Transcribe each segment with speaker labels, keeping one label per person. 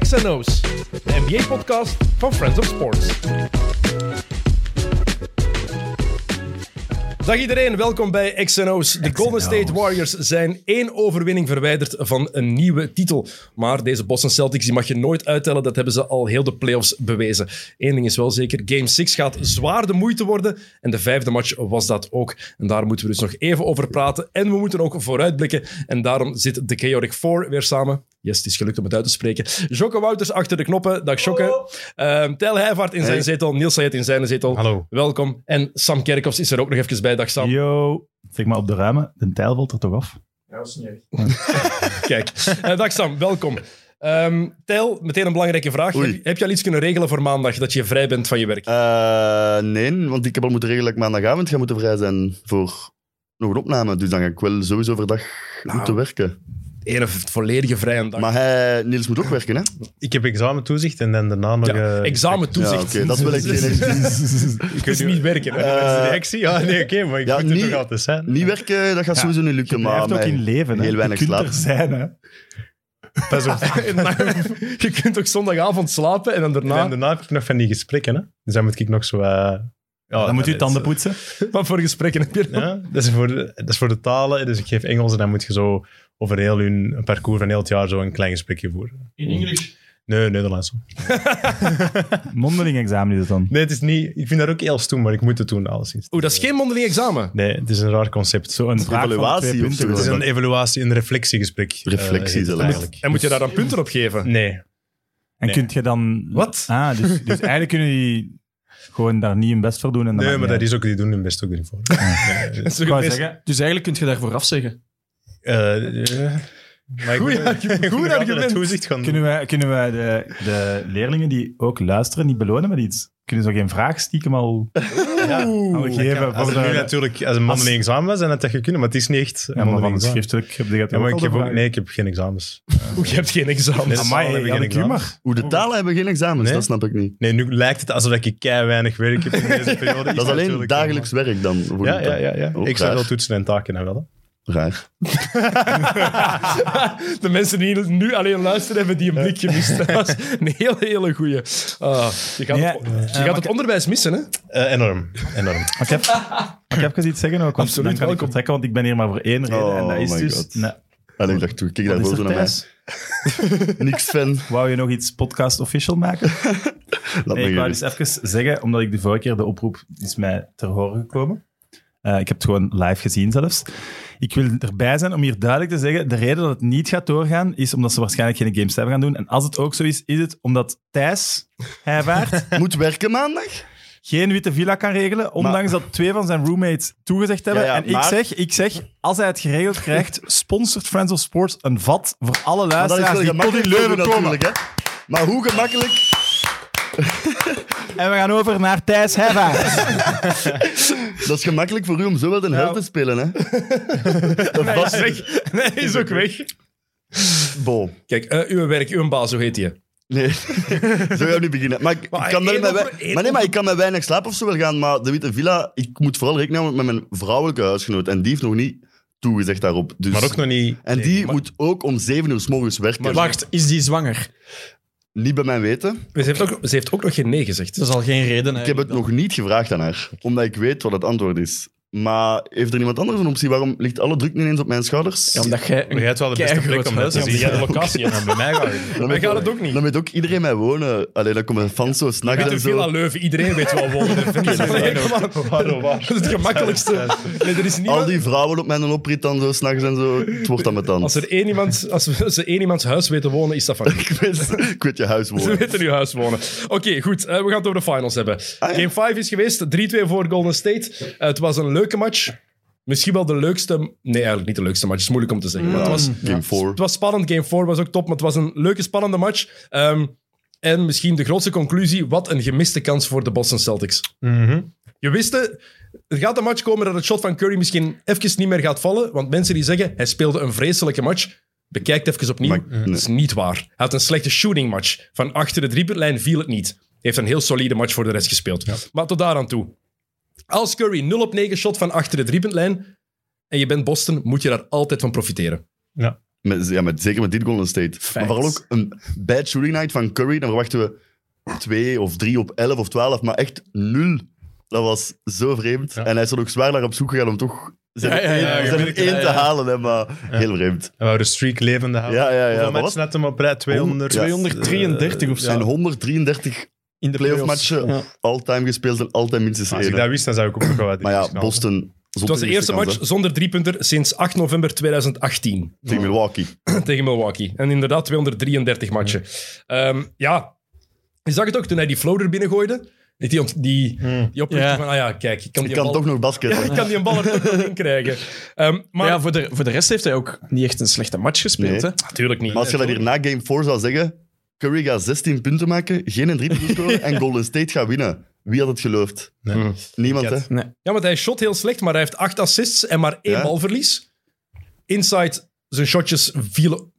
Speaker 1: XNO's, de NBA-podcast van Friends of Sports. Dag iedereen, welkom bij XNO's. De Golden State Warriors zijn één overwinning verwijderd van een nieuwe titel. Maar deze Boston Celtics die mag je nooit uittellen, dat hebben ze al heel de playoffs bewezen. Eén ding is wel zeker, Game 6 gaat zwaar de moeite worden. En de vijfde match was dat ook. En daar moeten we dus nog even over praten. En we moeten ook vooruitblikken. En daarom zit de Chaotic Four weer samen. Yes, het is gelukt om het uit te spreken. Jokke Wouters achter de knoppen. Dag Jokke. Ehm Tel Heijvaart in zijn zetel. Niels Sayed in zijn zetel.
Speaker 2: Hallo.
Speaker 1: Welkom. En Sam Kerkhoffs is er ook nog even bij. Dag Sam.
Speaker 3: Yo, zeg maar op de ruimen. De tijl valt er toch af?
Speaker 1: Kijk. Eh, dag Sam, welkom. Ehm Tel, meteen een belangrijke vraag.
Speaker 4: Oei.
Speaker 1: Heb, heb je al iets kunnen regelen voor maandag dat je vrij bent van je werk?
Speaker 4: Eh, nee, want ik heb al moeten regelen dat ik maandagavond ga moeten vrij zijn voor nog een opname. Dus dan ga ik wel sowieso overdag
Speaker 3: Nou,
Speaker 4: moeten werken.
Speaker 1: Eén volledige vrije dag.
Speaker 4: Maar hij, Niels moet ook werken, hè?
Speaker 2: Ik heb examentoezicht en dan daarna nog...
Speaker 1: ja,
Speaker 2: eh,
Speaker 1: examentoezicht.
Speaker 4: Ja, oké, dat is wel echt geen energie.
Speaker 1: Het is niet werken. hè.
Speaker 4: Eh,
Speaker 2: Reactie? Ja, nee, oké, maar ik
Speaker 4: ja,
Speaker 2: moet er
Speaker 4: niet-
Speaker 2: toch altijd zijn.
Speaker 4: Niet werken, dat gaat
Speaker 3: Ja,
Speaker 4: sowieso niet lukken.
Speaker 3: Je
Speaker 4: Maar
Speaker 3: blijft ook
Speaker 4: mij-
Speaker 3: in leven. hè.
Speaker 4: heel weinig
Speaker 3: je kunt
Speaker 4: slaap.
Speaker 3: er zijn, hè.
Speaker 2: Ah, Pas op. en
Speaker 1: je kunt toch zondagavond slapen en dan daarna...
Speaker 2: dan daarna heb ik nog van die gesprekken, hè. Dus dan moet ik nog zo... eh, ja,
Speaker 3: dan moet je
Speaker 2: dat
Speaker 3: je tanden
Speaker 2: is,
Speaker 3: poetsen.
Speaker 1: Wat voor gesprekken heb je dan?
Speaker 2: eh, Ja, dat is, voor de, dat is voor de talen. Dus ik geef Engels en dan moet je zo over heel hun een parcours van heel het jaar zo een klein gesprekje voeren.
Speaker 5: In English.
Speaker 2: Nee, Nederlands.
Speaker 3: Mondeling examen is het dan.
Speaker 2: Nee, het is niet... Ik vind dat ook heel stoem, maar ik moet het doen, alleszins.
Speaker 1: Oeh, dat is geen mondeling examen.
Speaker 2: Nee, het is een raar concept.
Speaker 3: Zo een vraag van
Speaker 4: evaluatie
Speaker 3: twee
Speaker 4: of
Speaker 3: punten. dus
Speaker 4: zo.
Speaker 2: Het is
Speaker 3: gewoon.
Speaker 2: een evaluatie, een reflectiegesprek. eh,
Speaker 4: Reflectie
Speaker 2: heet het
Speaker 4: zelfs.
Speaker 2: eigenlijk.
Speaker 1: En moet je daar dan punten op geven?
Speaker 2: Nee.
Speaker 3: En
Speaker 2: Nee.
Speaker 3: kunt je dan...
Speaker 1: Wat?
Speaker 3: Ah, dus, dus eigenlijk kunnen die gewoon daar niet hun best voor doen. En dan
Speaker 2: Nee,
Speaker 3: maakt
Speaker 2: maar
Speaker 3: niet
Speaker 2: dat is ook, die doen hun best ook ervoor. Nee,
Speaker 3: uit. Ik wou
Speaker 1: Best-
Speaker 3: zeggen,
Speaker 5: Dus eigenlijk kun je daarvoor afzeggen.
Speaker 2: eh eh, maar ik
Speaker 1: Goeie
Speaker 2: moet-
Speaker 1: argument,
Speaker 2: ik moet
Speaker 1: goed
Speaker 2: nog altijd
Speaker 1: argument.
Speaker 2: het toezicht gaan
Speaker 3: kunnen wij, kunnen wij de, de leerlingen die ook luisteren niet belonen met iets? Kunnen ze ook geen vraag stiekem al
Speaker 2: Ja,
Speaker 3: Oeh. geven
Speaker 2: als
Speaker 3: voor
Speaker 2: het nu
Speaker 3: de-
Speaker 2: natuurlijk als een mondeling examen was, en dat had je kunnen, maar het is niet echt een
Speaker 3: ja, maar van
Speaker 2: mondeling
Speaker 3: het
Speaker 2: examen.
Speaker 3: schriftelijk heb je dat
Speaker 2: Ja, maar ik heb ook, nee,
Speaker 3: Nee,
Speaker 2: ik heb geen examens.
Speaker 1: Oeh, je hebt geen examen.
Speaker 2: Nee,
Speaker 3: Amai,
Speaker 2: Talen hebben
Speaker 3: had
Speaker 2: geen
Speaker 3: ik u
Speaker 2: examens.
Speaker 3: maar.
Speaker 4: Hoe de talen hebben geen examens,
Speaker 2: Nee?
Speaker 4: dat snap ik niet.
Speaker 2: Nee, nu lijkt het alsof ik kei weinig werk heb in deze periode.
Speaker 4: Dat is alleen
Speaker 2: natuurlijk
Speaker 4: dagelijks werk dan. voor
Speaker 2: Ja,
Speaker 4: de
Speaker 2: ja,
Speaker 4: taal.
Speaker 2: ja. ja.
Speaker 4: Ook
Speaker 2: Ik zou wel
Speaker 4: raar.
Speaker 2: toetsen en taken hebben wel. hè.
Speaker 4: Raar.
Speaker 1: De mensen die nu alleen luisteren hebben die een blik gemist. Dat was een hele, hele goeie. Ah, je gaat,
Speaker 3: Ja,
Speaker 1: het,
Speaker 3: eh,
Speaker 1: je gaat het onderwijs missen, hè?
Speaker 2: Eh, enorm, enorm.
Speaker 3: Mag ik, mag ik even iets zeggen ook? Want
Speaker 1: Absoluut,
Speaker 3: dan kan
Speaker 1: welkom.
Speaker 3: ik vertrekken, want ik ben hier maar voor één reden. en
Speaker 4: Oh
Speaker 3: dat is
Speaker 4: my
Speaker 3: dus...
Speaker 4: God.
Speaker 3: Nee,
Speaker 4: En ik dacht, toen, kijk
Speaker 3: wat
Speaker 4: daar
Speaker 3: is
Speaker 4: boos
Speaker 3: er
Speaker 4: naar mij.
Speaker 3: thuis?
Speaker 4: Niks fan.
Speaker 3: Wou je nog iets podcast official maken?
Speaker 4: Laat
Speaker 3: Nee,
Speaker 4: me
Speaker 3: ik wou
Speaker 4: gerust.
Speaker 3: dus even zeggen, omdat ik de vorige keer de oproep is mij ter horen gekomen. Eh, ik heb het gewoon live gezien zelfs. Ik wil erbij zijn om hier duidelijk te zeggen, de reden dat het niet gaat doorgaan, is omdat ze waarschijnlijk geen Game 7 gaan doen. En als het ook zo is, is het omdat Thijs Heijvaart
Speaker 4: Moet werken maandag?
Speaker 3: geen witte villa kan regelen, ondanks dat twee van zijn roommates toegezegd hebben.
Speaker 4: Ja, ja,
Speaker 3: en ik,
Speaker 4: maar-
Speaker 3: zeg, ik zeg, als hij het geregeld krijgt, sponsort Friends of Sports een vat voor alle
Speaker 4: Maar dat is
Speaker 3: luisteraars
Speaker 4: wel
Speaker 3: die tot in
Speaker 4: gemakkelijk voor u
Speaker 3: Leuven komen.
Speaker 4: natuurlijk, hè. Maar hoe gemakkelijk...
Speaker 3: En we gaan over naar Thijs Heijvaart.
Speaker 4: Dat is gemakkelijk voor u om zo wel de helft te spelen, hè.
Speaker 1: Nou. Nee, is weg. Nee, is ook weg.
Speaker 4: Bo.
Speaker 1: Kijk, eh, uw werk, uw baas, hoe heet die?
Speaker 4: Nee, zo gaan we niet beginnen. Maar ik,
Speaker 1: Maar
Speaker 4: ik kan wel
Speaker 1: één
Speaker 4: met
Speaker 1: over-
Speaker 4: wei-
Speaker 1: één
Speaker 4: maar nee, maar ik kan met weinig slaap of zo wel gaan. Maar de Witte Villa, ik moet vooral rekening houden met mijn vrouwelijke huisgenoot. En die heeft nog niet toegezegd daarop. Dus,
Speaker 2: Maar ook nog niet...
Speaker 4: en die moet ook om zeven uur s morgens werken.
Speaker 1: Maar-
Speaker 5: Wacht, is die zwanger?
Speaker 4: Niet bij mijn weten.
Speaker 1: Ze heeft ook, ze heeft ook nog geen nee gezegd.
Speaker 5: Dat is al geen reden.
Speaker 4: Ik heb het nog niet gevraagd aan haar, omdat ik weet wat het antwoord is. Maar heeft er niemand anders een optie? Waarom ligt alle druk niet eens op mijn schouders?
Speaker 5: Ja, omdat jij
Speaker 2: Maar
Speaker 5: een
Speaker 2: jij hebt wel de beste
Speaker 5: keigroot
Speaker 2: plek om dat
Speaker 5: huis
Speaker 2: te
Speaker 5: hebt.
Speaker 2: zien.
Speaker 1: Ja, de locatie,
Speaker 2: Ja, bij mij gaat het.
Speaker 4: dan
Speaker 1: Wij
Speaker 4: weet,
Speaker 1: gaan het ook niet.
Speaker 4: dan weet ook iedereen mij wonen. Alleen dan komen fans zo s'nachts
Speaker 1: Met
Speaker 4: en
Speaker 1: een
Speaker 4: zo.
Speaker 1: villa Leuven, iedereen weet wel wonen. Dat is echt waar.
Speaker 2: Waar, oh, waar.
Speaker 1: Dat is het gemakkelijkste. Nee, er is
Speaker 4: Al
Speaker 1: niemand...
Speaker 4: die vrouwen op mijn oprit dan zo s'nachts en zo. Het wordt dan met dan.
Speaker 1: Als, er één iemand, als we- als ze één iemands huis weten wonen, is dat van
Speaker 4: Ik weet, ik weet je huis
Speaker 1: Ze
Speaker 4: wonen.
Speaker 1: weten nu huis wonen. Oké, goed. eh, we gaan het over de finals hebben.
Speaker 4: Ah, ja.
Speaker 1: Game 5 is geweest. 3-2 voor Golden State. Eh, het was een leuke match. Misschien wel de leukste... Nee, eigenlijk niet de leukste match. Het is moeilijk om te zeggen. Maar het, was,
Speaker 4: Mm. Game 4.
Speaker 1: het was spannend. Game 4 was ook top, maar het was een leuke, spannende match. Ehm, en misschien de grootste conclusie. Wat een gemiste kans voor de Boston Celtics.
Speaker 2: Mhm.
Speaker 1: Je wist het. Er gaat een match komen dat het shot van Curry misschien even niet meer gaat vallen. Want mensen die zeggen, hij speelde een vreselijke match. Bekijk het even opnieuw.
Speaker 4: Maar-
Speaker 1: Dat is niet waar. Hij had een slechte shooting match. Van achter de driepuntlijn viel het niet. Hij heeft een heel solide match voor de rest gespeeld. Maar tot daaraan toe. Als Curry 0 op 9 shot van achter de driepuntlijn en je bent Boston, moet je daar altijd van profiteren.
Speaker 2: Ja.
Speaker 4: Met, ja, met, zeker met dit Golden State. Maar vooral ook een bad shooting night van Curry. Dan verwachten we twee of drie op 11 of 12, maar echt nul. Dat was zo vreemd. En hij is er ook zwaar naar op zoek gegaan om toch zijn
Speaker 5: Ja, ja, ja,
Speaker 4: één,
Speaker 5: ja,
Speaker 4: zijn
Speaker 5: ja,
Speaker 4: één
Speaker 5: ja,
Speaker 4: te
Speaker 5: ja.
Speaker 4: halen. Hè, maar heel vreemd.
Speaker 2: En we houden streak levende houden.
Speaker 4: Ja, ja, ja.
Speaker 2: Hoeveel
Speaker 4: Maar
Speaker 2: matchen net hem op rij? 200.
Speaker 4: Ja.
Speaker 5: 233 of
Speaker 4: Er
Speaker 5: zo.
Speaker 4: zijn 133
Speaker 5: in de
Speaker 4: playoff
Speaker 5: playoffs.
Speaker 4: matchen
Speaker 5: Ja.
Speaker 4: all-time gespeeld en altijd minstens
Speaker 2: Als ik
Speaker 4: één.
Speaker 2: dat wist, dan zou ik ook nog wel wat
Speaker 4: Maar ja,
Speaker 2: knallen.
Speaker 4: Boston...
Speaker 1: Het was de eerste match zonder driepunter sinds 8 november 2018
Speaker 4: Tegen Milwaukee.
Speaker 1: tegen Milwaukee. En inderdaad 233 matchen. Ehm, ja, je zag het ook toen hij die floater binnengooide. Dat Die, ont- die, die oprichting
Speaker 5: Hmm. Ja.
Speaker 1: van, ah ja, kijk, ik kan
Speaker 4: Ik
Speaker 1: die
Speaker 4: kan
Speaker 1: bal-
Speaker 4: toch nog basketten.
Speaker 1: ik kan die een bal er toch nog in krijgen. Ehm, maar
Speaker 5: Maar ja, voor de, voor de rest heeft hij ook niet echt een slechte match gespeeld.
Speaker 4: Nee.
Speaker 5: Hè?
Speaker 1: natuurlijk niet.
Speaker 4: Maar als je dat hier na game 4 zou zeggen, Curry gaat 16 punten maken, geen een drie punten scoren en Golden State gaat winnen. Wie had het geloofd?
Speaker 2: Nee.
Speaker 4: Niemand,
Speaker 2: Ik
Speaker 4: hè?
Speaker 2: had-
Speaker 5: Nee.
Speaker 1: Ja, want hij shot heel slecht, maar hij heeft acht assists en maar één
Speaker 4: Ja.
Speaker 1: balverlies. Inside, zijn shotjes vielen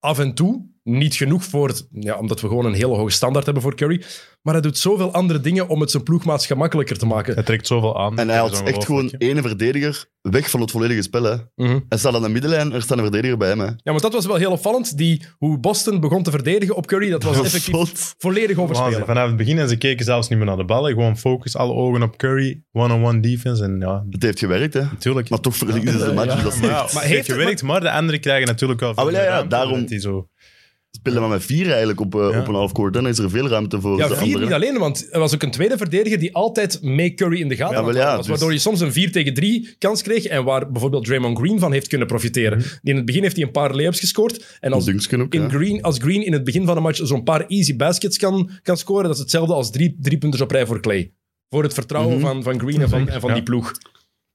Speaker 1: af en toe. Niet genoeg voor het, ja, omdat we gewoon een hele hoge standaard hebben voor Curry. Maar hij doet zoveel andere dingen om het zijn ploegmaats gemakkelijker te maken.
Speaker 2: Hij trekt zoveel aan.
Speaker 4: En hij
Speaker 2: Dat is
Speaker 4: had echt gewoon
Speaker 2: ongelooflijk,
Speaker 4: ene verdediger weg van het volledige spel. Hè.
Speaker 1: Mhm.
Speaker 4: Hij staat aan de middenlijn, er staat een verdediger bij hem. Hè.
Speaker 1: Ja, want dat was wel heel opvallend. Die, hoe Boston begon te verdedigen op Curry, dat was
Speaker 4: Dat was
Speaker 1: effectief
Speaker 4: zot.
Speaker 1: volledig
Speaker 2: hè. Waanzin.
Speaker 1: overspelen.
Speaker 2: Vanaf het begin en ze keken zelfs niet meer naar de ballen. Gewoon focus, alle ogen op Curry. One-on-one defense. En ja,
Speaker 4: Het heeft gewerkt, hè.
Speaker 2: natuurlijk.
Speaker 4: Maar toch verliezen ze de match. dus dat is
Speaker 2: Maar,
Speaker 4: echt...
Speaker 2: ja, maar
Speaker 1: heeft
Speaker 2: heeft
Speaker 1: het-
Speaker 2: gewerkt, maar de anderen krijgen natuurlijk wel
Speaker 4: Ah, wel, ja,
Speaker 2: meer
Speaker 4: ja,
Speaker 2: ruimte,
Speaker 4: daarom-
Speaker 2: omdat die zo...
Speaker 4: Spelen maar met vier eigenlijk op, eh,
Speaker 2: Ja.
Speaker 4: op een half court. Dan is er veel ruimte voor
Speaker 1: Ja,
Speaker 4: de
Speaker 1: vier
Speaker 4: anderen.
Speaker 1: niet alleen, want er was ook een tweede verdediger die altijd mee Curry in de gaten
Speaker 4: Ja,
Speaker 1: had.
Speaker 4: wel ja,
Speaker 1: was,
Speaker 4: dus-
Speaker 1: waardoor je soms een 4 tegen 3 kans kreeg en waar bijvoorbeeld Draymond Green van heeft kunnen profiteren. Die in het begin heeft hij een paar layups gescoord en als,
Speaker 4: Mhm. Dunksken ook,
Speaker 1: in
Speaker 4: ja.
Speaker 1: Green, als Green in het begin van een match zo'n paar easy baskets kan, kan scoren, dat is hetzelfde als drie, drie punters op rij voor Clay. Voor het vertrouwen
Speaker 4: Mhm.
Speaker 1: van, van Green en van, en van
Speaker 2: Ja.
Speaker 1: die ploeg.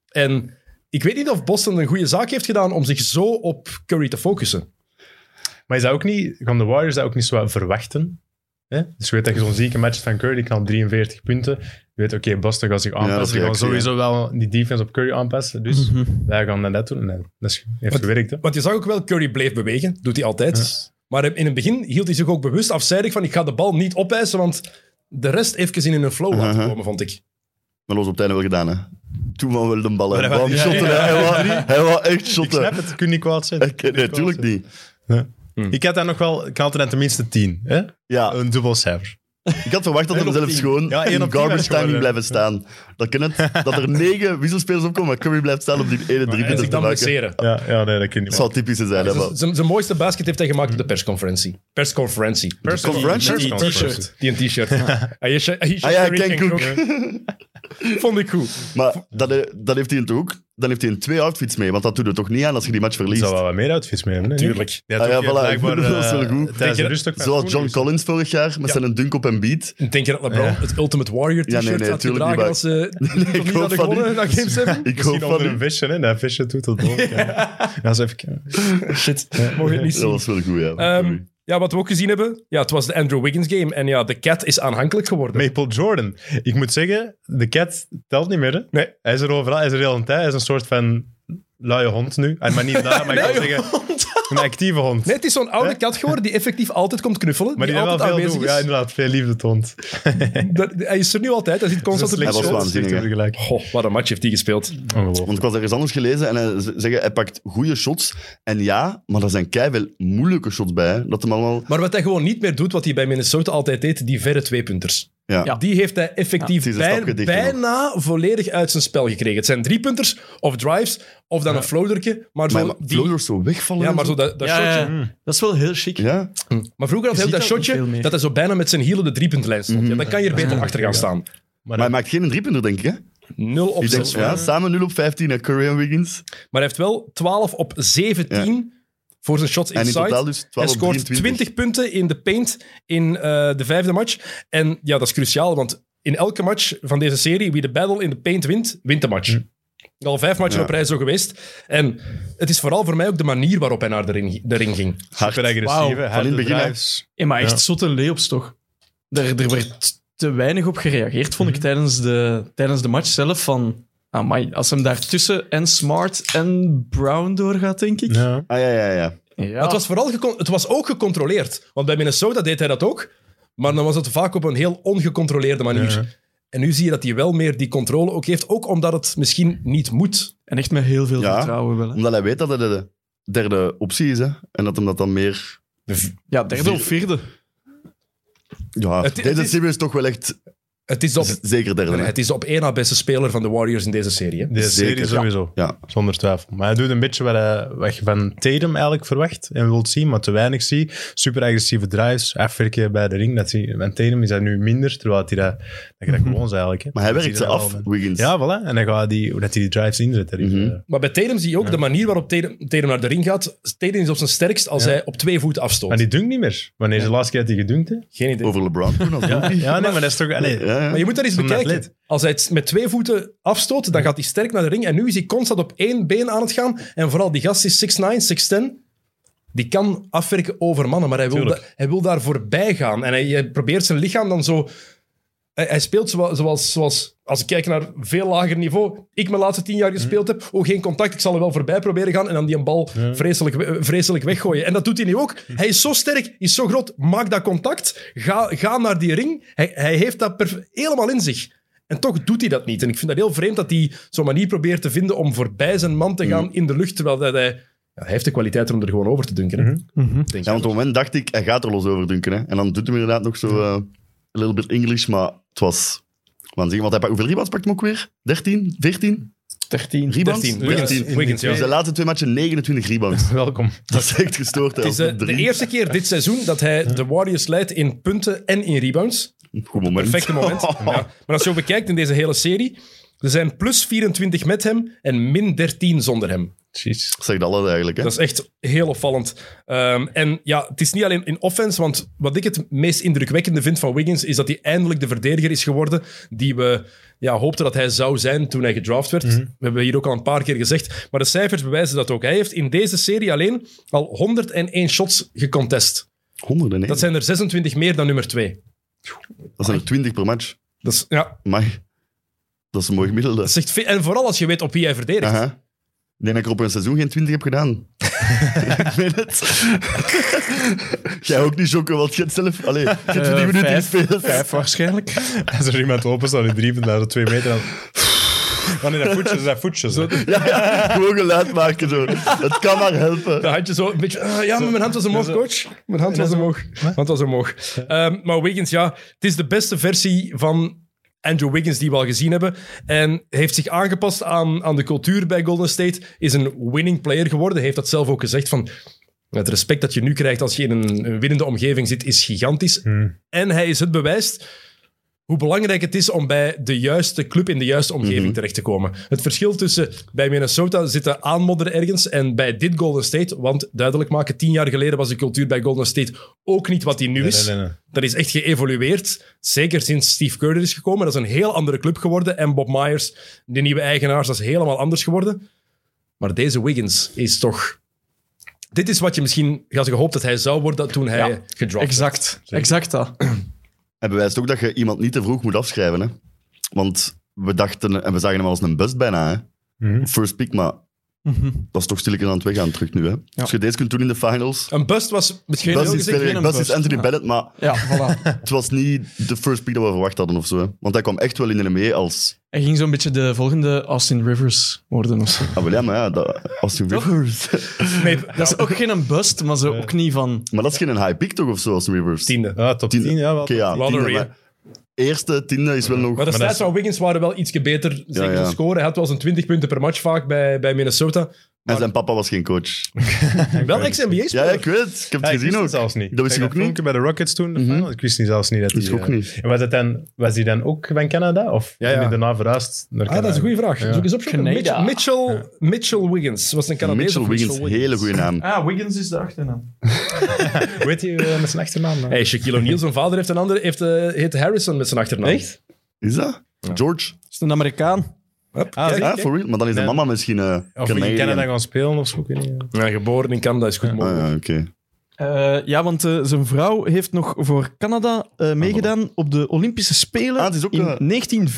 Speaker 1: En ik weet niet of Boston een goede zaak heeft gedaan om zich zo op Curry te focussen.
Speaker 2: Maar is dat ook niet... Gaan de Warriors dat ook niet zo wat verwachten? Hè? Dus je weet dat je zo'n zieke match van Curry, die kan 43 punten. Je weet, oké, Boston gaat zich
Speaker 4: dat is
Speaker 2: aanpassen. die gaan
Speaker 4: reactie,
Speaker 2: sowieso wel die defense op Curry aanpassen. Dus wij gaan dat doen. Nee, dat is- heeft
Speaker 1: Wat-
Speaker 2: gewerkt, hè.
Speaker 1: Want je zag ook wel, Curry bleef bewegen. Doet hij altijd. Maar in het begin hield hij zich ook bewust afzijdig van ik ga de bal niet opeisen, want de rest even in een flow laten
Speaker 4: Uh-huh.
Speaker 1: komen, vond ik.
Speaker 4: Maar los op het einde wel gedaan, hè. Toen wel wel de ballen.
Speaker 2: Maar
Speaker 4: Hij
Speaker 2: hij wou-
Speaker 4: wou
Speaker 2: ja,
Speaker 4: shotten,
Speaker 2: ja,
Speaker 4: hè. Hij wou- Hij wou echt
Speaker 2: Ik snap
Speaker 4: shotten.
Speaker 2: het, kun niet kwaad zijn.
Speaker 4: Ik- Nee, tuurlijk niet.
Speaker 2: Ik had daar nog wel... Ik had er dan tenminste 10, hè?
Speaker 4: Ja,
Speaker 2: Een dubbel cijfer.
Speaker 4: Ik had verwacht dat
Speaker 2: Eén
Speaker 4: hem
Speaker 2: op
Speaker 4: zelfs
Speaker 2: tien.
Speaker 4: gewoon
Speaker 2: Ja, één op
Speaker 4: in
Speaker 2: tien
Speaker 4: garbage
Speaker 2: werd geworden.
Speaker 4: timing blijven staan. Dat kan het. Dat er negen wisselspelers opkomen, maar Curry blijft staan op die ene drie
Speaker 1: En
Speaker 4: punten
Speaker 1: zich
Speaker 4: te
Speaker 1: dan
Speaker 4: maken.
Speaker 1: blesseren.
Speaker 2: Ja, ja nee, dat kun je niet.
Speaker 4: Dat zou typisch zijn, hè, maar...
Speaker 1: Z- Zijn zijn mooiste basket heeft hij gemaakt op de persconferentie. Persconferentie.
Speaker 4: Conference?
Speaker 2: Die- die
Speaker 5: t-shirt.
Speaker 1: Die een t-shirt. Aisha, Aisha
Speaker 4: Ah ja,
Speaker 1: Curry
Speaker 4: Ken
Speaker 1: can
Speaker 4: Cook.
Speaker 1: cook. Vond ik goed.
Speaker 4: Maar dat, eh, dat heeft hij in het ook. Dan heeft hij in twee outfits mee, want dat doet er toch niet aan als je die match
Speaker 2: Er
Speaker 4: verliest.
Speaker 2: zou wel wat meer outfits mee hebben. hè?
Speaker 1: Tuurlijk.
Speaker 2: Ja,
Speaker 4: Ah, ja,
Speaker 2: toch,
Speaker 4: voilà.
Speaker 2: blijkbaar,
Speaker 4: Dat is wel goed.
Speaker 2: eh, tijdens
Speaker 4: Denk
Speaker 2: de
Speaker 4: je-
Speaker 2: rust ook met dus
Speaker 4: Zoals
Speaker 2: Koen
Speaker 4: John
Speaker 2: is.
Speaker 4: Collins vorig jaar, met zijn dunk op en beat.
Speaker 1: Denk je dat LeBron het Ultimate Warrior
Speaker 4: Ja,
Speaker 1: t-shirt
Speaker 4: nee, nee,
Speaker 1: had
Speaker 4: tuurlijk
Speaker 1: gedragen
Speaker 4: niet,
Speaker 1: als ze niet
Speaker 4: ik hoop
Speaker 1: hadden
Speaker 4: van
Speaker 1: gewonnen na Game 7?
Speaker 4: Ik hoop
Speaker 2: Misschien
Speaker 4: van
Speaker 2: onder een
Speaker 4: hem.
Speaker 2: visje, hè? Dat visje doet het ook. Ja, dat is even...
Speaker 1: Shit, mogen het niet
Speaker 4: Dat
Speaker 1: zien.
Speaker 4: was wel goed, ja.
Speaker 2: Eh,
Speaker 1: Ehm, ja, wat we ook gezien hebben, ja, het was de Andrew Wiggins game. En ja, de cat is aanhankelijk geworden.
Speaker 2: Maple Jordan. Ik moet zeggen, de cat telt niet meer. Hè?
Speaker 1: Nee.
Speaker 2: Hij is er overal, hij is er heel een tijd. Hij is een soort van luie hond nu. En maar niet lui, maar ik wil zeggen, een actieve hond.
Speaker 1: Nee, het is zo'n oude kat geworden die effectief altijd komt knuffelen.
Speaker 2: maar die, heeft
Speaker 1: altijd
Speaker 2: wel veel
Speaker 1: aanwezig
Speaker 2: doen.
Speaker 1: is.
Speaker 2: Ja, inderdaad, veel liefde toont.
Speaker 1: Dat- hij is er nu altijd. Hij zit constant op
Speaker 4: Hij
Speaker 1: de
Speaker 4: was
Speaker 1: show.
Speaker 4: waanzinnig. hè.
Speaker 2: gelijk.
Speaker 1: Goh, wat een match heeft hij gespeeld.
Speaker 2: Ongelooflijk.
Speaker 4: Want ik was ergens anders gelezen en hij z- zeggen, hij pakt goede shots. En ja, maar er zijn keiveel moeilijke shots bij. hè. Dat hem allemaal...
Speaker 1: Maar wat hij gewoon niet meer doet, wat hij bij Minnesota altijd deed, die verre tweepunters.
Speaker 4: Ja.
Speaker 5: Ja.
Speaker 1: Die heeft hij effectief
Speaker 4: het is een
Speaker 1: bij-
Speaker 4: stapje dichter
Speaker 1: bijna volledig uit zijn spel gekregen. Het zijn driepunters of drives of dan een floaterke. Maar zo,
Speaker 4: Maar, maar
Speaker 1: die-
Speaker 4: floaters zo wegvallen.
Speaker 1: ja,
Speaker 4: en
Speaker 1: maar zo
Speaker 4: zo.
Speaker 1: dat, dat
Speaker 5: Ja,
Speaker 1: shotje.
Speaker 5: ja, Dat is wel heel chic.
Speaker 4: Ja?
Speaker 1: Maar vroeger had hij ook
Speaker 5: Je
Speaker 1: dat
Speaker 5: ziet dat niet veel
Speaker 1: shotje
Speaker 5: meer. Mm.
Speaker 1: dat hij zo bijna met zijn hielen de driepuntlijn stond. Ja, dan kan je er beter achter gaan staan.
Speaker 4: Maar hij maakt geen driepunter, denk ik, hè?
Speaker 1: Nul op
Speaker 4: Ik denk,
Speaker 1: zes.
Speaker 4: ja, samen 0 op 15 naar Curry en Wiggins.
Speaker 1: Maar hij heeft wel 12 op 17 voor zijn shots
Speaker 4: En in
Speaker 1: inside.
Speaker 4: totaal dus 12
Speaker 1: hij
Speaker 4: op
Speaker 1: scoort
Speaker 4: 23.
Speaker 1: 20 punten in de paint in eh, de vijfde match. En ja, dat is cruciaal, want in elke match van deze serie, wie de battle in de paint wint, wint de match. Al vijf matchen
Speaker 4: Hm. Ja.
Speaker 1: op rij zo geweest. En het is vooral voor mij ook de manier waarop hij naar de ring, de ring ging.
Speaker 2: Super agressief,
Speaker 5: Wauw,
Speaker 4: van in het begin, hè.
Speaker 5: Ja, maar echt
Speaker 2: Ja.
Speaker 5: zotte layups toch? Er, er werd te weinig op gereageerd, vond ik, tijdens, de, tijdens de match zelf. Van, amai, als hem daar tussen en Smart en Brown doorgaat, denk ik.
Speaker 2: Ja.
Speaker 4: Ah ja, ja, ja.
Speaker 5: Ja.
Speaker 1: Maar Het, was vooral gecon- het was ook gecontroleerd. Want bij Minnesota deed hij dat ook. Maar dan was het vaak op een heel ongecontroleerde manier.
Speaker 2: Ja.
Speaker 1: En nu zie je dat hij wel meer die controle ook heeft. Ook omdat het misschien niet moet.
Speaker 5: En echt met heel veel
Speaker 4: Ja.
Speaker 5: vertrouwen wel. hè.
Speaker 4: Omdat hij weet dat hij de, derde optie is. Hè? En dat hem dat dan meer...
Speaker 5: Ja, derde
Speaker 4: Vier-
Speaker 5: of vierde.
Speaker 4: Ja,
Speaker 1: Het- het
Speaker 4: deze
Speaker 1: is-
Speaker 4: serie is toch wel echt
Speaker 1: Het is op,
Speaker 4: z- zeker derde. hè.
Speaker 1: het is de op één na beste speler van de Warriors in deze serie. hè.
Speaker 2: De
Speaker 4: Zeker,
Speaker 2: serie
Speaker 4: ja.
Speaker 2: sowieso,
Speaker 4: Ja.
Speaker 2: zonder twijfel. Maar hij doet een beetje wat, hij- wat je van Tatum eigenlijk verwacht en wilt zien, maar te weinig zie. Super agressieve drives, afwerken bij de ring. Dat zie, en Tatum is dat nu minder, terwijl dat hij dat, dat, je dat gewoon is eigenlijk. hè.
Speaker 4: Mhm. Maar hij
Speaker 2: Dat
Speaker 4: werkt
Speaker 2: zie
Speaker 4: ze
Speaker 2: je dat
Speaker 4: af,
Speaker 2: wel, man.
Speaker 4: Wiggins.
Speaker 2: Ja, voilà. En dan gaat die, hoe dat hij die drives inzet. Dat is,
Speaker 4: Mhm.
Speaker 2: eh,
Speaker 1: Maar bij Tatum zie je ook de manier waarop Tatum, Tatum naar de ring gaat. Tatum is op zijn sterkst als
Speaker 2: Ja.
Speaker 1: hij op twee voeten
Speaker 2: maar
Speaker 1: afstoot.
Speaker 2: die dunkt niet meer. Wanneer is de laatste keer dat hij gedunkt heeft?
Speaker 1: Geen idee.
Speaker 4: Over LeBron toen, als ja.
Speaker 2: Ja, nee, maar dat is toch... Allee,
Speaker 4: Ja, ja.
Speaker 1: Maar je moet dat eens
Speaker 2: Zo'n
Speaker 1: bekijken.
Speaker 2: atleet.
Speaker 1: Als hij het met twee voeten afstoot, dan gaat hij sterk naar de ring. En nu is hij constant op één been aan het gaan. En vooral die gast is 6'9, 6'10. Die kan afwerken over mannen, maar hij wil,
Speaker 2: Tuurlijk.
Speaker 1: da- hij wil daar voorbij gaan. En hij, hij probeert zijn lichaam dan zo... Hij, hij speelt zoals, zoals, zoals... Als ik kijk naar veel lager niveau, ik mijn laatste tien jaar gespeeld heb, oh, geen contact, ik zal er wel voorbij proberen gaan en dan die een bal vreselijk, we- eh, vreselijk weggooien. En dat doet hij nu ook. Hij is zo sterk, is zo groot, maak dat contact, ga, ga naar die ring. Hij, hij heeft dat perf- helemaal in zich. En toch doet hij dat niet. En ik vind dat heel vreemd dat hij zo'n manier probeert te vinden om voorbij zijn man te gaan in de lucht, terwijl dat hij... Ja, hij heeft de kwaliteit om er gewoon over te dunken. hè. Denk
Speaker 4: Ja,
Speaker 1: ik.
Speaker 4: want op het moment dacht ik, hij gaat er los over dunken. Hè. En dan doet hij inderdaad nog zo eh a little bit English, maar het was waanzinnig. Want hij pakt, hoeveel rebounds pakt hem ook weer? 13? 14?
Speaker 5: 13.
Speaker 4: Rebounds?
Speaker 1: 13.
Speaker 4: Wiggins.
Speaker 1: Wiggins, Wiggins, ja.
Speaker 4: Dus de laatste twee matchen 29 rebounds.
Speaker 2: Welkom.
Speaker 4: Dat is echt gestoord. hè.
Speaker 1: Het is eh,
Speaker 4: Als
Speaker 1: de,
Speaker 4: op
Speaker 1: de
Speaker 4: drie.
Speaker 1: eerste keer dit seizoen dat hij de Warriors leidt in punten en in rebounds.
Speaker 4: Goed moment.
Speaker 1: Perfecte moment. Ja. Maar als je ook bekijkt in deze hele serie, er zijn plus 24 met hem en min 13 zonder hem.
Speaker 2: Jeez.
Speaker 4: Dat zegt alles eigenlijk. Hè.
Speaker 1: Dat is echt heel opvallend. Ehm, en ja, het is niet alleen in offense, want wat ik het meest indrukwekkende vind van Wiggins is dat hij eindelijk de verdediger is geworden die we ja, hoopten dat hij zou zijn toen hij gedraft werd. We hebben hier ook al een paar keer gezegd, maar de cijfers bewijzen dat ook. Hij heeft in deze serie alleen al 101 shots gecontest.
Speaker 4: 101.
Speaker 1: Dat zijn er 26 meer dan nummer 2.
Speaker 4: er 20 per match.
Speaker 1: Dat is, ja,
Speaker 4: Maar dat is een mooi gemiddelde.
Speaker 1: dat is echt veel. En vooral als je weet op wie hij verdedigt.
Speaker 4: Aha. Ik denk dat ik er op een seizoen geen 20 heb gedaan. ik weet het. Jij ook niet, Jokke, want je hebt zelf... Allee, je hebt 20 minuten
Speaker 5: Eh, vijf.
Speaker 4: gespeeld.
Speaker 5: Vijf waarschijnlijk.
Speaker 2: Als er iemand open staat in drie van daar zo twee meter, dan... Oh nee, dat voetjes, dat zijn voetjes. hè.
Speaker 4: Ja, ja, gewoon geluid maken zo. Het kan maar helpen.
Speaker 1: Dan had je zo een beetje... ah, ja, maar mijn hand was omhoog, coach. Mijn hand was omhoog. Mijn hand was omhoog. Ehm, maar Wiggins, ja, het is de beste versie van Andrew Wiggins die we al gezien hebben. En heeft zich aangepast aan, aan de cultuur bij Golden State. Is een winning player geworden. Heeft dat zelf ook gezegd van... Het respect dat je nu krijgt als je in een een winnende omgeving zit, is gigantisch.
Speaker 2: Hmm.
Speaker 1: En hij is het bewijs hoe belangrijk het is om bij de juiste club in de juiste omgeving terecht te komen. Het verschil tussen bij Minnesota zitten aanmodderen ergens en bij dit Golden State, want duidelijk maken, tien jaar geleden was de cultuur bij Golden State ook niet wat die nu
Speaker 2: Nee,
Speaker 1: is.
Speaker 2: nee, nee, nee.
Speaker 1: Dat is echt geëvolueerd, zeker sinds Steve Kerr er is gekomen. Dat is een heel andere club geworden en Bob Myers, de nieuwe eigenaars, dat is helemaal anders geworden. Maar deze Wiggins is toch... Dit is wat je misschien had gehoopt dat hij zou worden toen hij
Speaker 5: Ja,
Speaker 1: gedraft werd.
Speaker 5: Exact. Exact dat.
Speaker 4: En bewijst ook dat je iemand niet te vroeg moet afschrijven. Hè? Want we dachten, en we zagen hem als een bust bijna. Hè?
Speaker 2: Mhm.
Speaker 4: First pick, maar
Speaker 5: Mhm.
Speaker 4: dat is toch stilletjes aan het weggaan terug nu. Hè? Als je deze kunt doen in de finals.
Speaker 1: Een bust was misschien
Speaker 4: Dat
Speaker 1: heel
Speaker 4: is,
Speaker 1: gezegd
Speaker 4: speler,
Speaker 5: geen
Speaker 4: best
Speaker 5: een
Speaker 4: is
Speaker 5: bust,
Speaker 4: Anthony
Speaker 5: ja.
Speaker 4: Bennett, maar
Speaker 5: Ja, voilà.
Speaker 4: het was niet de first pick dat we verwacht hadden of zo. Hè? Want hij kwam echt wel in de mee als.
Speaker 5: Hij ging zo'n beetje de volgende Austin Rivers worden of zo.
Speaker 4: Ah, wel ja, maar ja, dat, Austin Rivers.
Speaker 5: Dat is ook geen een bust, maar zo ook niet van...
Speaker 4: maar dat is geen high pick toch of zo, Austin Rivers?
Speaker 1: tiende.
Speaker 2: Ja, top 10,
Speaker 4: Tiende.
Speaker 2: ja, wel.
Speaker 4: Oké, ja.
Speaker 1: Lottery,
Speaker 4: tiende, maar Eerste, tiende is wel nog.
Speaker 1: Maar de
Speaker 2: dat
Speaker 1: stats
Speaker 2: is-
Speaker 1: van Wiggins waren wel ietsje beter. Zeker
Speaker 4: ja.
Speaker 1: zijn score. Hij had wel zijn 20 punten per match vaak bij, bij Minnesota.
Speaker 4: En zijn papa was geen coach.
Speaker 1: Wel ex-NBA-speler.
Speaker 4: Ja, ik weet het. Ik heb
Speaker 2: Ja,
Speaker 4: het
Speaker 2: ik wist
Speaker 4: gezien
Speaker 2: het
Speaker 4: ook.
Speaker 2: zelfs niet.
Speaker 4: Dat wist ik
Speaker 2: Kijk,
Speaker 4: ook niet.
Speaker 2: filmpje bij de Rockets toen, de finals, ik wist niet zelfs niet dat
Speaker 4: Wist
Speaker 2: hij...
Speaker 4: ik ook niet.
Speaker 2: En was, dat dan, was hij dan ook van Canada? Of
Speaker 1: Ja, ja.
Speaker 2: ben je daarna verhuisd naar
Speaker 1: Ah,
Speaker 2: Canada?
Speaker 1: dat is een goede vraag. Zoek eens op. Sean. Mitch,
Speaker 5: Canada.
Speaker 1: Mitchell, Mitchell Wiggins. Was het een Canadees
Speaker 4: Mitchell
Speaker 1: of
Speaker 4: Wiggins, hele goede naam.
Speaker 5: Ah, Wiggins is de achternaam.
Speaker 2: Weet je eh, met zijn achternaam? dan?
Speaker 1: Hey, Shaquille O'Neal, zijn vader heeft een andere, heeft, eh, heet Harrison met zijn achternaam.
Speaker 5: Echt?
Speaker 4: Is dat? George?
Speaker 5: Dat is een Amerikaan.
Speaker 1: Hup,
Speaker 2: Ah,
Speaker 1: kijk.
Speaker 2: zie-
Speaker 4: Ja, for real. Maar dan is de
Speaker 2: Nee.
Speaker 4: mama misschien eh
Speaker 2: Of in Canada
Speaker 4: Canadian.
Speaker 2: gaan spelen of zo, ik weet niet.
Speaker 1: Ja, geboren in Canada is goed
Speaker 4: Ah,
Speaker 1: mogelijk.
Speaker 4: ja, oké.
Speaker 5: Eh, ja, want eh, zijn vrouw heeft nog voor Canada eh, meegedaan op de Olympische Spelen
Speaker 4: Ah, het is ook,
Speaker 5: in
Speaker 4: eh,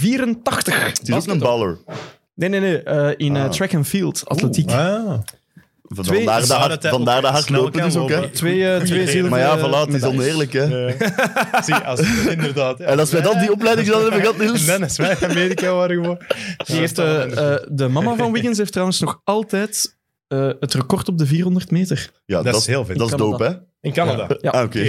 Speaker 5: 1984.
Speaker 4: Het is ook een baller.
Speaker 5: Nee, nee, nee. eh, in eh,
Speaker 4: Ah.
Speaker 5: track and field, atletiek.
Speaker 2: Ah.
Speaker 4: Van-
Speaker 5: Twee-
Speaker 4: Vandaar de,
Speaker 2: Zou
Speaker 4: hard,
Speaker 2: dat hij
Speaker 4: vandaar
Speaker 2: ook
Speaker 4: de hardlopen
Speaker 2: snel
Speaker 4: dus
Speaker 2: kan
Speaker 4: ook, hè.
Speaker 2: lopen?
Speaker 5: Twee, eh, twee
Speaker 2: idee.
Speaker 5: zilveren
Speaker 4: Maar ja, voilà, het is
Speaker 5: medailles.
Speaker 4: oneerlijk, hè.
Speaker 2: Eh, Zie, als, inderdaad. ja.
Speaker 4: En als wij dan die opleiding zouden hebben gehad,
Speaker 2: En
Speaker 4: Niels...
Speaker 2: dan is wij Amerika waren geworden.
Speaker 5: Die heeft, eh, eh, de mama van Wiggins heeft trouwens nog altijd eh, het record op de 400 meter.
Speaker 4: Ja, dat,
Speaker 2: dat
Speaker 4: is,
Speaker 2: is heel vet.
Speaker 4: dat is
Speaker 5: Canada.
Speaker 4: dope, hè?
Speaker 1: In Canada.
Speaker 5: Ja.
Speaker 4: Ah, oké.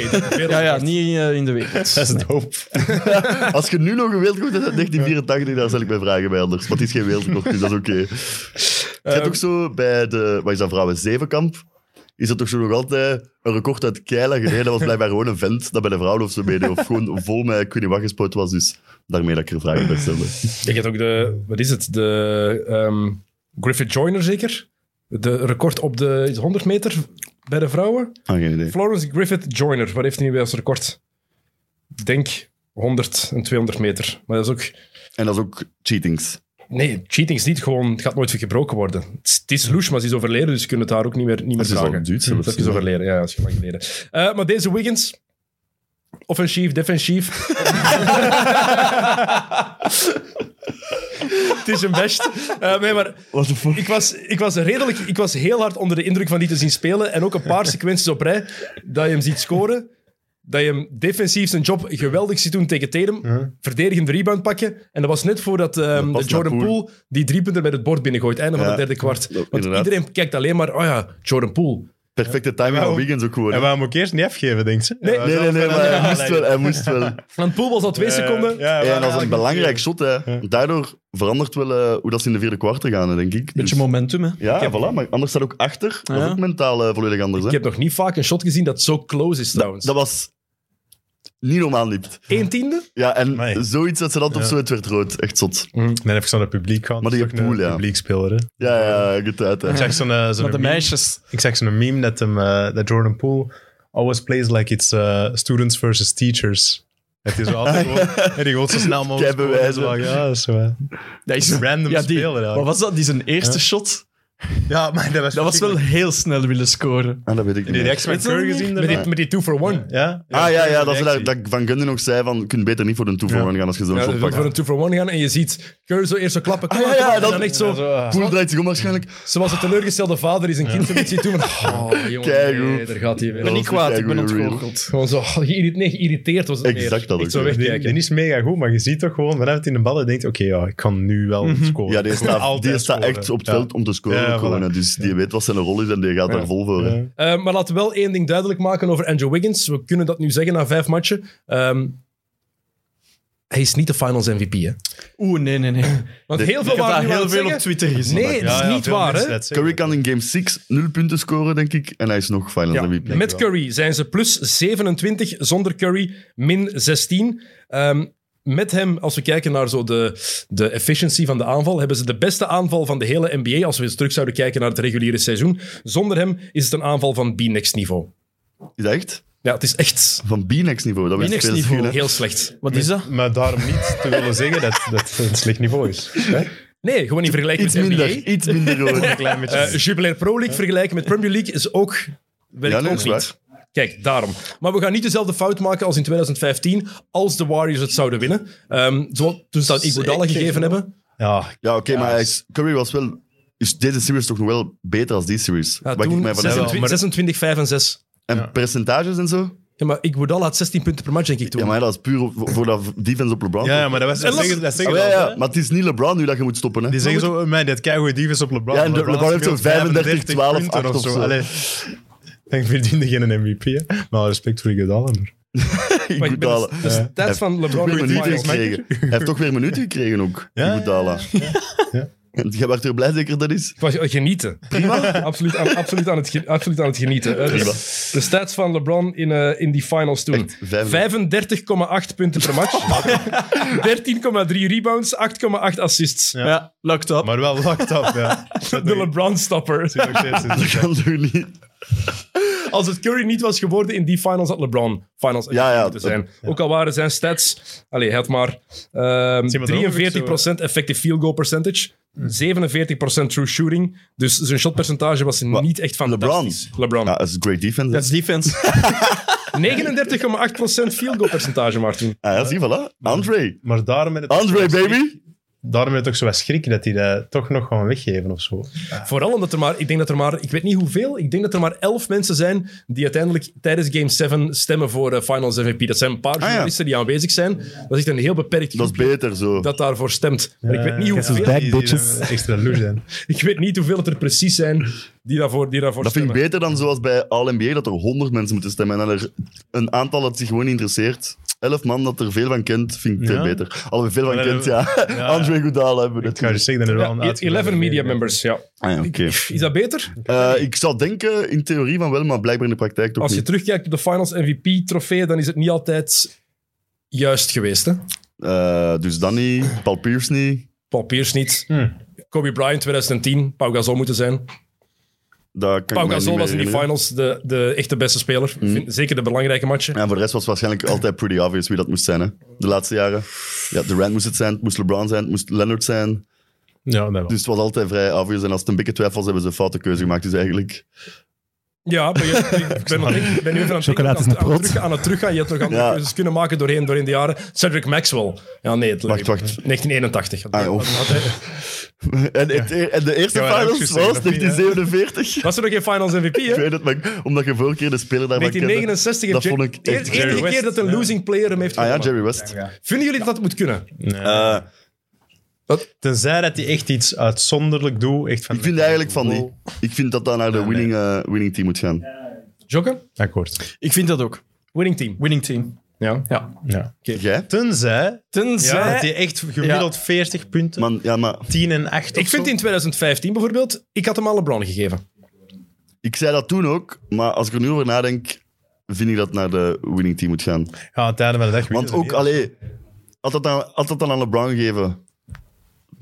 Speaker 5: Ja, ja, niet eh, in de wereld.
Speaker 2: Dat is dope.
Speaker 4: Als je nu nog een wereldrecord hebt uit 1984, dan stel ik mij vragen bij anders. Want het is geen wereldrecord, dus dat is oké. Je hebt ook zo bij de, wat is dat, vrouwen Zevenkamp, is dat toch zo nog altijd een record uit Keila gereden. Dat was blijkbaar gewoon een vent dat bij de vrouwen of zo meedeed. Of gewoon vol met, ik weet niet wat gespoord was, dus daarmee dat ik er vragen bij stelde.
Speaker 1: Je hebt ook de, wat is het, de ehm, Griffith Joyner zeker? De record op de 100 meter bij de vrouwen.
Speaker 4: Ah, geen idee.
Speaker 1: Florence Griffith Joyner, wat heeft hij nu bij als record? Ik Denk 100 en 200 meter. Maar dat is ook.
Speaker 4: En dat is ook cheatings.
Speaker 1: Nee, cheating is niet gewoon. Het gaat nooit weer gebroken worden. Het is- Het is loes, maar ze is overleden, dus je kunt het daar ook niet meer, niet meer
Speaker 4: Dat is al
Speaker 1: vragen.
Speaker 4: duur.
Speaker 1: Dat is overleden, ja, dat is lang geleden. Eh, maar deze Wiggins, offensief, defensief. Het is een best. Eh, nee, maar
Speaker 4: What the fuck?
Speaker 1: ik was, ik was redelijk, ik was heel hard onder de indruk van die te zien spelen. En ook een paar sequenties op rij dat je hem ziet scoren. Dat je hem defensief zijn job geweldig ziet doen tegen Tatum. Verdedigend rebound pakken. En dat was net voordat ehm,
Speaker 4: Dat
Speaker 1: de
Speaker 4: past
Speaker 1: Jordan
Speaker 4: naar Poole.
Speaker 1: Poole die driepunter met het bord binnengooit. Einde van
Speaker 4: Ja,
Speaker 1: het derde kwart. Want
Speaker 4: inderdaad.
Speaker 1: iedereen kijkt alleen maar, oh ja, Jordan Poole.
Speaker 4: Perfecte timing van
Speaker 2: Waarom-
Speaker 4: Wiggins ook gewoon. hè?
Speaker 2: En waarom ook eerst niet afgeven, denkt ze? Eh,
Speaker 1: Nee,
Speaker 2: Ja,
Speaker 4: Nee, nee, nee,
Speaker 2: zelf-
Speaker 4: maar hij moest wel. Hij moest wel.
Speaker 1: Want Poole was al twee
Speaker 2: Eh,
Speaker 1: seconden.
Speaker 2: ja,
Speaker 4: Ja, en dat
Speaker 2: maar
Speaker 4: is een
Speaker 2: eigenlijk-
Speaker 4: belangrijk shot, hè. Daardoor verandert wel eh, hoe dat ze in de vierde kwarten gaan, hè, denk ik. Dus-
Speaker 5: Beetje momentum, hè.
Speaker 4: ja, voilà, maar anders staat ook achter. Dat is
Speaker 5: Ja.
Speaker 4: ook mentaal eh, volledig anders, hè.
Speaker 1: Ik heb nog niet vaak een shot gezien dat zo close is trouwens.
Speaker 4: Dat was niet normaal niet.
Speaker 1: Eén tiende?
Speaker 4: Ja, en
Speaker 2: Nee.
Speaker 4: zoiets dat ze dat op zo, het werd rood. Echt zot.
Speaker 2: Dan heb ik zo'n publiek gehad.
Speaker 4: Maar die
Speaker 2: Dat is ook
Speaker 4: pool,
Speaker 2: een
Speaker 4: ja.
Speaker 2: publiekspeler, hè.
Speaker 4: Ja, ja, ja, goed uit, hè.
Speaker 2: Ik zag zo'n, eh, zo'n
Speaker 5: Met de
Speaker 2: meme-
Speaker 5: meisjes.
Speaker 2: Ik zag zo'n meme dat, hem, eh, dat Jordan Poole always plays like it's eh, students versus teachers. Het is altijd
Speaker 4: Ah,
Speaker 2: gewoon, en die gewoon zo snel mogelijk
Speaker 4: Kei bewijzen.
Speaker 2: scoren. Zo van, Ja, dat is zo, eh.
Speaker 5: Dat is
Speaker 2: Random
Speaker 5: die-
Speaker 2: speler eigenlijk.
Speaker 5: Wat was dat? Die zijn eerste shot?
Speaker 2: Ja, maar dat was,
Speaker 5: Dat was wel heel snel willen scoren.
Speaker 4: Ah, dat weet ik
Speaker 2: Die
Speaker 4: niet.
Speaker 2: reactie van
Speaker 5: Weet je dat
Speaker 2: Curry
Speaker 5: niet?
Speaker 2: gezien
Speaker 1: Met
Speaker 2: daarna?
Speaker 1: die, met die two for one.
Speaker 2: Ja?
Speaker 4: Ah, ja, ja, dat,
Speaker 2: Curry's
Speaker 4: ze
Speaker 2: reactie.
Speaker 4: dat, dat Van Gundy nog zei van, je kunt beter niet voor een toevoer gaan als je zo'n
Speaker 1: Ja,
Speaker 4: shot
Speaker 1: dus
Speaker 4: pakt.
Speaker 1: voor een two for one gaan en je ziet Curry zo eerst zo klappen. Kom
Speaker 4: Ah,
Speaker 1: maar,
Speaker 4: ja,
Speaker 1: kom
Speaker 4: ja,
Speaker 1: maar. en
Speaker 4: dat-
Speaker 1: dan echt zo, ah.
Speaker 4: Poel draait zich om waarschijnlijk.
Speaker 1: zoals een teleurgestelde vader die zijn kind zo niet ziet doen. van, Oh, jongen,
Speaker 4: Keigoed.
Speaker 1: nee, daar gaat hij weer.
Speaker 4: Dat was
Speaker 5: niet kwaad,
Speaker 4: een
Speaker 5: ik ben
Speaker 4: keigoede reel.
Speaker 5: ontgoocheld.
Speaker 1: Gewoon zo oh, geïrri- nee, geïrriteerd was het
Speaker 4: Exact
Speaker 1: meer.
Speaker 4: dat
Speaker 1: Ik
Speaker 4: ook,
Speaker 1: zo
Speaker 4: ja.
Speaker 2: Die,
Speaker 1: wegkijken.
Speaker 2: die is mega goed, maar je ziet toch gewoon vanaf het in de ballen denkt: oké, ja, ik kan nu wel scoren.
Speaker 4: Ja, die
Speaker 2: Ik kan
Speaker 4: staat,
Speaker 2: altijd
Speaker 4: die staat
Speaker 2: scoren.
Speaker 4: echt op het
Speaker 2: Ja.
Speaker 4: veld om te scoren.
Speaker 2: Ja,
Speaker 4: gewoon,
Speaker 2: voilà.
Speaker 4: hè. Dus die weet wat zijn rol is en die gaat daar vol voor. hè.
Speaker 2: Ja.
Speaker 1: Eh, maar laten we wel één ding duidelijk maken over Andrew Wiggins. We kunnen dat nu zeggen na vijf matchen. Ehm, hij is niet de finals MVP, hè?
Speaker 5: Oeh, nee, nee, nee.
Speaker 1: Want
Speaker 4: Dit-
Speaker 1: heel veel waren
Speaker 5: Ik heb daar
Speaker 1: nu aan
Speaker 5: heel
Speaker 1: het
Speaker 5: veel
Speaker 1: zeggen-
Speaker 5: op Twitter gezien.
Speaker 1: Nee, dat is
Speaker 2: Ja, ja,
Speaker 1: niet
Speaker 2: veel
Speaker 1: waar,
Speaker 2: mensen
Speaker 1: hè?
Speaker 2: dat zeggen.
Speaker 4: Curry kan in game 6 0 punten scoren, denk ik. En hij is nog Finals
Speaker 1: Ja,
Speaker 4: MVP.
Speaker 1: met Curry zijn ze plus 27, zonder Curry min 16. Ehm, met hem, als we kijken naar zo de, de efficiency van de aanval, hebben ze de beste aanval van de hele NBA. Als we eens terug zouden kijken naar het reguliere seizoen. Zonder hem is het een aanval van B-next niveau.
Speaker 4: Is dat echt?
Speaker 1: Ja, het is echt
Speaker 4: Van B-next niveau. Dat
Speaker 5: B-next
Speaker 4: is veel
Speaker 5: niveau,
Speaker 4: schil, hè.
Speaker 1: heel slecht.
Speaker 5: Wat is dat?
Speaker 2: Maar daarom niet te willen zeggen dat dat het een slecht niveau is. Hè?
Speaker 1: Nee, gewoon in vergelijking
Speaker 4: Iets
Speaker 1: met
Speaker 4: minder,
Speaker 1: NBA.
Speaker 4: iets minder hoor.
Speaker 2: Een klein beetje.
Speaker 1: Eh Jubilair Pro League vergelijken met Premier League is ook... Werkt
Speaker 4: Ja, nee,
Speaker 1: ook
Speaker 4: is
Speaker 1: niet.
Speaker 4: waar.
Speaker 1: Kijk, daarom. Maar we gaan niet dezelfde fout maken als in 2015, als de Warriors het zouden winnen. Ehm zoals toen ze aan Iguodala
Speaker 5: Zeker,
Speaker 1: gegeven
Speaker 5: joh.
Speaker 1: hebben.
Speaker 2: ja,
Speaker 4: Ja, oké, maar hij is- Curry was wel... Is deze series toch nog wel beter als die series?
Speaker 1: Ja,
Speaker 4: Waar ik
Speaker 1: toen
Speaker 4: mij van heb.
Speaker 1: 26, 26, 5 en 6.
Speaker 4: En percentages en zo?
Speaker 1: Ja, maar Iguodala had 16 punten per match, denk ik, toen.
Speaker 4: Ja, maar ja, dat is puur op- voor dat defense op LeBron.
Speaker 2: ja, ja, maar dat, was, dat
Speaker 1: los-
Speaker 2: zeggen, dat
Speaker 4: Ah,
Speaker 2: zeggen
Speaker 4: ja,
Speaker 2: ze
Speaker 4: ja,
Speaker 2: altijd, hè.
Speaker 4: maar het is niet LeBron nu dat je moet stoppen. Hè.
Speaker 2: Die zeggen zo, "Oh, man, dat keigoede dief is op LeBron.
Speaker 4: Ja, en de- LeBron heeft
Speaker 2: speelt
Speaker 4: zo'n 35, 12,
Speaker 2: punten
Speaker 4: acht of zo.
Speaker 2: Allee, Ik verdiende geen MVP, hè. Maar respect voor Iguodala. maar- dus-
Speaker 1: Maar ik ben
Speaker 4: Iguodala.
Speaker 1: de- de stats van LeBron
Speaker 4: Hij
Speaker 1: in
Speaker 4: heeft
Speaker 1: de
Speaker 4: minuten
Speaker 1: finals.
Speaker 4: gekregen. Hij heeft toch weer minuten gekregen ook,
Speaker 2: Ja,
Speaker 4: Iguodala. Jij werd er blij zeker dat is?
Speaker 1: Ik was eh, genieten. absoluut, aan, absoluut, aan het, ge- absoluut aan het genieten. Eh, dus de stats van LeBron in, eh, in die finals toen.
Speaker 4: Echt,
Speaker 1: 35,8 punten per match. 13,3 rebounds, 8,8 assists.
Speaker 5: Ja, locked up.
Speaker 2: Maar wel locked up, ja. Dat
Speaker 1: De
Speaker 2: nog-
Speaker 1: LeBron-stopper.
Speaker 2: nog steeds
Speaker 4: Dat
Speaker 2: is.
Speaker 4: kan toch niet?
Speaker 1: Als het Curry niet was geworden in die finals, had LeBron finals
Speaker 4: Ja, ja,
Speaker 1: moeten zijn. Ook al waren zijn stats... Allee, hij had maar ehm,
Speaker 2: Zie maar dat ook
Speaker 1: 43% effective field goal percentage.
Speaker 2: Hmm.
Speaker 1: 47% true shooting. Dus zijn shotpercentage was niet echt fantastisch. LeBron.
Speaker 4: Ja, dat is great defense. hè.
Speaker 5: Dat is defense.
Speaker 1: 39,8% field goal percentage maar toen.
Speaker 4: Ah, ja, zie, voilà. Andre.
Speaker 2: Maar daarom... in het-
Speaker 4: Andre, baby.
Speaker 2: daarom heb ik toch zo wat schrik dat die dat toch nog gaan weggeven of zo.
Speaker 1: Vooral omdat er maar, ik denk dat er maar, ik weet niet hoeveel, ik denk dat er maar elf mensen zijn die uiteindelijk tijdens Game 7 stemmen voor de Finals MVP. Dat zijn een paar
Speaker 4: Ah, ja.
Speaker 1: journalisten die aanwezig zijn. Dat is echt een heel beperkt
Speaker 4: Dat is
Speaker 1: groepje
Speaker 4: beter zo.
Speaker 1: dat daarvoor stemt. Maar ik weet niet
Speaker 2: Ja,
Speaker 1: hoeveel,
Speaker 3: back,
Speaker 2: die- die
Speaker 3: bitches.
Speaker 2: dan Extra loes zijn.
Speaker 1: ik weet niet hoeveel het er precies zijn die daarvoor, die daarvoor
Speaker 4: Dat vind ik
Speaker 1: stemmen.
Speaker 4: beter dan zoals bij All-NBA, dat er 100 mensen moeten stemmen en dan er een aantal dat zich gewoon niet interesseert. Elf man dat er veel van kent, vind ik veel
Speaker 2: Ja.
Speaker 4: beter. Alweer veel van
Speaker 2: Maar
Speaker 4: kent,
Speaker 2: dat-
Speaker 4: ja. André Goudal hebben we
Speaker 2: Ik ga
Speaker 4: natuurlijk.
Speaker 2: dus zeggen dat er wel een
Speaker 1: Ja,
Speaker 2: uitgenodigd
Speaker 1: 11 media
Speaker 2: is.
Speaker 1: members, ja.
Speaker 4: Ah, ja, oké.
Speaker 1: Is dat beter?
Speaker 4: Eh, ik zou denken in theorie van wel, maar blijkbaar in de praktijk toch
Speaker 1: Als je
Speaker 4: niet.
Speaker 1: terugkijkt op de Finals MVP-trofee, dan is het niet altijd juist geweest. Hè?
Speaker 4: Eh, dus dan niet, Paul Pierce niet.
Speaker 1: Paul Pierce niet.
Speaker 2: Hmm.
Speaker 1: Kobe Bryant 2010, Pau Gasol moeten zijn.
Speaker 4: Dat kan
Speaker 1: Pau
Speaker 4: ik mij
Speaker 1: Gasol
Speaker 4: niet
Speaker 1: was in
Speaker 4: meer
Speaker 1: die
Speaker 4: herinneren.
Speaker 1: finals de, de echte beste speler.
Speaker 4: Mm.
Speaker 1: Vind- zeker de belangrijke matchen.
Speaker 4: En voor de rest was het waarschijnlijk altijd pretty obvious wie dat moest zijn, hè. De laatste jaren. Ja, Durant moest het zijn, het moest LeBron zijn, het moest Leonard zijn.
Speaker 2: Ja, dat wel.
Speaker 4: Dus het was altijd vrij obvious. En als het een beetje twijfels, hebben ze een foute keuze gemaakt. Dus eigenlijk...
Speaker 1: Ja, maar je, ik ben, nog niet- ik ben nu even aan het, denken,
Speaker 3: Chocolade is
Speaker 1: aan,
Speaker 3: een
Speaker 1: aan, het
Speaker 3: prot.
Speaker 1: terug, aan het teruggaan. Je hebt nog andere
Speaker 4: Ja.
Speaker 1: keuzes kunnen maken doorheen, doorheen de jaren. Cedric Maxwell. Ja, nee, het
Speaker 4: Wacht, wacht.
Speaker 1: 1981. Dat
Speaker 4: Ah, joh.
Speaker 1: had hij-
Speaker 4: En, het, en de eerste
Speaker 2: Ja,
Speaker 4: finals
Speaker 2: maar dat heb ik
Speaker 4: was
Speaker 2: gezegd, dat vind
Speaker 4: 1947.
Speaker 1: was er nog geen finals MVP,
Speaker 4: Ik
Speaker 1: hè?
Speaker 4: weet het, maar ik- omdat je vorige keer de speler daarvan kende.
Speaker 1: 1969.
Speaker 4: Dat
Speaker 1: en Jer-
Speaker 4: vond ik echt
Speaker 1: de
Speaker 4: Jerry
Speaker 1: enige keer
Speaker 2: West.
Speaker 1: dat een losing player hem heeft
Speaker 4: Ah ja,
Speaker 1: gewonnen.
Speaker 4: Jerry West.
Speaker 1: Vinden jullie dat dat moet kunnen?
Speaker 2: Nee.
Speaker 4: Eh,
Speaker 2: Tenzij dat hij echt iets uitzonderlijk doet. Echt van
Speaker 4: ik vind eigenlijk van die. Ik vind dat dat naar de winning, eh, winning team moet gaan.
Speaker 1: Jokken?
Speaker 2: Akkoord.
Speaker 5: Ik vind dat ook.
Speaker 1: Winning team.
Speaker 5: Winning team.
Speaker 1: Ja.
Speaker 5: Ja.
Speaker 2: Ja.
Speaker 4: Jij?
Speaker 2: Tenzij
Speaker 5: Tenzij...
Speaker 2: dat hij echt gemiddeld 40 punten,
Speaker 4: Man, ja, maar
Speaker 2: 10 en 8
Speaker 1: Ik vind in 2015 bijvoorbeeld, ik had hem aan LeBron gegeven.
Speaker 4: ik zei dat toen ook, maar als ik er nu over nadenk, vind ik dat naar de winning team moet gaan.
Speaker 2: Ja, aan het einde van de dag.
Speaker 4: Want ook, allee, had dat dan, had dat dan aan LeBron gegeven?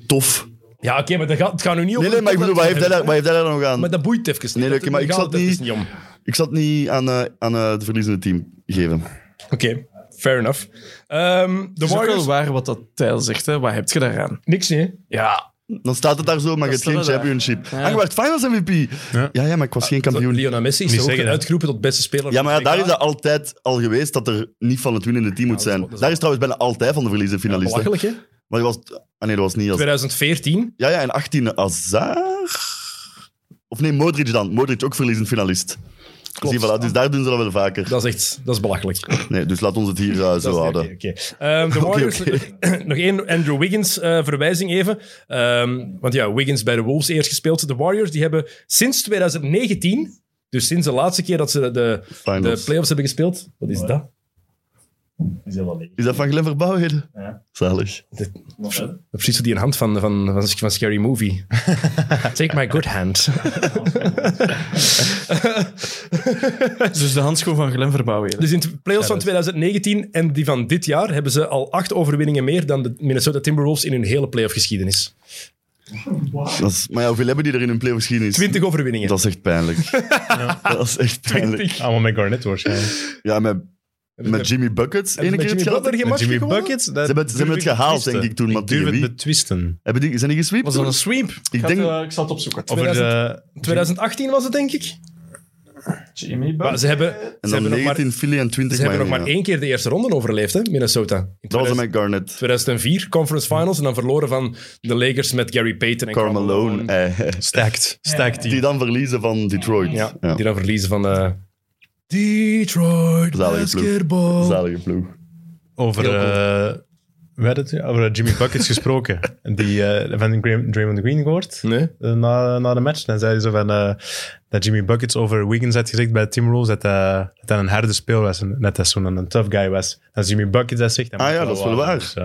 Speaker 4: Tof.
Speaker 1: Ja, oké, maar dat gaat, het gaat nu niet om...
Speaker 4: Nee, nee, maar ik bedoel, wat heeft hij daar, wat heeft hij daar dan nog aan?
Speaker 1: Maar dat boeit even niet.
Speaker 4: Nee,
Speaker 1: Dat-
Speaker 4: oké, maar
Speaker 1: daar
Speaker 4: ik
Speaker 1: gaat
Speaker 4: zat
Speaker 1: het
Speaker 4: niet-
Speaker 1: even om.
Speaker 4: Ik zat niet aan, eh, aan eh, het verliezende team geven.
Speaker 1: Oké, fair enough. Ehm, de
Speaker 5: Het is ook wel
Speaker 1: Warriors...
Speaker 5: waar wat dat Tijl zegt. Hè. Wat heb je daaraan?
Speaker 1: Niks, nee.
Speaker 5: Ja.
Speaker 4: Dan staat het daar zo, maar je hebt
Speaker 5: staat
Speaker 4: geen
Speaker 5: er daar.
Speaker 4: championship.
Speaker 5: Ja.
Speaker 4: Ah, je werd finals MVP. Ja.
Speaker 2: Ja.
Speaker 4: ja, maar ik was geen
Speaker 1: Ah, Zo,
Speaker 4: kampioen.
Speaker 1: Lionel Messi is
Speaker 2: Niet
Speaker 1: toch ook
Speaker 2: zeggen, hè.
Speaker 1: uitgeroepen tot beste speler.
Speaker 4: Ja, maar
Speaker 1: van
Speaker 4: ja,
Speaker 1: het
Speaker 4: daar is
Speaker 1: WK.
Speaker 4: dat altijd al geweest dat er niet van het winnende team moet
Speaker 1: dat is
Speaker 4: zijn.
Speaker 1: wel- dat is
Speaker 4: daar is trouwens bijna altijd van de verliezen finalist. hè.
Speaker 1: Belachelijk, hè?
Speaker 4: maar dat was, ah nee, dat was niet als.
Speaker 1: 2014.
Speaker 4: Ja, ja, en 18 Azar. Of nee, Modric dan. Modric ook verliezend finalist. Dus, hier, voilà, dus daar doen ze dat wel vaker.
Speaker 1: Dat is echt... Dat is belachelijk.
Speaker 4: Nee, dus laat ons het hier eh, zo houden.
Speaker 1: Oké, oké. Ehm, de
Speaker 4: Oké,
Speaker 1: Warriors,
Speaker 4: oké.
Speaker 1: nog één Andrew Wiggins eh, verwijzing even. Ehm, want ja, Wiggins bij de Wolves eerst gespeeld. De Warriors die hebben sinds 2019, dus sinds de laatste keer dat ze de, de
Speaker 4: Finals.
Speaker 1: playoffs hebben gespeeld. Wat is dat?
Speaker 4: Is dat van Glenn Verbouwheden?
Speaker 6: Ja.
Speaker 4: Zalig.
Speaker 1: Precies zo die een hand van, van, van, van Scary Movie. Take my good hand.
Speaker 5: Dus de handschoen van Glen verbouwen.
Speaker 1: Dus in de playoffs van 2019 en die van dit jaar hebben ze al acht overwinningen meer dan de Minnesota Timberwolves in hun hele playoff geschiedenis.
Speaker 4: Dat is- maar ja, hoeveel hebben die er in hun playoff geschiedenis?
Speaker 1: 20 overwinningen.
Speaker 4: Dat is echt pijnlijk. Dat is echt pijnlijk.
Speaker 2: Allemaal met Garnett waarschijnlijk.
Speaker 4: Ja, met, met Jimmy Buckets. Ene
Speaker 1: Met
Speaker 4: keer het
Speaker 1: Jimmy
Speaker 4: geld.
Speaker 1: Butler geen
Speaker 2: Met
Speaker 1: match
Speaker 2: Jimmy
Speaker 1: gewonnen?
Speaker 2: Buckets.
Speaker 4: Ze hebben het- ze hebben het gehaald, denk ik, toen, maar
Speaker 2: Ik durf
Speaker 4: tegen
Speaker 2: het
Speaker 4: wie?
Speaker 2: betwisten.
Speaker 4: Hebben die, zijn die gesweept?
Speaker 5: Was dat een sweep?
Speaker 4: Ik
Speaker 5: ga
Speaker 4: denk-
Speaker 5: het, eh, ik zal het opzoeken.
Speaker 2: Over eh, de...
Speaker 1: 2018 was het, denk ik.
Speaker 5: Jimmy
Speaker 1: Maar ze hebben, ze
Speaker 4: En dan
Speaker 1: hebben nog maar,
Speaker 4: 19, Philly en 20
Speaker 1: ze hebben nog maar
Speaker 4: Miami, ja.
Speaker 1: één keer de eerste ronde overleefd, hè, Minnesota. In
Speaker 4: Dat
Speaker 1: 2000-
Speaker 4: was dan met Garnett.
Speaker 1: 2004, Conference Finals, en dan verloren van de Lakers met Gary Payton en
Speaker 4: Karl Malone.
Speaker 1: Malone.
Speaker 4: eh,
Speaker 2: Stacked. Stacked
Speaker 4: die
Speaker 2: team.
Speaker 4: dan verliezen van Detroit.
Speaker 1: Ja,
Speaker 4: Ja.
Speaker 1: Die dan verliezen van... eh, Detroit
Speaker 4: Zalige ploeg.
Speaker 1: basketball.
Speaker 4: Zalige ploeg.
Speaker 2: Over...
Speaker 1: Heel
Speaker 2: eh, we hadden het over eh, Jimmy Buckets gesproken. Die eh, van Gra- Draymond Green gehoord.
Speaker 1: Nee?
Speaker 2: eh, na, na de match. Dan zei hij zo van, eh, dat Jimmy Buckets over Wiggins had gezegd bij Tim Rose dat, eh, dat hij een harde speel was en dat hij zo'n een tough guy was. Als Jimmy Buckets dat zegt... dan
Speaker 4: Ah
Speaker 2: moet
Speaker 4: ja,
Speaker 2: het
Speaker 4: dat is wel waar.
Speaker 2: Dus, eh,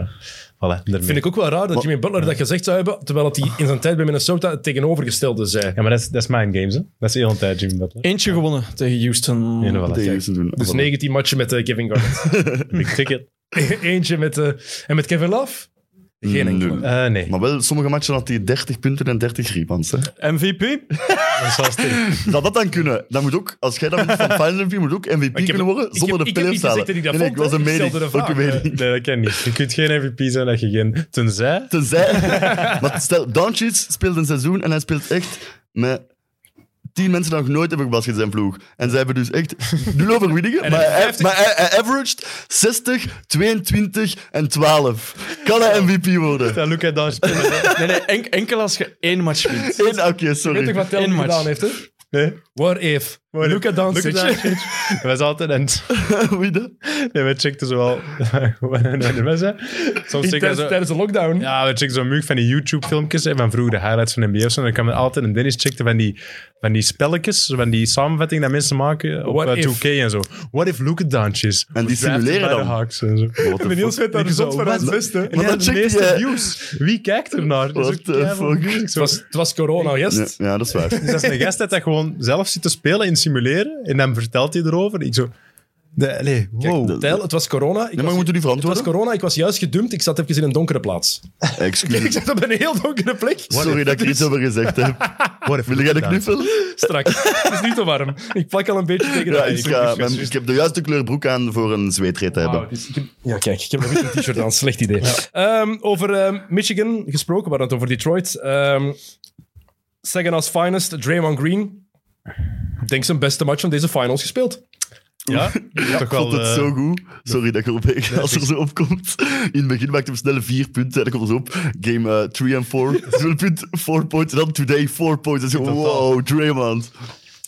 Speaker 2: voilà, daarmee.
Speaker 1: Vind ik ook wel raar dat Jimmy Butler dat gezegd zou hebben, terwijl dat hij in zijn tijd bij Minnesota het tegenovergestelde zei.
Speaker 2: Ja, maar dat is, dat is mind games, hè. Dat is de hele tijd Jimmy Butler.
Speaker 5: Eentje gewonnen tegen Houston.
Speaker 2: In ieder
Speaker 4: Tegen
Speaker 2: geval.
Speaker 4: Houston doen.
Speaker 1: Dus
Speaker 4: Voilà.
Speaker 1: 19 matchen met eh, Kevin Garnett.
Speaker 2: Big ticket.
Speaker 1: Eentje met... eh, en met Kevin Love? Geen enkele.
Speaker 4: Nee.
Speaker 2: Eh, nee.
Speaker 4: Maar wel, sommige matchen had hij 30 punten en 30 rebounds. Hè.
Speaker 5: MVP?
Speaker 2: Dat is wel sterk.
Speaker 4: Zou dat dan kunnen? Dan moet ook, als jij dat moet van Final MVP, moet ook MVP
Speaker 1: heb-
Speaker 4: kunnen worden
Speaker 1: ik
Speaker 4: zonder
Speaker 1: heb-
Speaker 4: de
Speaker 1: ik heb
Speaker 4: playoffs
Speaker 1: niet
Speaker 4: te
Speaker 1: gezegd
Speaker 4: halen.
Speaker 1: dat ik dat
Speaker 4: nee, nee, ik
Speaker 1: vond,
Speaker 4: was een
Speaker 1: hè. Ik
Speaker 4: mening.
Speaker 1: stelde de
Speaker 4: Ook een
Speaker 1: vraag,
Speaker 4: mening.
Speaker 2: Nee, dat kan niet. Je kunt geen MVP zijn dat je geen... Tenzij...
Speaker 4: Tenzij... maar stel, Doncic speelt een seizoen en hij speelt echt met tien mensen die nog nooit hebben gebasket in zijn ploeg. En zij hebben dus echt nul overwinningen, maar, hij, maar hij, hij averaged 60, 22 en 12. Kan hij MVP worden?
Speaker 2: Dat Luca daar spelen.
Speaker 5: Nee, nee, en- enkel als je één match wint.
Speaker 4: Eén,
Speaker 1: Weet
Speaker 4: oké,
Speaker 1: toch
Speaker 4: sorry.
Speaker 1: wat Telm
Speaker 5: Eén match.
Speaker 1: gedaan heeft, hè?
Speaker 2: Nee.
Speaker 1: What if?
Speaker 2: What if?
Speaker 1: Luca Doncic. eh,
Speaker 2: Luka Doncic. Dat was altijd een...
Speaker 4: Wie dat?
Speaker 2: Nee, we checkten zo wel... wanneer hij er was, hè. Soms check ik
Speaker 1: Tijdens
Speaker 2: zo...
Speaker 1: tijdens de lockdown.
Speaker 2: Ja, we checkten zo'n mug van die YouTube-filmpjes en van vroeger de highlights van de NBA of zo. En dan kwam er altijd... En Dennis checkte van die, van die spelletjes, van die samenvatting dat mensen maken op
Speaker 1: What
Speaker 2: eh,
Speaker 1: if?
Speaker 2: 2K en zo. What if Luca Doncic?
Speaker 4: En die simuleren dan.
Speaker 2: Hawks en zo.
Speaker 4: What the fuck?
Speaker 1: weet
Speaker 2: Ik zo, wat?
Speaker 1: beste.
Speaker 2: En die
Speaker 4: dan
Speaker 2: had de
Speaker 4: check
Speaker 2: meeste
Speaker 4: je-
Speaker 2: views. Wie kijkt er naar? Dat is
Speaker 4: What
Speaker 2: ook
Speaker 4: the
Speaker 2: keiveel
Speaker 4: fuck?
Speaker 2: views. Ik
Speaker 1: Het
Speaker 2: zo,
Speaker 1: was, het was corona, yes?
Speaker 4: Ja, ja, dat is waar.
Speaker 2: Dus dat is een gast dat dat gewoon zelf zit te spelen en simuleren. En dan vertelt hij erover. Ik zo... De, nee, wow.
Speaker 4: dat-
Speaker 1: Tel, het was corona. Ik
Speaker 4: Nee, Oh. maar
Speaker 1: was,
Speaker 4: we moeten die
Speaker 1: het was
Speaker 4: verantwoorden.
Speaker 1: corona, ik was juist gedumpt. Ik zat even in een donkere plaats. ik
Speaker 4: Excuus.
Speaker 1: zat op een heel donkere plek.
Speaker 4: Sorry dat ik er iets over gezegd heb.
Speaker 2: What if
Speaker 4: Wil jij
Speaker 2: Luka
Speaker 4: de
Speaker 2: Doncic-
Speaker 4: knuffel?
Speaker 1: Straks. Het is niet te warm. Ik plak al een beetje tegen de
Speaker 4: Ja,
Speaker 1: ijs.
Speaker 4: ik, ga, mijn- ik heb de juiste kleur broek aan voor een zweetreet te hebben.
Speaker 1: Ja, kijk, ik heb nog niet een t-shirt aan. Slecht idee. Ehm, over ehm, Michigan gesproken, we hadden het over Detroit. Ehm Saginaaw's finest, Draymond Green. Ik denk zijn beste match van deze finals gespeeld.
Speaker 2: Ja, toch
Speaker 4: Ik
Speaker 2: wel...
Speaker 4: vond het
Speaker 2: eh,
Speaker 4: zo goed. Sorry dat ik erop heen als er zo opkomt. In het begin maakte hem snel vier punten. En dan komt ze op. Game eh, 3 en 4. 0 punt, 4 points. En dan today 4 points. En zo, wow, Draymond.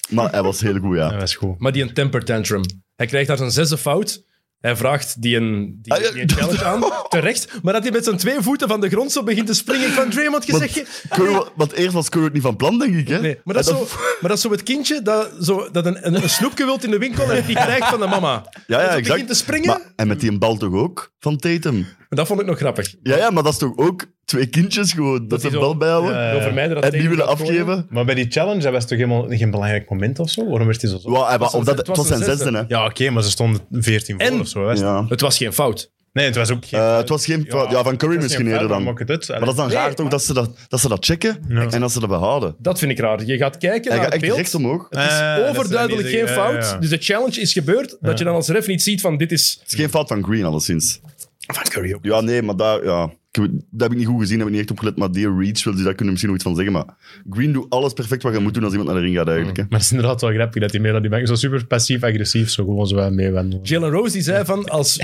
Speaker 4: Maar hij was heel goed,
Speaker 2: Dat
Speaker 4: ja.
Speaker 2: was goed.
Speaker 1: Maar die een temper tantrum. Hij krijgt daar zijn zesde fout. Hij vraagt die een, die,
Speaker 4: Ah, ja,
Speaker 1: die een challenge aan, terecht. Maar dat hij met zijn twee voeten van de grond zo begint te springen. Ik van Draymond, je zegt je...
Speaker 4: Curry, want eerst was Curry het niet van plan, denk ik. Hè?
Speaker 1: Nee, maar, dat is
Speaker 4: En
Speaker 1: zo,
Speaker 4: dan-
Speaker 1: maar dat is zo het kindje dat, zo, dat een, een, een snoepje wilt in de winkel en die krijgt van de mama.
Speaker 4: Ja,
Speaker 1: Dat
Speaker 4: ja,
Speaker 1: zo
Speaker 4: exact.
Speaker 1: begint te springen.
Speaker 4: Maar- en met die bal toch ook van Tatum?
Speaker 1: Dat vond ik nog grappig.
Speaker 4: Ja, ja, maar dat is toch ook twee kindjes gewoon.
Speaker 1: die
Speaker 4: Dat ze
Speaker 1: zo-
Speaker 4: een bal bijhouden
Speaker 2: Ja, ja.
Speaker 1: Wil vermijden dat
Speaker 4: en die
Speaker 1: tegen
Speaker 4: willen
Speaker 1: gaat gooien.
Speaker 4: afgeven.
Speaker 2: Maar bij die challenge, dat was toch helemaal geen belangrijk moment of zo? Waarom werd hij zo... zo?
Speaker 4: Wow, hij-
Speaker 1: was een-
Speaker 4: omdat,
Speaker 1: het
Speaker 4: het
Speaker 1: was
Speaker 4: was
Speaker 1: een
Speaker 4: zijn zesde, hè?
Speaker 2: Ja, oké, maar ze stonden 14 voor
Speaker 1: En-
Speaker 2: of zo. hè.
Speaker 4: Ja.
Speaker 1: Het was geen fout.
Speaker 2: Nee, het was ook geen...
Speaker 4: Eh, het was geen... Ja, van Curry
Speaker 2: het was geen
Speaker 4: misschien eerder
Speaker 2: fout,
Speaker 4: dan.
Speaker 2: maakt het uit.
Speaker 4: Maar dat is dan
Speaker 1: Nee,
Speaker 4: raar toch, dat ze dat, dat, ze dat checken
Speaker 2: Ja.
Speaker 4: en dat ze dat behouden.
Speaker 1: Dat vind ik raar. Je gaat kijken naar
Speaker 4: Hij gaat
Speaker 1: het
Speaker 4: echt
Speaker 1: beeld.
Speaker 4: rechts omhoog. Het
Speaker 1: Het is
Speaker 2: Eh, dat ze dat
Speaker 1: overduidelijk
Speaker 2: niet
Speaker 1: geen
Speaker 2: zeggen. Ja,
Speaker 1: fout.
Speaker 2: ja, ja.
Speaker 1: Dus de challenge is gebeurd. Dat je dan als ref niet ziet van dit is...
Speaker 4: is geen fout van Green, alleszins.
Speaker 1: Van Curry ook.
Speaker 4: Ja, nee, maar daar... Ja. Ik heb- dat heb ik niet goed gezien, daar heb ik niet echt op gelet. Maar die reach, wil, dus daar kunnen we misschien nog iets van zeggen. Maar Green doet alles perfect wat je moet doen als iemand naar de ring gaat, eigenlijk. Hè.
Speaker 2: Maar het is inderdaad wel grappig dat die meer dan die bank zo super passief-agressief zo gewoon zo aan meewandelen.
Speaker 1: Jalen Rose die zei van als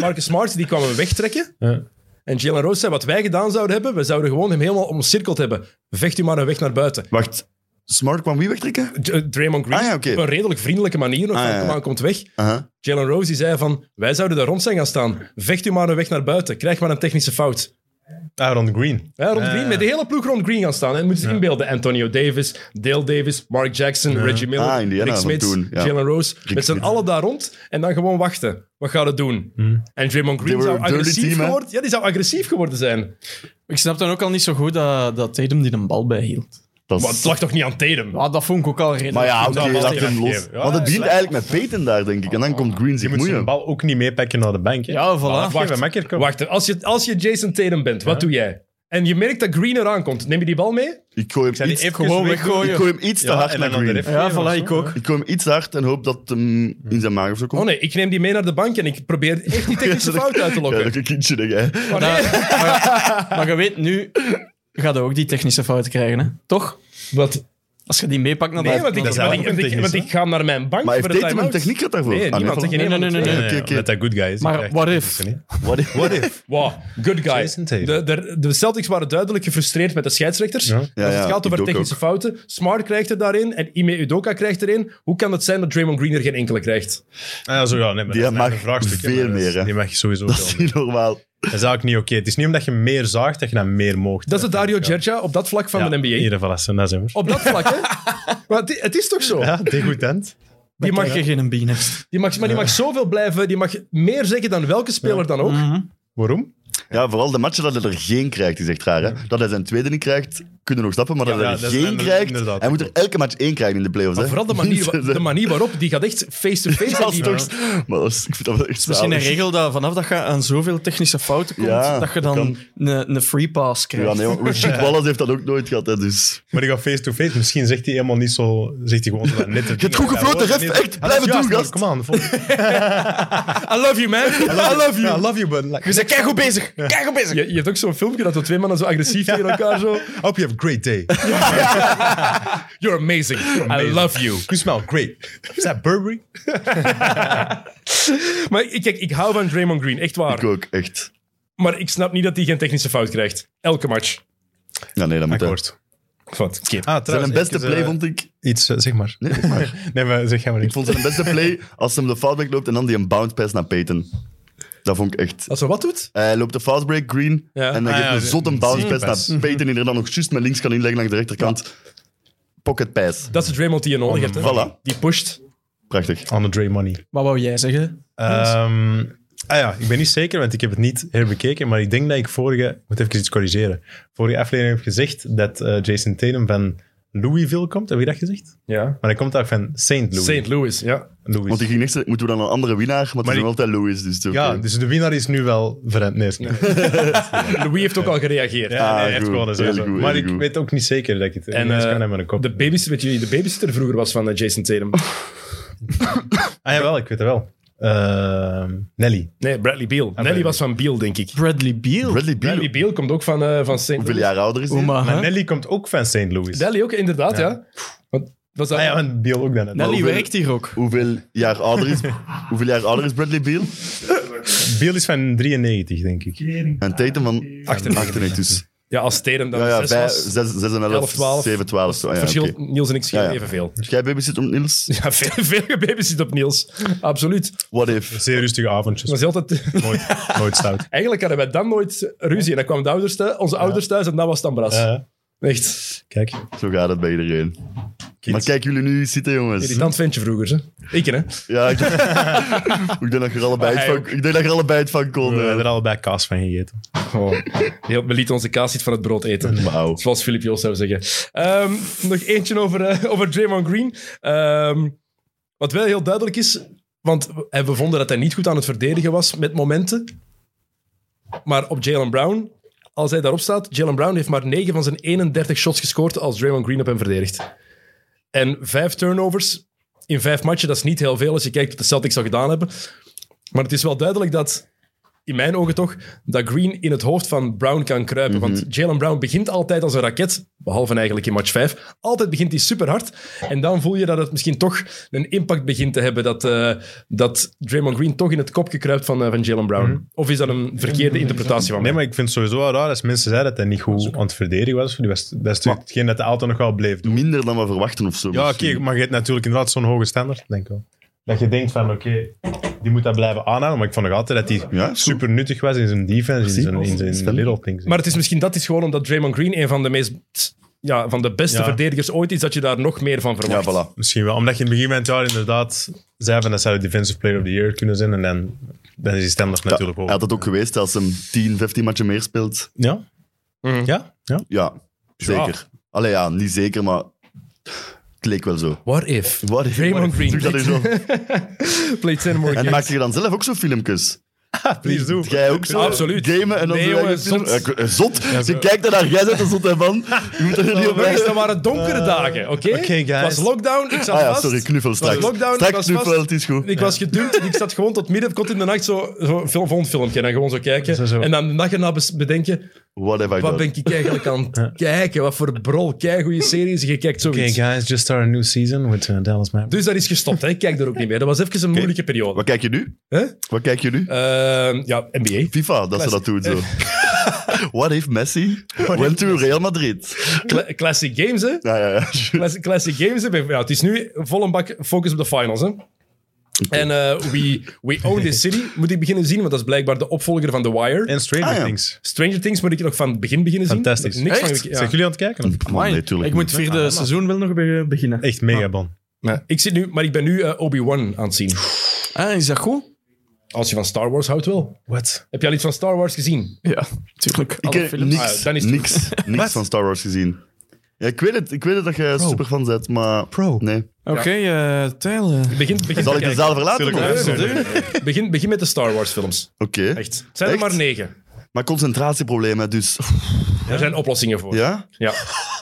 Speaker 1: Marcus Smart die kwam hem wegtrekken.
Speaker 2: Ja.
Speaker 1: En Jalen Rose zei wat wij gedaan zouden hebben. We zouden gewoon hem helemaal omcirkeld hebben. Vecht u maar een weg naar buiten.
Speaker 4: Wacht, Smart kwam wie wegtrekken?
Speaker 1: D- eh, Draymond Green
Speaker 4: Ah, ja, oké.
Speaker 1: op een redelijk vriendelijke manier. Nog
Speaker 4: Ah,
Speaker 1: van,
Speaker 4: ja, ja.
Speaker 1: "Kom aan, komt weg.
Speaker 4: Aha.
Speaker 1: Jalen Rose die zei van wij zouden daar rond zijn gaan staan. Vecht u maar een weg naar buiten. Krijg maar een technische fout.
Speaker 2: Aaron Ah, Green.
Speaker 1: Ja, rond Green, met de hele ploeg rond Green gaan staan. En moet je eens inbeelden. Antonio Davis, Dale Davis, Mark Jackson, Reggie Miller,
Speaker 4: Ah, Indiana
Speaker 1: Rick
Speaker 4: van
Speaker 1: Smith,
Speaker 4: toen, ja.
Speaker 1: Jalen Rose. met z'n
Speaker 4: Smith.
Speaker 1: allen daar rond en dan gewoon wachten. Wat gaat het doen? En Draymond Green
Speaker 4: They were
Speaker 1: zou
Speaker 4: a dirty
Speaker 1: agressief,
Speaker 4: team, hè?
Speaker 1: geworden, ja, die zou agressief geworden zijn.
Speaker 5: Ik snap dan ook al niet zo goed dat, dat Tatum die een bal bijhield.
Speaker 4: Dat is-
Speaker 1: Maar het lag toch niet aan Tatum?
Speaker 5: Ah, dat vond ik ook al redelijk.
Speaker 4: Maar ja,
Speaker 5: goed.
Speaker 4: oké,
Speaker 2: Ja, maar
Speaker 4: laat
Speaker 2: die
Speaker 4: hem
Speaker 2: weggeven.
Speaker 4: los.
Speaker 2: Ja,
Speaker 4: Want het begint
Speaker 2: slecht.
Speaker 4: eigenlijk met Peyton daar, denk ik. En dan komt Green
Speaker 2: Je
Speaker 4: zich
Speaker 2: moet zijn
Speaker 4: moeien.
Speaker 2: bal ook niet meepakken naar de bank. hè.
Speaker 5: Ja, voilà.
Speaker 2: Wacht,
Speaker 1: Wacht.
Speaker 2: wacht, makker, kom.
Speaker 1: Wacht, als je, als je Jason Tatum bent, wat doe jij? En je merkt dat Green eraan komt. Neem je die bal mee?
Speaker 4: Ik gooi hem
Speaker 2: die
Speaker 4: iets,
Speaker 2: even
Speaker 5: Gewoon
Speaker 2: weg-
Speaker 4: ik
Speaker 5: weggooien.
Speaker 4: gooi hem iets te
Speaker 2: Ja,
Speaker 4: hard
Speaker 2: en
Speaker 4: naar
Speaker 2: dan aan de
Speaker 4: Green.
Speaker 2: ref.
Speaker 5: Ja, voilà, ik ook.
Speaker 4: Ik gooi hem iets te hard en hoop dat hem in zijn maag of zo komt.
Speaker 1: Oh nee, ik neem die mee naar de bank en ik probeer echt die technische fout uit te
Speaker 4: Ja,
Speaker 1: lokken.
Speaker 4: dat een kindje, denk jij.
Speaker 1: Maar nee.
Speaker 5: Maar je weet, nu gaat je ook die technische fouten krijgen, hè? toch?
Speaker 1: Wat?
Speaker 5: Als je die meepakt naar de
Speaker 1: Nee, want ik,
Speaker 5: naar
Speaker 1: want
Speaker 5: de-
Speaker 1: ik,
Speaker 2: wel
Speaker 1: want ik-
Speaker 2: technisch,
Speaker 1: want
Speaker 2: hè?
Speaker 1: ik ga naar mijn bank
Speaker 4: Maar
Speaker 1: voor
Speaker 4: heeft
Speaker 1: de
Speaker 4: Tatum
Speaker 1: time-out.
Speaker 4: een techniek gehad daarvoor?
Speaker 1: Nee,
Speaker 4: Ah,
Speaker 1: niemand.
Speaker 4: voilà.
Speaker 1: Tegen
Speaker 5: Nee, nee,
Speaker 1: niemand.
Speaker 5: nee, nee, nee.
Speaker 2: Ja,
Speaker 4: Oké, oké.
Speaker 2: Omdat dat good guy is.
Speaker 5: Maar
Speaker 2: Krijgt-
Speaker 5: what
Speaker 2: Weet
Speaker 5: if?
Speaker 2: je niet.
Speaker 4: What if?
Speaker 2: What if?
Speaker 1: Wow, good guy.
Speaker 2: Jason Tatum.
Speaker 1: De, de, de Celtics waren duidelijk gefrustreerd met de scheidsrechters. Als
Speaker 4: Ja, ja,
Speaker 1: het gaat over
Speaker 4: ik ook
Speaker 1: technische fouten. Smart krijgt er daarin en Ime Udoka krijgt erin. Hoe kan het zijn dat Draymond Green er geen enkele krijgt?
Speaker 2: Ah, Ja, zo, ja, nee, maar
Speaker 4: Die
Speaker 2: dat is
Speaker 4: mag
Speaker 2: een vraagstuk, hè, maar
Speaker 4: veel
Speaker 2: dat is-
Speaker 4: meer, hè.
Speaker 2: Die mag je sowieso
Speaker 4: Dat is
Speaker 2: veel meer.
Speaker 4: niet normaal.
Speaker 2: Dat is eigenlijk niet oké. Het is niet omdat je meer zaagt dat je dan meer moogt.
Speaker 1: Dat is de Dario Gerja op dat vlak van de NBA.
Speaker 2: Hier, voilà, zo, dat zijn we.
Speaker 1: Op dat vlak, hè? Maar het, het is toch zo?
Speaker 2: Ja, degoutant.
Speaker 1: Die mag,
Speaker 5: Mag je geen bienen?
Speaker 1: die mag, maar die mag zoveel blijven. Die mag meer zeggen dan welke speler dan ook.
Speaker 2: Waarom?
Speaker 4: Ja, vooral de matchen dat hij er geen krijgt, is echt raar. Hè? Dat hij zijn tweede niet krijgt, kunnen nog stappen, maar dat
Speaker 2: Ja,
Speaker 4: hij
Speaker 2: ja,
Speaker 4: er
Speaker 2: dat is
Speaker 4: geen
Speaker 2: inderdaad-
Speaker 4: krijgt,
Speaker 2: inderdaad,
Speaker 4: hij moet er
Speaker 2: klopt.
Speaker 4: elke match één krijgen in de playoffs.
Speaker 1: Maar
Speaker 4: hè.
Speaker 1: vooral de manier, wa-
Speaker 4: Dat is-
Speaker 1: de manier waarop. Die gaat echt face-to-face.
Speaker 4: dat
Speaker 1: -face
Speaker 4: is
Speaker 1: die-
Speaker 4: toch- Maar dat is- ik vind dat wel echt
Speaker 5: Misschien een
Speaker 4: zalig.
Speaker 5: regel dat vanaf dat je aan zoveel technische fouten komt,
Speaker 4: Ja,
Speaker 5: dat je dan een, een free pass
Speaker 4: Ja,
Speaker 5: krijgt.
Speaker 4: nee, want Rashid Wallace heeft dat ook nooit gehad, hè, dus...
Speaker 2: Maar die gaat face-to-face. Misschien zegt hij helemaal niet zo... Zegt hij gewoon zo dat net... Je
Speaker 4: hebt goed gefloten, ref. Echt, blijf het doen, gast.
Speaker 2: Kom aan.
Speaker 1: I love you, man. I love you.
Speaker 2: I love you, but... like,
Speaker 5: Je bent keigoed bezig. Keigoed bezig.
Speaker 1: Je, je hebt ook zo'n filmpje dat de twee mannen zo agressief tegen elkaar zo...
Speaker 2: Op je have a great day.
Speaker 1: You're amazing. I love you.
Speaker 2: You smell great. Is that Burberry?
Speaker 1: Maar ik- kijk, ik hou van Draymond Green, echt waar.
Speaker 4: Ik ook, echt.
Speaker 1: Maar ik snap niet dat hij geen technische fout krijgt. Elke match.
Speaker 4: Ja, nee, dat moet hij.
Speaker 2: Akkoord.
Speaker 1: Wat? Kip.
Speaker 2: Ah,
Speaker 4: Zijn
Speaker 2: trouwens,
Speaker 4: beste
Speaker 2: even,
Speaker 4: play
Speaker 2: eh,
Speaker 4: vond ik...
Speaker 2: Iets, eh, zeg maar.
Speaker 4: Nee, maar.
Speaker 2: Nee, maar zeg jij maar
Speaker 4: Ik
Speaker 2: niet.
Speaker 4: vond zijn beste play als hij hem de foutbreak loopt en dan die een bounce pass naar Peyton. Dat vond ik echt...
Speaker 1: Als hij wat doet?
Speaker 4: Eh, Hij loopt de fastbreak green
Speaker 1: Ja.
Speaker 4: en dan
Speaker 2: Ah,
Speaker 4: geeft
Speaker 2: ja,
Speaker 4: een
Speaker 2: de-
Speaker 4: zot een bounce
Speaker 2: zieke
Speaker 4: pass
Speaker 2: pass.
Speaker 4: naar Peyton die er dan nog juist met links kan inleggen langs de rechterkant. Pocket pass.
Speaker 1: Dat is de Draymond die je nodig hebt. hè.
Speaker 4: Oh, Voilà.
Speaker 1: Die pusht.
Speaker 4: Prachtig.
Speaker 2: On the Dre Money.
Speaker 5: Wat wou jij zeggen?
Speaker 2: Ehm, ah ja, ik ben niet zeker, want ik heb het niet herbekeken. Maar ik denk dat ik vorige... Ik moet even iets corrigeren. Vorige aflevering heb ik gezegd dat eh, Jason Tatum van Louisville komt. Heb ik dat gezegd?
Speaker 1: Ja.
Speaker 2: Maar hij komt daar van St. Louis.
Speaker 1: St. Louis, ja.
Speaker 2: Louis.
Speaker 4: Want die ging niks moeten we dan een andere winnaar, maar het is
Speaker 2: die-
Speaker 4: nog altijd Louis. Dus oké.
Speaker 2: Ja, dus de winnaar is nu wel veranderd. Nee, is niet.
Speaker 1: Louis heeft ook al gereageerd.
Speaker 2: Ja,
Speaker 4: Ah,
Speaker 2: nee, hij heeft
Speaker 4: goed.
Speaker 2: gewonnen, sowieso.
Speaker 4: Heel goed, heel
Speaker 2: maar ik
Speaker 4: goed.
Speaker 2: weet ook niet zeker dat ik het...
Speaker 1: En
Speaker 2: En,
Speaker 1: eh,
Speaker 2: maar een kop.
Speaker 1: de, babys, weet jullie, de babysitter vroeger was van eh, Jason Tatum.
Speaker 2: Ah jawel, ik weet het wel. Ehm, Nelly.
Speaker 1: Nee, Bradley Beal. Nelly
Speaker 2: Bradley.
Speaker 1: was van Beal, denk ik.
Speaker 5: Bradley Beal.
Speaker 4: Bradley Beal.
Speaker 1: Bradley Beal komt ook van, eh van St.
Speaker 4: Hoeveel
Speaker 1: Louis.
Speaker 4: jaar ouder is hij?
Speaker 5: Oma,
Speaker 2: Maar
Speaker 5: hè?
Speaker 2: Nelly komt ook van St. Louis.
Speaker 1: Nelly ook, inderdaad, ja. Want, was dat...
Speaker 2: Ah ja, en Biel ook dan.
Speaker 5: Nelly
Speaker 4: hoeveel-
Speaker 5: werkt hier ook.
Speaker 4: Hoeveel jaar ouder is, hoeveel jaar ouder is Bradley Beal?
Speaker 2: Biel is van 93, denk ik.
Speaker 4: En Tatum van 98. Dus. Nou
Speaker 1: Ja, als Tatum dan
Speaker 4: Ja, ja,
Speaker 1: zes
Speaker 4: 5,
Speaker 1: was.
Speaker 4: 6, 6 en 11,
Speaker 1: 11, 12.
Speaker 4: 7, 12. Zo. Ah, ja,
Speaker 1: verschilt
Speaker 4: oké.
Speaker 1: Niels en ik schelen
Speaker 4: Ja, ja.
Speaker 1: evenveel.
Speaker 4: Dus jij babysit om Niels?
Speaker 1: Ja, veel, veel gebabysit op Niels. Absoluut.
Speaker 4: What if?
Speaker 2: Zeer rustige avondjes.
Speaker 1: Maar ze altijd...
Speaker 2: Nooit, nooit stout.
Speaker 1: Eigenlijk hadden wij dan nooit ruzie. En dan kwamen de ouders thuis, onze ouders thuis en dat was dan bras.
Speaker 2: Eh,
Speaker 1: Echt.
Speaker 2: kijk.
Speaker 4: Zo gaat het bij iedereen. Maar kijk jullie nu zitten, jongens.
Speaker 1: Irritant ventje vroeger, hè. Ik, hè.
Speaker 4: Ja, ik, ik denk dat je er allebei het
Speaker 1: hij
Speaker 4: van,
Speaker 1: ook.
Speaker 4: ik denk dat je er allebei het van kon.
Speaker 2: We hebben
Speaker 4: eh.
Speaker 2: er allebei kaas van gegeten.
Speaker 1: Oh. Heel, we lieten onze kaas niet van het brood eten.
Speaker 4: Wauw.
Speaker 1: Zoals Filip Joos zou zeggen. Ehm, nog eentje over, eh, over Draymond Green. Ehm, wat wel heel duidelijk is, want we- eh, we vonden dat hij niet goed aan het verdedigen was met momenten. Maar op Jalen Brown, als hij daarop staat, Jalen Brown heeft maar 9 van zijn 31 shots gescoord als Draymond Green op hem verdedigt. En 5 turnovers in 5 matchen, dat is niet heel veel als je kijkt wat de Celtics al gedaan hebben. Maar het is wel duidelijk dat in mijn ogen toch, dat Green in het hoofd van Brown kan kruipen.
Speaker 2: Mhm.
Speaker 1: Want Jalen Brown begint altijd als een raket, behalve eigenlijk in match 5. Altijd begint hij superhard. En dan voel je dat het misschien toch een impact begint te hebben dat, eh, dat Draymond Green toch in het kopje kruipt van, eh, van Jalen Brown. Of is dat een verkeerde interpretatie van mij?
Speaker 2: Mhm. Nee, maar ik vind het sowieso wel raar als mensen zeiden dat hij niet goed aan het verdedigen was. Die was dat is natuurlijk hetgeen dat de auto nog wel bleef doen.
Speaker 4: Minder dan we verwachten of zo.
Speaker 2: Ja, oké,
Speaker 4: misschien.
Speaker 2: maar je hebt natuurlijk inderdaad zo'n hoge standaard, denk ik wel. Dat je denkt van, oké, die moet dat blijven aanhouden. Maar ik vond nog altijd dat hij
Speaker 4: Ja, goed.
Speaker 2: super nuttig was in zijn defense, in zijn, in zijn,
Speaker 4: Stem.
Speaker 2: little things.
Speaker 1: Maar het is misschien dat is gewoon omdat Draymond Green een van de meest... Ja, van de beste
Speaker 2: Ja.
Speaker 1: verdedigers ooit is, dat je daar nog meer van
Speaker 4: Ja,
Speaker 1: verwacht.
Speaker 4: voilà.
Speaker 2: Misschien wel, omdat je in het begin van het jaar inderdaad zei van dat zou de Defensive Player of the Year kunnen zijn. En dan, dan is die standaard
Speaker 4: Ja,
Speaker 2: natuurlijk
Speaker 4: hij
Speaker 2: ook.
Speaker 4: had het ook geweest als hem 10, 15 matchen meer speelt.
Speaker 2: Ja? Ja? Ja?
Speaker 4: Ja, zeker. Allee, ja, niet zeker, maar het leek wel zo.
Speaker 1: What if
Speaker 4: What if-
Speaker 1: Draymond
Speaker 4: what if-
Speaker 1: Green.
Speaker 4: Doe dat eens op.
Speaker 1: played 10 more
Speaker 4: En
Speaker 1: games?
Speaker 4: maak je dan zelf ook zo'n filmpjes?
Speaker 2: Please do.
Speaker 4: Jij ook zo?
Speaker 1: Ah, Absoluut.
Speaker 4: Gamen en dan
Speaker 1: Nee,
Speaker 4: zo
Speaker 1: jongen,
Speaker 4: eigen film?
Speaker 1: zot.
Speaker 4: Ik- eh, Zot?
Speaker 2: zo.
Speaker 4: Je kijkt ernaar, jij zet een zot hè, man. Je moet er niet op
Speaker 1: Jongens,
Speaker 4: wijzen.
Speaker 1: dat waren donkere dagen, oké?
Speaker 2: Eh, Oké, guys.
Speaker 1: Het was lockdown, ik zat
Speaker 4: Ah ja,
Speaker 1: vast.
Speaker 4: sorry, knuffel straks.
Speaker 1: lockdown, ik was
Speaker 4: Straks knuffel,
Speaker 1: vast.
Speaker 4: het is goed.
Speaker 1: Ik was gedumpt en ik zat gewoon tot midden, tot in de nacht zo, zo film, voor een filmpje en dan gewoon zo kijken.
Speaker 2: Zo, zo.
Speaker 1: En dan de dag erna bes- bedenken,
Speaker 4: What have I
Speaker 1: wat
Speaker 4: done?
Speaker 1: ben ik eigenlijk aan het kijken? Wat voor brol, kei goede series, je kijkt
Speaker 2: Oké,
Speaker 1: zoiets.
Speaker 2: guys, just start a new season with uh, Dallas Mavericks.
Speaker 1: dus dat is gestopt, hè. ik kijk er ook niet meer. Dat was even een moeilijke periode.
Speaker 4: Wat kijk je nu?
Speaker 1: Hè?
Speaker 4: Wat kijk je nu?
Speaker 1: Ehm, ja, NBA.
Speaker 4: FIFA, dat ze dat doen zo. What if Messi went to Real Madrid?
Speaker 1: Cla- classic games, hè.
Speaker 4: Ja, ja, ja.
Speaker 1: Classic, classic games. hè. Ja, het is nu vol een bak focus op de finals. Hè. En eh, we, we Own This City moet ik beginnen zien, want dat is blijkbaar de opvolger van The Wire.
Speaker 2: En Stranger
Speaker 4: Ah, ja.
Speaker 2: Things.
Speaker 1: Stranger Things moet ik nog van het begin beginnen zien.
Speaker 2: Fantastisch.
Speaker 1: Niks van
Speaker 5: Echt?
Speaker 1: gek- ja.
Speaker 2: Zijn jullie aan het kijken? of?
Speaker 4: Man,
Speaker 5: Amai,
Speaker 4: nee, tuurlijk
Speaker 5: ik moet het
Speaker 4: niet.
Speaker 5: vierde seizoen wel nog be- beginnen.
Speaker 2: Echt mega bon.
Speaker 1: Nee. Ik zit nu, maar ik ben nu eh, Obi-Wan aan het zien.
Speaker 5: Ah, is dat goed?
Speaker 1: Als je van Star Wars houdt wel.
Speaker 2: Wat?
Speaker 1: Heb je al iets van Star Wars gezien?
Speaker 5: Ja, tuurlijk.
Speaker 4: Ik eh,
Speaker 5: Alle
Speaker 4: heb
Speaker 5: films.
Speaker 1: Ah,
Speaker 4: niks,
Speaker 1: ja, dan is het
Speaker 4: niks, niks van Star Wars gezien. Ja, ik weet het. Ik weet het dat je superfan bent, maar...
Speaker 2: Pro.
Speaker 4: Nee.
Speaker 5: Oké, eh Tijl. eh,
Speaker 1: Begin, begin,
Speaker 4: Zal
Speaker 1: te
Speaker 4: ik de
Speaker 1: kijken.
Speaker 4: zaal verlaten?
Speaker 2: Tuurlijk,
Speaker 4: of-
Speaker 2: ja.
Speaker 1: begin, begin met de Star Wars films.
Speaker 4: Oké.
Speaker 1: Echt. Het zijn er
Speaker 4: Echt?
Speaker 1: maar negen.
Speaker 4: Maar concentratieproblemen, dus...
Speaker 1: Er zijn oplossingen voor.
Speaker 4: Ja?
Speaker 1: Ja.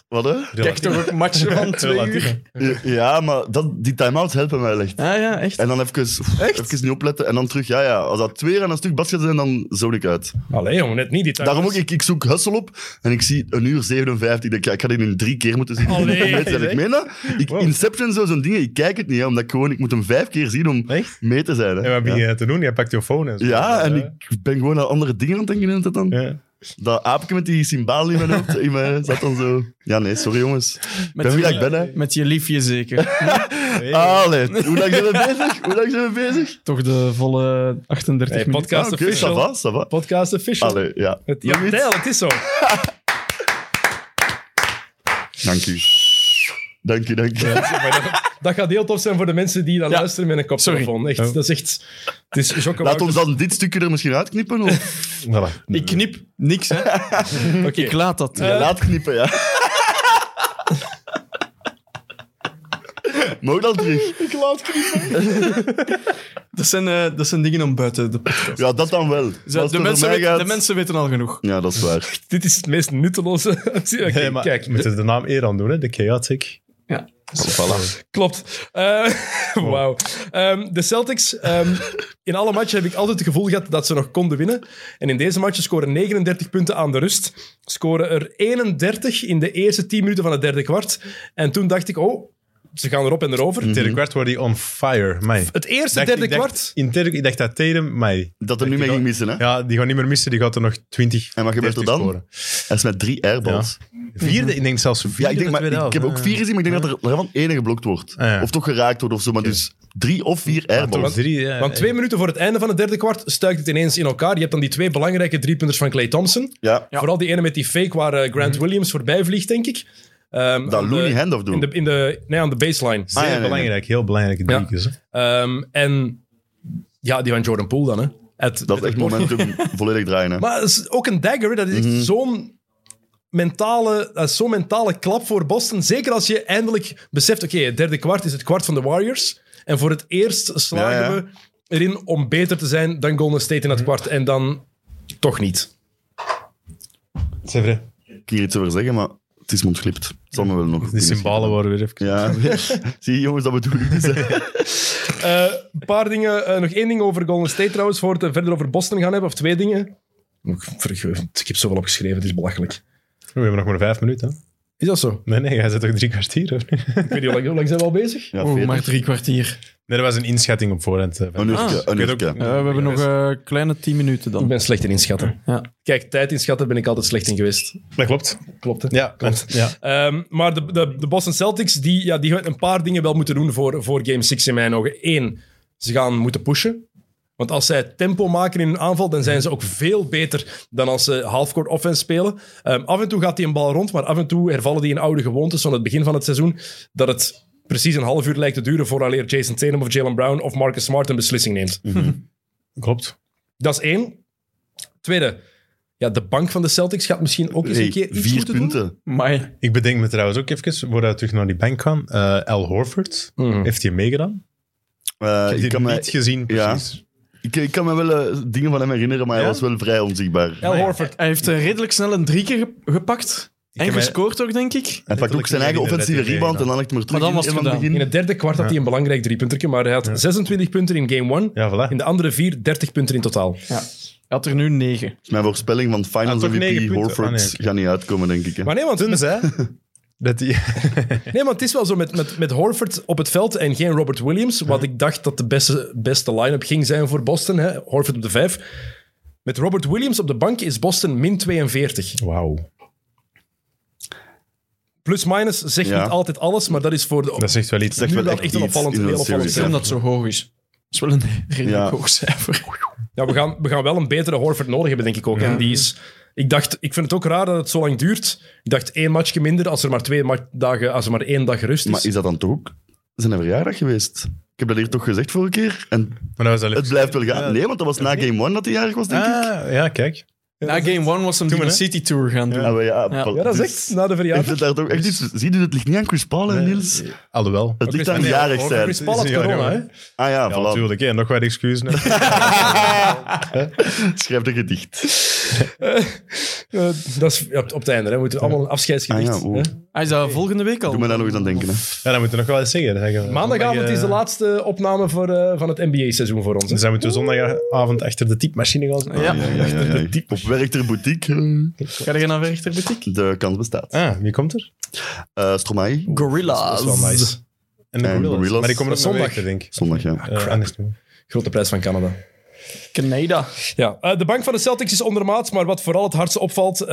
Speaker 4: Wat hè?
Speaker 5: Kijk toch ook matchen van twee
Speaker 2: Relatief.
Speaker 5: uur.
Speaker 4: Ja, maar dat, die time-outs helpen mij echt.
Speaker 5: Ah ja, echt.
Speaker 4: En dan even, oef,
Speaker 5: Echt?
Speaker 4: even niet opletten. En dan terug, ja, ja. Als dat twee en een stuk basket zijn, dan zoon ik uit.
Speaker 1: Allee, jongen, net niet. Die tijd.
Speaker 4: Daarom ook, ik, ik zoek Hustle op en ik zie een uur 57. Ik denk, ja, ik ga dit in drie keer moeten zien.
Speaker 1: Allee,
Speaker 4: Om mee te zijn.
Speaker 1: zeg.
Speaker 4: Ik meen dat. Ik,
Speaker 1: Wow.
Speaker 4: Inception, zo, zo'n dingen, ik kijk het niet. Hè, omdat ik gewoon, ik moet hem vijf keer zien om
Speaker 2: Echt?
Speaker 4: mee te zijn. Hè.
Speaker 2: En wat
Speaker 4: ja.
Speaker 2: begin je eh, te doen? Je pakt je phone en zo.
Speaker 4: Ja, en
Speaker 2: Eh,
Speaker 4: ik ben gewoon aan andere dingen aan het denken in het dan.
Speaker 2: ja.
Speaker 4: Dat aapje met die symbool in mijn hoofd in mijn, zat dan zo. Ja, nee, sorry jongens. Ik
Speaker 5: Met
Speaker 4: ben wie dat
Speaker 5: je,
Speaker 4: ik ben, hè.
Speaker 5: met je liefje zeker.
Speaker 4: Allee, hoe lang zijn we bezig? Hoe lang zijn we bezig? Ah,
Speaker 5: Toch de volle 38
Speaker 1: Hey,
Speaker 5: minuten.
Speaker 1: podcast
Speaker 4: Oké, ça
Speaker 1: official.
Speaker 4: va, ça va.
Speaker 1: Podcast official.
Speaker 4: Allee, ja.
Speaker 1: Het, ja,
Speaker 4: Nog iets?
Speaker 1: Tijl, het is zo.
Speaker 4: Dank u. Dank u, dank u.
Speaker 1: Maar dat, dat gaat heel tof zijn voor de mensen die dat luisteren met een koptelefoon. Echt,
Speaker 2: Oh.
Speaker 1: dat is echt... Het is Jocke
Speaker 4: Laat
Speaker 1: Wouters.
Speaker 4: ons dan dit stukje er misschien uitknippen. Of?
Speaker 2: Voilà.
Speaker 5: Ik knip niks, hè.
Speaker 1: Oké.
Speaker 5: Ik laat dat.
Speaker 4: Ja, laat knippen, ja. Mooi dan terug.
Speaker 1: Ik laat knippen.
Speaker 5: Dat, zijn, eh, dat zijn dingen om buiten de podcast.
Speaker 4: Ja, dat dan wel. Als
Speaker 5: Zo,
Speaker 4: het
Speaker 5: de,
Speaker 4: over
Speaker 5: mensen
Speaker 4: mij
Speaker 5: weten,
Speaker 4: gaat-
Speaker 5: de mensen weten al genoeg.
Speaker 4: Ja, dat is waar.
Speaker 1: Dit is het meest nutteloze. Oké,
Speaker 2: Nee, maar
Speaker 1: kijk.
Speaker 2: we moeten de naam eer aan doen, hè? De Chaotic.
Speaker 5: Ja.
Speaker 1: Klopt. Eh, Wauw. Ehm, de Celtics, ehm, in alle matchen heb ik altijd het gevoel gehad dat ze nog konden winnen. En in deze match scoren 39 punten aan de rust. Scoren er 31 in de eerste 10 minuten van het derde kwart. En toen dacht ik, oh, ze gaan erop en erover.
Speaker 4: Mhm.
Speaker 2: In het derde kwart wordt hij on fire, mij.
Speaker 1: Het eerste
Speaker 2: Dacht-
Speaker 1: derde
Speaker 2: ik dacht-
Speaker 1: kwart.
Speaker 2: In het derde, ik dacht dat Tatum, mij.
Speaker 4: Dat er nu mee ging missen, hè.
Speaker 2: Ja, die gaat niet meer missen, die gaat er nog 20.
Speaker 4: En wat gebeurt er
Speaker 2: 30
Speaker 4: dan?
Speaker 2: scoren. Mhm.
Speaker 4: Hij is met drie airballs. Ja,
Speaker 2: Vierde, ik denk zelfs vierde.
Speaker 4: ik, denk, maar, ik heb ook vier gezien, maar ik denk dat er daarvan één geblokt wordt.
Speaker 2: Ah, ja.
Speaker 4: Of toch geraakt wordt of zo. Maar dus drie of vier airballs.
Speaker 2: drie, ja.
Speaker 1: Want
Speaker 4: Ah,
Speaker 1: twee minuten voor het einde van het derde kwart stuikt het ineens in elkaar. Je hebt dan die twee belangrijke driepunters van Clay Thompson.
Speaker 4: Ja,
Speaker 1: Vooral die ene met die fake waar eh, Grant Williams voorbij vliegt, denk ik. Ehm,
Speaker 4: dat
Speaker 1: aan
Speaker 4: Looney
Speaker 1: de-
Speaker 4: handoff doen.
Speaker 1: in de, in de, nee, aan de baseline.
Speaker 2: Zeer
Speaker 4: Ah, ja, nee, nee.
Speaker 2: belangrijk, heel belangrijke
Speaker 1: Ja.
Speaker 2: driekjes. hè.
Speaker 1: Ehm, en ja, die van Jordan Poole dan, hè. Het-
Speaker 4: Dat is echt momentum volledig draaien. Hè.
Speaker 1: Maar het is ook een dagger, dat is echt
Speaker 4: Mhm.
Speaker 1: zo'n mentale, dat is zo'n mentale klap voor Boston. Zeker als je eindelijk beseft, oké, het derde kwart is het kwart van de Warriors. En voor het eerst slagen
Speaker 4: Ja, ja.
Speaker 1: we erin om beter te zijn dan Golden State in het kwart. En dan toch niet.
Speaker 2: Zevre.
Speaker 4: Ik hier iets over zeggen, maar het is me ontglipt. Het zal me wel nog.
Speaker 2: Die symbolen worden weer even...
Speaker 4: Ja, zie jongens, dat bedoel ik dus. hè.
Speaker 1: Eh, een paar dingen. eh, nog één ding over Golden State trouwens, voor we het verder over Boston gaan hebben. Of twee dingen. Ik ik heb zoveel opgeschreven, het is belachelijk.
Speaker 2: We hebben nog maar vijf minuten. hè.
Speaker 1: Is dat zo?
Speaker 2: Nee, nee, jij zit toch drie kwartier? Of niet?
Speaker 1: Ik weet niet, hoe lang, hoe lang zijn we al bezig?
Speaker 2: Oh,
Speaker 4: Ja,
Speaker 5: Oeh,
Speaker 4: veertig.
Speaker 5: Oh, maar drie kwartier.
Speaker 2: Nee, dat was een inschatting op voorhand. eh, van-
Speaker 4: Een uurtje, een
Speaker 2: Ik weet
Speaker 4: uurtje.
Speaker 2: ook-
Speaker 5: Eh, we hebben nog een kleine 10 minuten
Speaker 1: Ik
Speaker 5: dan.
Speaker 1: ben slecht in inschatten.
Speaker 5: Ja.
Speaker 1: Kijk, tijd inschatten ben ik altijd slecht in geweest.
Speaker 2: Dat klopt.
Speaker 1: Klopt, hè?
Speaker 2: Ja,
Speaker 1: Klopt.
Speaker 2: want- ja.
Speaker 1: Ehm, maar de, de, de Boston Celtics die, ja, die gaan een paar dingen wel moeten doen voor, voor Game 6 in mijn ogen. Eén, ze gaan moeten pushen. Want als zij tempo maken in hun aanval, dan zijn ze ook veel beter dan als ze halfcourt offense spelen. Ehm, af en toe gaat die een bal rond, maar af en toe hervallen die in oude gewoontes van het begin van het seizoen. Dat het precies een half uur lijkt te duren vooraleer Jason Tatum of Jalen Brown of Marcus Smart een beslissing neemt.
Speaker 2: Klopt.
Speaker 1: Dat is één. Tweede, ja, de bank van de Celtics gaat misschien ook eens
Speaker 4: Hey,
Speaker 1: een keer iets
Speaker 4: vier
Speaker 1: moeten doen.
Speaker 4: punten.
Speaker 5: Maar
Speaker 2: Ik bedenk me trouwens ook even, voordat we terug naar die bank gaan. eh Al Horford,
Speaker 1: Mhm.
Speaker 2: heeft hij meegedaan?
Speaker 4: Eh,
Speaker 2: Ik heb
Speaker 4: ik,
Speaker 2: die
Speaker 4: kan
Speaker 2: niet
Speaker 4: me,
Speaker 2: gezien,
Speaker 4: ja.
Speaker 2: precies.
Speaker 4: ik, ik kan me wel eh, dingen van hem herinneren, maar hij
Speaker 2: Ja?
Speaker 4: was wel vrij onzichtbaar.
Speaker 1: Al Horford.
Speaker 5: hij heeft eh, redelijk snel een drie keer ge- gepakt. En
Speaker 2: heb mij-
Speaker 5: gescoord ook, denk ik.
Speaker 4: Hij pakt ook zijn eigen
Speaker 2: Letterlijk
Speaker 4: offensieve
Speaker 2: niet in de
Speaker 4: rebound en
Speaker 2: red
Speaker 4: dan legt hij hem er terug
Speaker 5: Maar dan
Speaker 4: in,
Speaker 5: was het
Speaker 4: helemaal aan
Speaker 5: gedaan.
Speaker 1: In
Speaker 4: begin.
Speaker 1: het derde kwart had hij een belangrijk driepuntertje, maar hij had 26 punten in game 1.
Speaker 2: Ja, voilà.
Speaker 1: In de andere vier, 30 punten in totaal.
Speaker 5: Hij had er nu negen.
Speaker 4: Mijn voorspelling van Finals
Speaker 2: Ah, toch negen
Speaker 4: MVP
Speaker 2: punten.
Speaker 4: Horford
Speaker 2: Ah, nee, oké.
Speaker 4: gaat niet uitkomen, denk ik. Hè.
Speaker 1: Maar nee, want,
Speaker 2: Tenzij dat die...
Speaker 1: nee, want het is wel zo met, met, met Horford op het veld en geen Robert Williams, wat ik dacht dat de beste, beste line-up ging zijn voor Boston. Hè? Horford op de vijf. Met Robert Williams op de bank is Boston min 42.
Speaker 2: Wauw.
Speaker 1: Plus-minus zegt
Speaker 4: Ja.
Speaker 1: niet altijd alles, maar dat is voor de...
Speaker 2: Dat zegt wel iets.
Speaker 4: Zegt
Speaker 1: nu
Speaker 4: wel
Speaker 1: wel
Speaker 4: echt
Speaker 1: echt een
Speaker 4: iets
Speaker 1: opvallend-
Speaker 4: in
Speaker 1: heel
Speaker 4: een
Speaker 1: opvallend
Speaker 4: series,
Speaker 1: Ja.
Speaker 5: Omdat
Speaker 4: hè.
Speaker 5: het zo hoog is. Dat is wel een redelijk
Speaker 4: Ja.
Speaker 5: hoog cijfer.
Speaker 1: Ja, we gaan, we gaan wel een betere Horford nodig hebben, denk ik ook. En die is... Ik dacht, ik vind het ook raar dat het zo lang duurt. Ik dacht één matchje minder als er maar twee ma- dagen, als er maar één dag rust is.
Speaker 4: Maar is dat dan toch ook zijn verjaardag geweest? Ik heb dat hier toch gezegd vorige keer. En
Speaker 2: Maar dat was wel even-
Speaker 4: het blijft wel gaan.
Speaker 2: Ja.
Speaker 4: Nee, want dat was na Game 1 dat hij jarig was, denk ik.
Speaker 2: Ah, ja, kijk.
Speaker 5: Na game one was hem die een city tour gaan doen.
Speaker 4: Ah, maar ja,
Speaker 5: Ja.
Speaker 4: pal-
Speaker 1: Ja, dat is
Speaker 4: dus-
Speaker 1: echt na de
Speaker 4: Ik
Speaker 1: verjaardag.
Speaker 4: vind daar toch echt iets. Zie je, het ligt niet aan Chris Paul, hè, Niels.
Speaker 2: Alhoewel.
Speaker 4: Het ligt aan
Speaker 1: Paul,
Speaker 4: jarig
Speaker 1: over Chris
Speaker 4: zijn.
Speaker 1: Paul had
Speaker 2: Ja,
Speaker 1: corona, hè?
Speaker 2: ja.
Speaker 4: Ah ja,
Speaker 2: Ja,
Speaker 4: voilà.
Speaker 2: natuurlijk. hè. Nog wat excuses. hè.
Speaker 4: Schrijf een gedicht.
Speaker 1: Eh, dat is ja, op op het einde. Hè. Moeten we allemaal een afscheidsgedicht.
Speaker 4: Ah ja, oeh.
Speaker 1: hè.
Speaker 5: Hij is dat volgende week al.
Speaker 4: Doe me daar nog eens aan denken. Hè.
Speaker 2: Ja, dat moeten we nog wel eens zeggen. Dat zeggen we.
Speaker 1: Maandagavond
Speaker 2: Zondag, eh,
Speaker 1: is de laatste opname voor, eh, van het NBA-seizoen voor ons. hè.
Speaker 2: Dus dan moeten we zondagavond achter de typemachine gaan zitten.
Speaker 5: Ja.
Speaker 4: Ja, ja, ja, ja. Op Werchter Boutique. eh,
Speaker 5: Ga je naar Werchter Boutique?
Speaker 4: De kans bestaat.
Speaker 2: Ah, wie komt er?
Speaker 4: Eh Stromae,
Speaker 5: Gorilla's.
Speaker 2: Dat is wel nice. En de
Speaker 4: En
Speaker 2: gorillas.
Speaker 4: gorillas.
Speaker 2: Maar die komen op
Speaker 1: Zondag.
Speaker 2: zondag, denk ik.
Speaker 4: zondag, ja.
Speaker 2: Eh, anders doen.
Speaker 1: Grote prijs van Canada.
Speaker 5: Canada.
Speaker 1: Ja, eh, de bank van de Celtics is ondermaats, maar wat vooral het hardste opvalt... eh,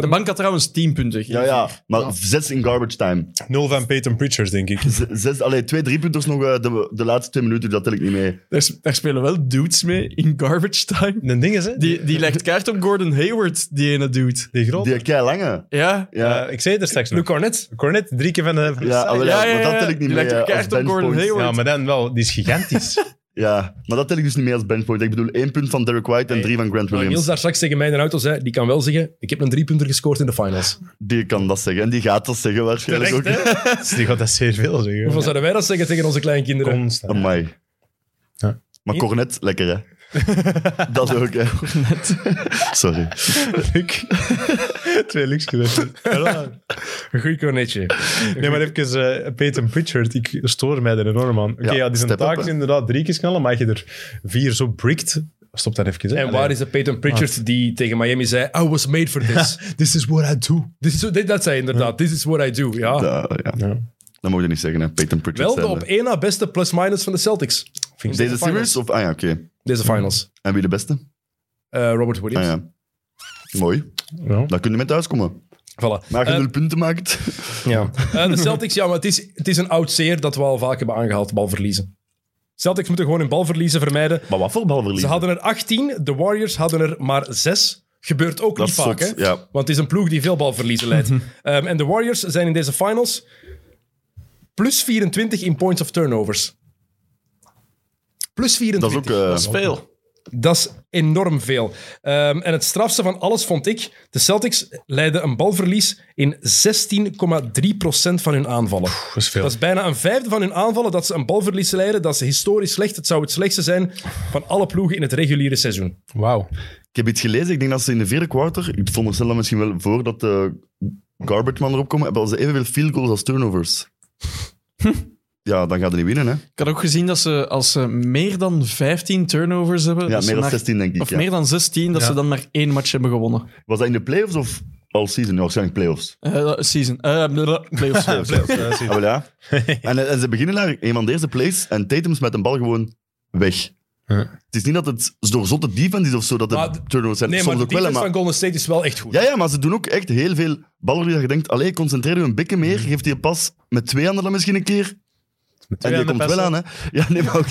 Speaker 5: De bank had trouwens 10 punten.
Speaker 4: Ja, ja, maar zes in garbage time.
Speaker 2: Nul van Peyton Preachers, denk ik.
Speaker 4: Z- Zes, allee, twee driepunters nog eh, de, de laatste twee minuten, dat tel ik niet mee.
Speaker 5: Daar, s- daar spelen wel dudes mee in garbage time.
Speaker 2: De ding is, hè? Die,
Speaker 5: Die, die legt kaart op Gordon Hayward, die ene dude.
Speaker 2: die grote.
Speaker 4: Die kei lange.
Speaker 5: Ja,
Speaker 4: Ja,
Speaker 2: Eh, ik zei het er straks nog.
Speaker 1: Luke Cornet.
Speaker 2: Cornet, drie keer van de... Van de
Speaker 4: ja,
Speaker 2: Celtics.
Speaker 4: allee,
Speaker 5: Ja, ja,
Speaker 4: maar
Speaker 5: ja,
Speaker 4: dat tel ik niet
Speaker 5: die
Speaker 4: mee
Speaker 5: lijkt
Speaker 4: eh,
Speaker 5: ook
Speaker 4: als
Speaker 5: echt op Gordon
Speaker 4: benchpoint.
Speaker 5: Hayward.
Speaker 2: ja, maar dan wel. Die is gigantisch.
Speaker 4: Ja, maar dat tel ik dus niet mee als benchpoint. Ik bedoel, één punt van Derek White en drie van Grant
Speaker 1: Maar Niels
Speaker 4: Williams.
Speaker 1: daar straks tegen mij in de auto zei, die kan wel zeggen, ik heb een driepunter gescoord in de finals.
Speaker 4: Die kan dat zeggen en die gaat dat zeggen waarschijnlijk
Speaker 2: Terecht,
Speaker 4: ook.
Speaker 2: hè? Dus die gaat dat zeer veel zeggen.
Speaker 1: Hoeveel zouden wij dat zeggen tegen onze kleinkinderen?
Speaker 2: Constant.
Speaker 4: Amai.
Speaker 2: Ja.
Speaker 4: Maar Cornet, lekker hè. dat ook, hè. Sorry.
Speaker 2: Luk. Twee Luks
Speaker 1: Een goed cornetje.
Speaker 2: Nee, maar even eh Peyton Pritchard. Ik stoor mij er enorm aan. Oké,
Speaker 4: Ja,
Speaker 2: ja, die zijn
Speaker 4: step up,
Speaker 2: taak
Speaker 4: hè.
Speaker 2: inderdaad drie keer knallen, maar als je er vier zo brikt... Stop daar even. hè.
Speaker 1: En waar is de Peyton Pritchard die tegen Miami zei, I was made for this.
Speaker 2: This is what I do.
Speaker 1: This is- dit- dat zei hij inderdaad, this is what I do. Ja.
Speaker 4: Da- ja.
Speaker 2: Ja.
Speaker 4: Dat moet je niet zeggen, hè. Peyton
Speaker 1: Wel
Speaker 4: Pritchard.
Speaker 1: de
Speaker 4: zijn,
Speaker 1: op
Speaker 4: hè.
Speaker 1: één na beste plus-minus van de Celtics.
Speaker 4: Deze series? Of, ah ja, oké.
Speaker 1: Deze finals.
Speaker 4: En wie de beste?
Speaker 1: Eh, Robert Williams.
Speaker 4: Ah ja. Mooi.
Speaker 2: Ja.
Speaker 4: Dan kun je mee thuiskomen.
Speaker 1: Voilà.
Speaker 4: Maar als je
Speaker 1: Eh,
Speaker 4: nul punten maakt...
Speaker 2: Ja.
Speaker 1: Eh, de Celtics, ja, maar het is, het is een oud zeer dat we al vaak hebben aangehaald, balverliezen. Celtics moeten gewoon hun balverliezen vermijden.
Speaker 4: Maar wat voor balverlies?
Speaker 1: Ze hadden er 18, de Warriors hadden er maar 6. Gebeurt ook
Speaker 4: Dat
Speaker 1: niet
Speaker 4: is
Speaker 1: vaak,
Speaker 4: zot,
Speaker 1: hè?
Speaker 4: ja.
Speaker 1: Want het is een ploeg die veel balverliezen leidt. Ehm, en de Warriors zijn in deze finals plus 24 in points of turnovers. Plus 24.
Speaker 4: Dat is ook, eh,
Speaker 1: dat is veel. Dat is enorm veel. Ehm, en het strafste van alles vond ik, de Celtics leiden een balverlies in 16,3% van hun aanvallen.
Speaker 2: Dat is veel.
Speaker 1: Dat is bijna een vijfde van hun aanvallen dat ze een balverlies leiden. Dat is historisch slecht. Het zou het slechtste zijn van alle ploegen in het reguliere seizoen.
Speaker 2: Wauw.
Speaker 4: Ik heb iets gelezen. Ik denk dat ze in de vierde quarter, ik vond er zelf misschien wel voor dat de garbage man erop komen, hebben ze evenveel field goals als turnovers.
Speaker 1: Hm.
Speaker 4: ja, dan gaat hij niet winnen, hè?
Speaker 5: ik had ook gezien dat ze als ze meer dan 15 turnovers hebben,
Speaker 4: Ja,
Speaker 5: dat ze
Speaker 4: meer dan
Speaker 5: maar-
Speaker 4: 16, denk ik.
Speaker 5: of
Speaker 4: ja.
Speaker 5: meer dan 16, dat
Speaker 2: Ja.
Speaker 5: ze dan maar één match hebben gewonnen.
Speaker 4: Was dat in de playoffs of all season? Ja, waarschijnlijk playoffs.
Speaker 5: Eh, season. Eh, blablabla, playoffs.
Speaker 4: Ah, wel ja. en, en ze beginnen daar een van deze plays en Tatum's met een bal gewoon weg.
Speaker 2: Ja.
Speaker 4: Het is niet dat het door zotte defense is of zo dat de
Speaker 1: Maar-
Speaker 4: turnovers zijn.
Speaker 1: Nee,
Speaker 4: Soms
Speaker 1: maar de
Speaker 4: ook wel,
Speaker 1: defense
Speaker 4: hè, maar
Speaker 1: van Golden State is wel echt goed.
Speaker 4: Ja, ja, maar ze doen ook echt heel veel ballen die je denkt, allee, concentreer je een beetje meer, geeft die een pas met twee handen dan misschien een keer. En die
Speaker 2: handen
Speaker 4: komt wel aan,
Speaker 2: passen.
Speaker 4: hè. Ja, nee, maar ook.